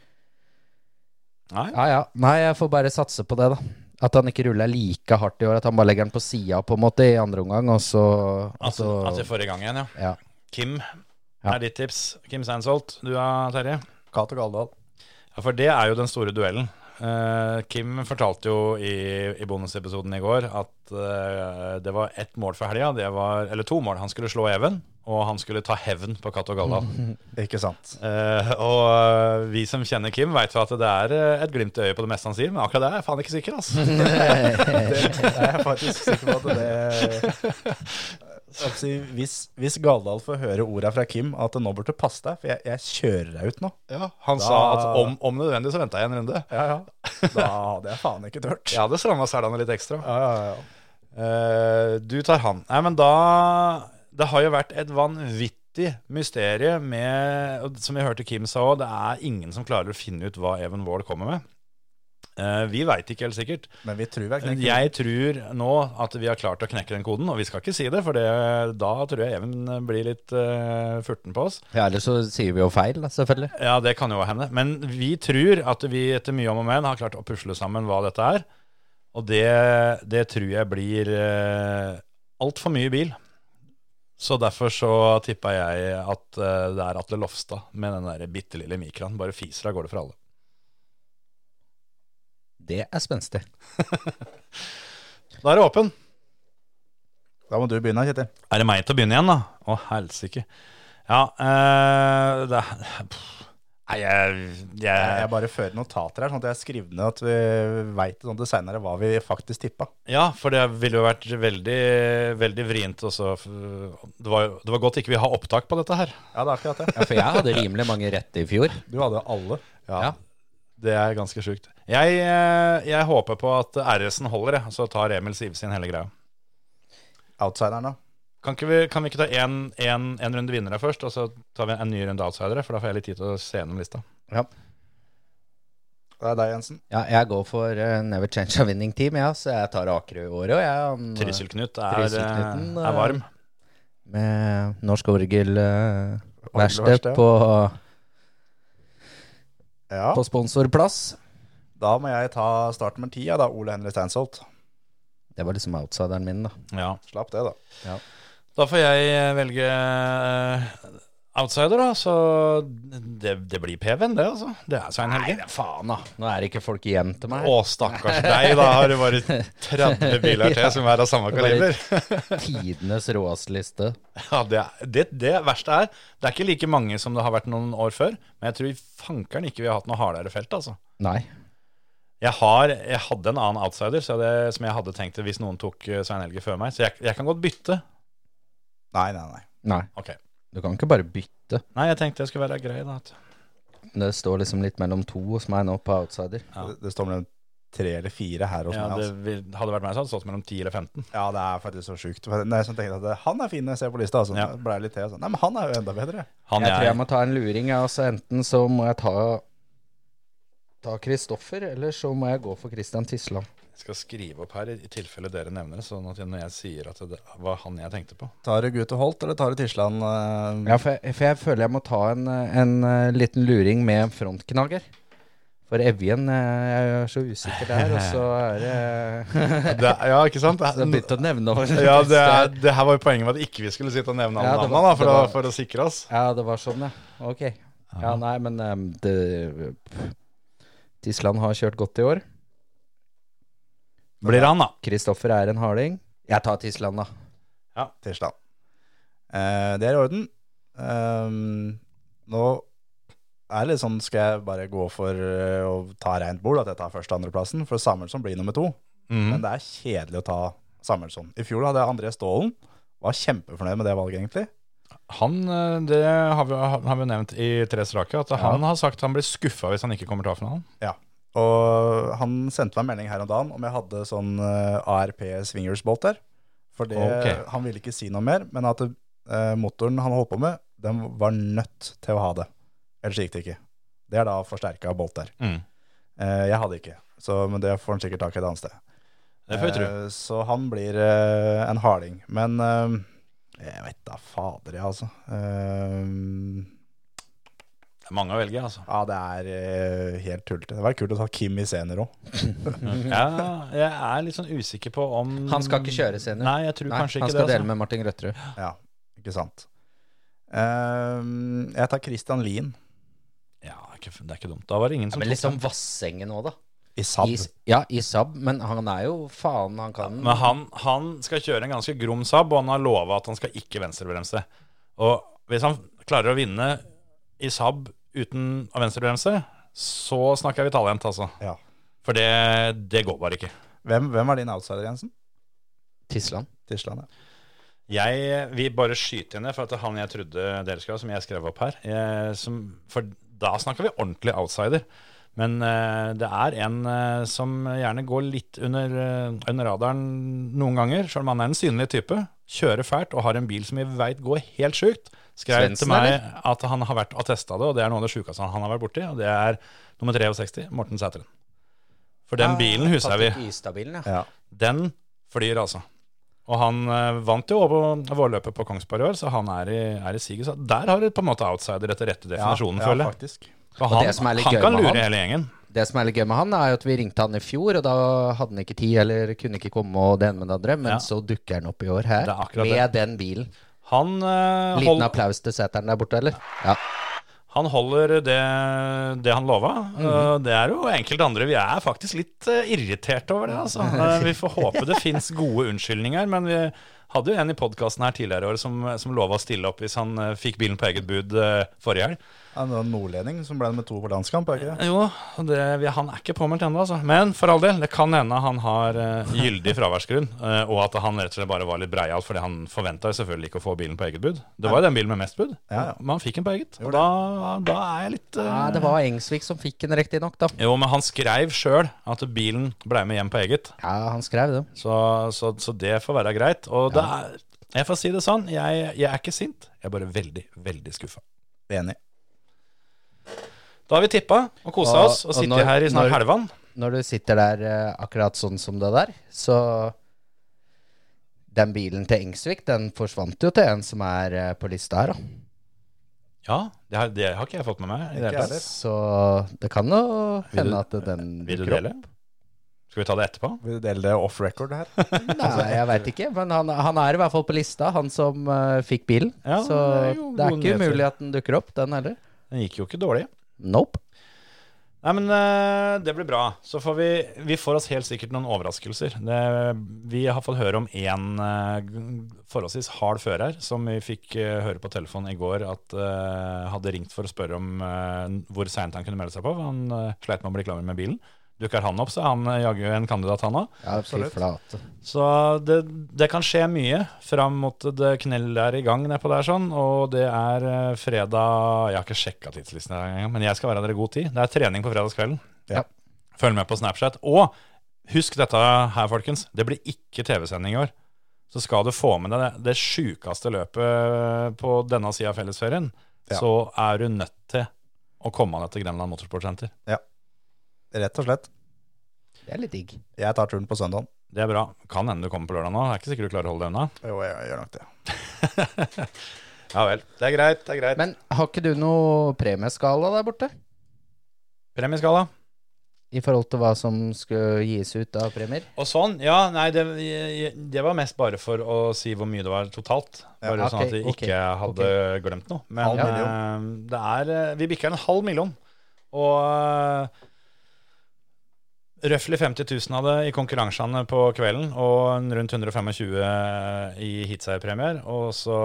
Speaker 3: Nei.
Speaker 4: Ja, ja. Nei, jeg får bare satse på det, da. At han ikke ruller like hardt i år. At han bare legger den på sida, på en måte, i andre omgang, og så, og
Speaker 3: At,
Speaker 4: så
Speaker 3: at vi Altså, får i gang igjen, ja.
Speaker 4: Ja.
Speaker 3: Kim
Speaker 4: Ja.
Speaker 3: er ditt tips. Kim Seinsholt, du da, Terje?
Speaker 5: Cato Galdhall.
Speaker 3: Ja, for det er jo den store duellen. Eh, Kim fortalte jo i, i bonusepisoden i går at eh, det var ett mål for helga. Det var, eller to mål. Han skulle slå Even, og han skulle ta hevn på Cato Galla.
Speaker 5: Ikke sant.
Speaker 3: Eh, og eh, vi som kjenner Kim, veit jo at det er eh, et glimt i øyet på det meste han sier, men akkurat det er jeg faen ikke sikker, altså.
Speaker 5: Det er jeg faktisk sikker på at det Altså, hvis, hvis Galdhall får høre orda fra Kim at nå burde du passe deg, for jeg, jeg kjører deg ut nå.
Speaker 3: Han
Speaker 5: Da-
Speaker 3: sa at om, om nødvendig så venta jeg en runde.
Speaker 5: Ja, ja. Da hadde jeg faen ikke turt.
Speaker 3: Ja, det stramma selene litt ekstra.
Speaker 5: Ja, ja, ja.
Speaker 3: Eh, du tar han. Nei, men da Det har jo vært et vanvittig mysterium med og Som vi hørte Kim sa òg, det er ingen som klarer å finne ut hva Even Wold kommer med. Eh, vi veit ikke helt sikkert.
Speaker 5: Men vi tror vel ikke
Speaker 3: Jeg tror nå at vi har klart å knekke den koden, og vi skal ikke si det, for det, da tror jeg Even blir litt eh, furten på oss.
Speaker 4: ja, eller så sier vi jo feil, da, selvfølgelig.
Speaker 3: Ja, det kan jo hende. Men vi tror at vi etter mye om og men har klart å pusle sammen hva dette er. Og det, det tror jeg blir eh, altfor mye bil. Så derfor så tippa jeg at eh, det er Atle Lofstad med den der bitte lille mikraen. Bare fiser av gårde for alle.
Speaker 4: Det er spenstig.
Speaker 3: Da er det åpen.
Speaker 5: Da må du begynne, Kjetil.
Speaker 3: Er det meg til å begynne igjen, da? Å, helsike. Ja, eh, det er pff. Nei, jeg,
Speaker 5: Jeg,
Speaker 3: jeg
Speaker 5: jeg bare fører notater her, sånn at jeg skriver ned at vi veit sånn til seinere hva vi faktisk tippa.
Speaker 3: Ja, for det ville jo vært veldig, veldig vrient også. Det var, jo- det var godt ikke vi har opptak på dette her.
Speaker 5: Ja, det er akkurat det.
Speaker 4: Ja, for jeg hadde rimelig mange rette i fjor.
Speaker 5: Du hadde jo alle.
Speaker 4: Ja.
Speaker 3: Det er ganske sjukt. Jeg, eh, jeg håper på at RS-en holder, jeg, så tar Emil Sivsin hele greia.
Speaker 5: Outsideren, da.
Speaker 3: Kan, ikke vi, kan vi ikke ta en, en, en runde vinnere først, og så tar vi en ny runde outsidere? For da får jeg litt tid til å se gjennom lista.
Speaker 5: Det er deg, Jensen.
Speaker 4: Ja, jeg går for eh, Never Change a Winning Team, ja, så jeg tar Akerø i året. Og jeg, han, eh,
Speaker 3: Trysil-Knut er,
Speaker 4: Trysil-Knuten,
Speaker 3: eh, er varm.
Speaker 4: Med Norsk Orgelverksted
Speaker 5: Orgelverksted, ja.
Speaker 4: på,
Speaker 5: Ja.
Speaker 4: på sponsorplass.
Speaker 5: Da må jeg ta start nummer ti, ja, da. Ole Henry Steinsholt.
Speaker 4: Det var liksom outsideren min, da.
Speaker 3: Ja.
Speaker 5: Slapp det, da.
Speaker 3: Da får jeg eh, velge eh, outsider, da. Så det, det blir PV-en, det, altså. Det er Svein Helge.
Speaker 4: faen, da. Nå er det ikke folk igjen til meg.
Speaker 3: Å, stakkars deg, da har du bare 30 biler til som er av samme
Speaker 4: var litt-
Speaker 3: kaliber.
Speaker 4: Tidenes råeste liste.
Speaker 3: Ja, det, er- det, det verste er Det er ikke like mange som det har vært noen år før, men jeg tror fankeren ikke vi har hatt noe hardere felt, altså.
Speaker 4: Nei.
Speaker 3: Jeg, har, jeg hadde en annen outsider så det, som jeg hadde tenkt hvis noen tok eh, Svein Helge før meg, så jeg, jeg kan godt bytte.
Speaker 5: Nei, nei, nei.
Speaker 4: Nei.
Speaker 3: Ok.
Speaker 4: Du kan ikke bare bytte.
Speaker 3: Nei, jeg tenkte jeg skulle være grei, da. at-
Speaker 4: Det står liksom litt mellom to hos meg nå på outsider.
Speaker 3: Ja.
Speaker 5: Det, det står mellom tre eller fire her hos
Speaker 3: Ja,
Speaker 5: meg.
Speaker 3: det
Speaker 5: Altså.
Speaker 3: vil, hadde vært meg, så hadde det stått mellom 10 eller 15.
Speaker 5: Ja, det er faktisk så sjukt. For Når jeg sånn tenkte at det- han er fin når jeg ser på lista, altså.
Speaker 3: Ja.
Speaker 5: Da ble jeg litt til og sånn. Nei, men han er jo enda bedre.
Speaker 3: Han
Speaker 4: Jeg tror jeg må ta en luring, ja. Altså, enten så må jeg ta Ta Kristoffer, eller så må jeg gå for Christian Tisland.
Speaker 3: Jeg skal skrive opp her i i tilfelle dere nevner det, sånn at når jeg sier at det var han jeg tenkte på.
Speaker 5: Tar du Gute Holt, eller tar du Tisland? eh,
Speaker 4: Ja, for jeg, for jeg føler jeg må ta en, eh, en eh, liten luring med en frontknager. For Evjen eh, Jeg er så usikker der, og så er det
Speaker 3: ja, ikke sant?
Speaker 4: Så jeg begynte å nevne over
Speaker 3: Ja, det, er, det her var jo poenget med at ikke vi skulle sitte og nevne alle
Speaker 4: Ja, det var-
Speaker 3: navnene, da, for,
Speaker 4: det
Speaker 3: å,
Speaker 4: var-
Speaker 3: for å sikre oss.
Speaker 4: Ja, det var sånn, ja. Ok. Ja, nei, men ehm, det Tisland har kjørt godt i år.
Speaker 3: Blir han, da.
Speaker 4: Kristoffer er en harding. Jeg tar Tisland, da.
Speaker 5: Tirsdag. Eh, det er i orden. Ehm, nå er det litt sånn, skal jeg bare gå for eh, å ta rent bord, at jeg tar første- og andreplassen, for Samuelsson blir nummer to. Men det er kjedelig å ta Samuelsson. I fjor hadde jeg André Stålen. Var kjempefornøyd med det valget, egentlig.
Speaker 3: Han, eh, det har vi, har vi nevnt i tre strake, at han har sagt han blir skuffa hvis han ikke kommer til A-finalen.
Speaker 5: Ja. Og han sendte meg en melding her om dagen om jeg hadde sånn eh, ARP swingersbolt der. For det,
Speaker 3: Ok.
Speaker 5: han ville ikke si noe mer, men at eh, motoren han holdt på med, den var nødt til å ha det. Ellers gikk det ikke. Det er da forsterka bolt der.
Speaker 3: Mm.
Speaker 5: Eh, jeg hadde ikke, så, men det får han sikkert tak i et annet sted.
Speaker 3: Det får vi tro.
Speaker 5: Eh, Så han blir eh, en harding. Men eh, jeg vet da fader, jeg, altså. Eh,
Speaker 3: Det er mange å velge, altså.
Speaker 5: ja, det er eh, helt tullete. Det var kult å ta Kim i senior òg.
Speaker 3: Ja, jeg er litt sånn usikker på om
Speaker 4: Han skal ikke kjøre senior.
Speaker 3: Nei, jeg tror
Speaker 4: Nei, han
Speaker 3: kanskje
Speaker 4: skal
Speaker 3: ikke det. altså.
Speaker 4: dele med Martin Grøtterud.
Speaker 5: Ja, ikke sant. Ehm, jeg tar Christian Lien
Speaker 3: Ja, det er, ikke, det er ikke dumt. Da var det ingen som
Speaker 4: Men
Speaker 3: tok
Speaker 4: liksom Vassengen òg, da.
Speaker 5: i Saab.
Speaker 4: I, ja, i Saab, men han er jo faen, han kan
Speaker 3: Men han, han skal kjøre en ganske grom Saab, og han har lova at han skal ikke venstrebremse. Og hvis han klarer å vinne i Saab uten å venstrebremse, så snakker vi talent, altså.
Speaker 5: Ja.
Speaker 3: For det, det går bare ikke.
Speaker 5: Hvem, hvem er din outsider, Jensen?
Speaker 4: Tisland.
Speaker 5: Tisland, ja.
Speaker 3: Jeg vil bare skyte inn det, for at det er han jeg trodde dere skulle ha, som jeg skrev opp her jeg, som, For da snakker vi ordentlig outsider. Men eh, det er en eh, som gjerne går litt under, eh, under radaren noen ganger, selv om han er en synlig type. Kjører fælt og har en bil som vi veit går helt sjukt. Skrev
Speaker 4: Svendsen,
Speaker 3: til meg at han har vært og testa det, og det er noe av det sjukeste han har vært borti. Og det er nummer 63, Morten Sæteren. For
Speaker 4: Ah,
Speaker 3: den bilen husker vi.
Speaker 4: Ystabilen, ja.
Speaker 5: ja.
Speaker 3: Den flyr, altså. Og han eh, vant jo over vårløpet på Kongsberg i år, så han er i, er i siget. Så der har du på en måte outsider etter rette definisjonen,
Speaker 5: ja,
Speaker 3: føler jeg.
Speaker 5: faktisk.
Speaker 3: For
Speaker 4: det som er
Speaker 3: han,
Speaker 4: litt
Speaker 3: han
Speaker 4: gøy
Speaker 3: kan
Speaker 4: med
Speaker 3: lure
Speaker 4: han-
Speaker 3: hele gjengen.
Speaker 4: Det som er litt gøy med han, er jo at vi ringte han i fjor, og da hadde han ikke tid, eller kunne ikke komme, og det ene med det andre, men
Speaker 3: Ja.
Speaker 4: så dukker han opp i år her,
Speaker 3: Det er akkurat
Speaker 4: med den bilen.
Speaker 3: Han, eh,
Speaker 4: Liten
Speaker 3: hold,
Speaker 4: applaus til seteren der borte, eller? Ja.
Speaker 3: han holder det, det han lova.
Speaker 4: Mhm.
Speaker 3: Eh, Det er jo enkelte andre Vi er faktisk litt eh, irritert over det, altså. Eh, Vi får håpe det fins gode unnskyldninger, men vi hadde jo en i podkasten her tidligere i år som, som lova å stille opp hvis han eh, fikk bilen på eget bud eh, forrige helg.
Speaker 5: Ja, det var en nordlending som ble med to på landskamp, er det ikke det?
Speaker 3: Jo, det, vi- han er ikke påmeldt ennå, altså. Men for all del, det kan hende han har eh, gyldig fraværsgrunn, eh, og at han rett og slett bare var litt breial, fordi han forventa jo selvfølgelig ikke å få bilen på eget bud. Det var jo den bilen med mest bud,
Speaker 5: Ja, ja.
Speaker 3: men han fikk den på eget. Og da, da er jeg litt eh,
Speaker 4: Nei, det var Engsvik som fikk den riktig nok, da.
Speaker 3: Jo, men han skreiv sjøl at bilen blei med hjem på eget,
Speaker 4: Ja, han skrev det.
Speaker 3: så, så, så det får være greit. Og det er Jeg får si det sånn, jeg, jeg er ikke sint, jeg er bare veldig, veldig skuffa.
Speaker 5: Enig.
Speaker 3: Da har vi tippa og kosa
Speaker 4: Og-
Speaker 3: oss og
Speaker 4: og
Speaker 3: sittet
Speaker 4: når-
Speaker 3: her i snart
Speaker 4: når-
Speaker 3: helvan.
Speaker 4: Når du sitter der eh, akkurat sånn som det der, så Den bilen til Engsvik, den forsvant jo til en som er eh, på lista her, da.
Speaker 3: Ja, det har, det har ikke jeg fått med meg. i det hele tatt.
Speaker 5: Ikke heller.
Speaker 4: Så det kan jo
Speaker 3: Vil du-
Speaker 4: hende at den
Speaker 3: Vil du
Speaker 4: dukker opp.
Speaker 3: dele? Skal vi ta det etterpå?
Speaker 5: Vil du dele det off record her?
Speaker 4: Nei, jeg veit ikke, men han, han er i hvert fall på lista, han som eh, fikk bilen.
Speaker 3: Ja,
Speaker 4: så
Speaker 3: det er
Speaker 4: det er,
Speaker 3: jo gode
Speaker 4: ikke
Speaker 3: nyheter.
Speaker 4: umulig at den dukker opp, den heller.
Speaker 3: Den gikk jo ikke dårlig.
Speaker 4: Nope.
Speaker 3: Nei, men eh, det blir bra. Så får vi Vi får oss helt sikkert noen overraskelser. Det, vi har fått høre om én eh, g- forholdsvis hard fører som vi fikk eh, høre på telefonen i går at eh, hadde ringt for å spørre om eh, hvor seint han kunne melde seg på. for Han eh, sleit med å bli klar med bilen. Dukker han opp, så er han eh, jaggu en kandidat, han òg.
Speaker 4: Ja, fy
Speaker 5: Absolutt.
Speaker 4: flate.
Speaker 3: Så det, det kan skje mye fram mot det knellet er i gang nedpå der sånn, og det er eh, fredag Jeg har ikke sjekka tidslisten engang, men jeg skal være der i god tid. Det er trening på fredagskvelden.
Speaker 5: Ja.
Speaker 3: Følg med på Snapchat. Og husk dette her, folkens. Det blir ikke TV-sending i år. Så skal du få med deg det, det sjukeste løpet på denne sida av fellesferien,
Speaker 5: Ja.
Speaker 3: så er du nødt til å komme deg til Grenland Motorsportsenter.
Speaker 5: Rett og slett.
Speaker 4: Det er litt digg.
Speaker 5: Jeg tar turen på søndagen.
Speaker 3: Det er bra. Kan hende du kommer på lørdag nå. Det er ikke sikkert du klarer å holde det unna.
Speaker 5: Jo, jeg, gjør nok det.
Speaker 3: Ja vel. Det er greit. Det er greit.
Speaker 4: Men har ikke du noe premieskala der borte?
Speaker 3: Premieskala.
Speaker 4: I forhold til hva som skulle gis ut av premier?
Speaker 3: Og sånn, ja, nei, det, det var mest bare for å si hvor mye det var totalt.
Speaker 5: Ja,
Speaker 3: Bare sånn at vi
Speaker 4: ok, ok,
Speaker 3: ikke hadde glemt noe. Men
Speaker 5: Halv
Speaker 3: eh, det er eh, Vi bikker en halv million. Og eh, Røftlig 50 000 av det i konkurransene på kvelden, og en rundt 125 i hitseier-premier. Og så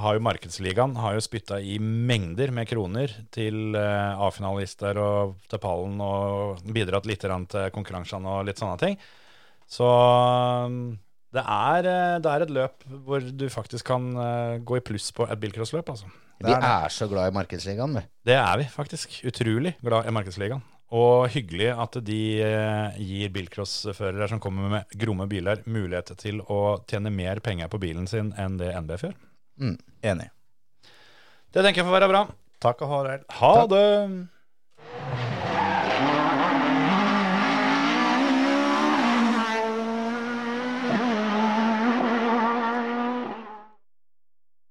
Speaker 3: har jo Markedsligaen har jo spytta i mengder med kroner til eh, A-finalister og til pallen, og bidratt litt grann til konkurransene og litt sånne ting. Så mm, det er, eh, det er et løp hvor du faktisk kan eh, gå i pluss på et bilcrossløp, altså.
Speaker 4: Vi er så glad i Markedsligaen, vi.
Speaker 3: Det er vi faktisk. Utrolig glad i Markedsligaen. Og hyggelig at de eh, gir bilcrossførere som kommer med gromme biler, mulighet til å tjene mer penger på bilen sin enn det NBF gjør.
Speaker 5: Enig.
Speaker 3: Det tenker jeg får være bra.
Speaker 5: Takk og ha det.
Speaker 3: Ha det!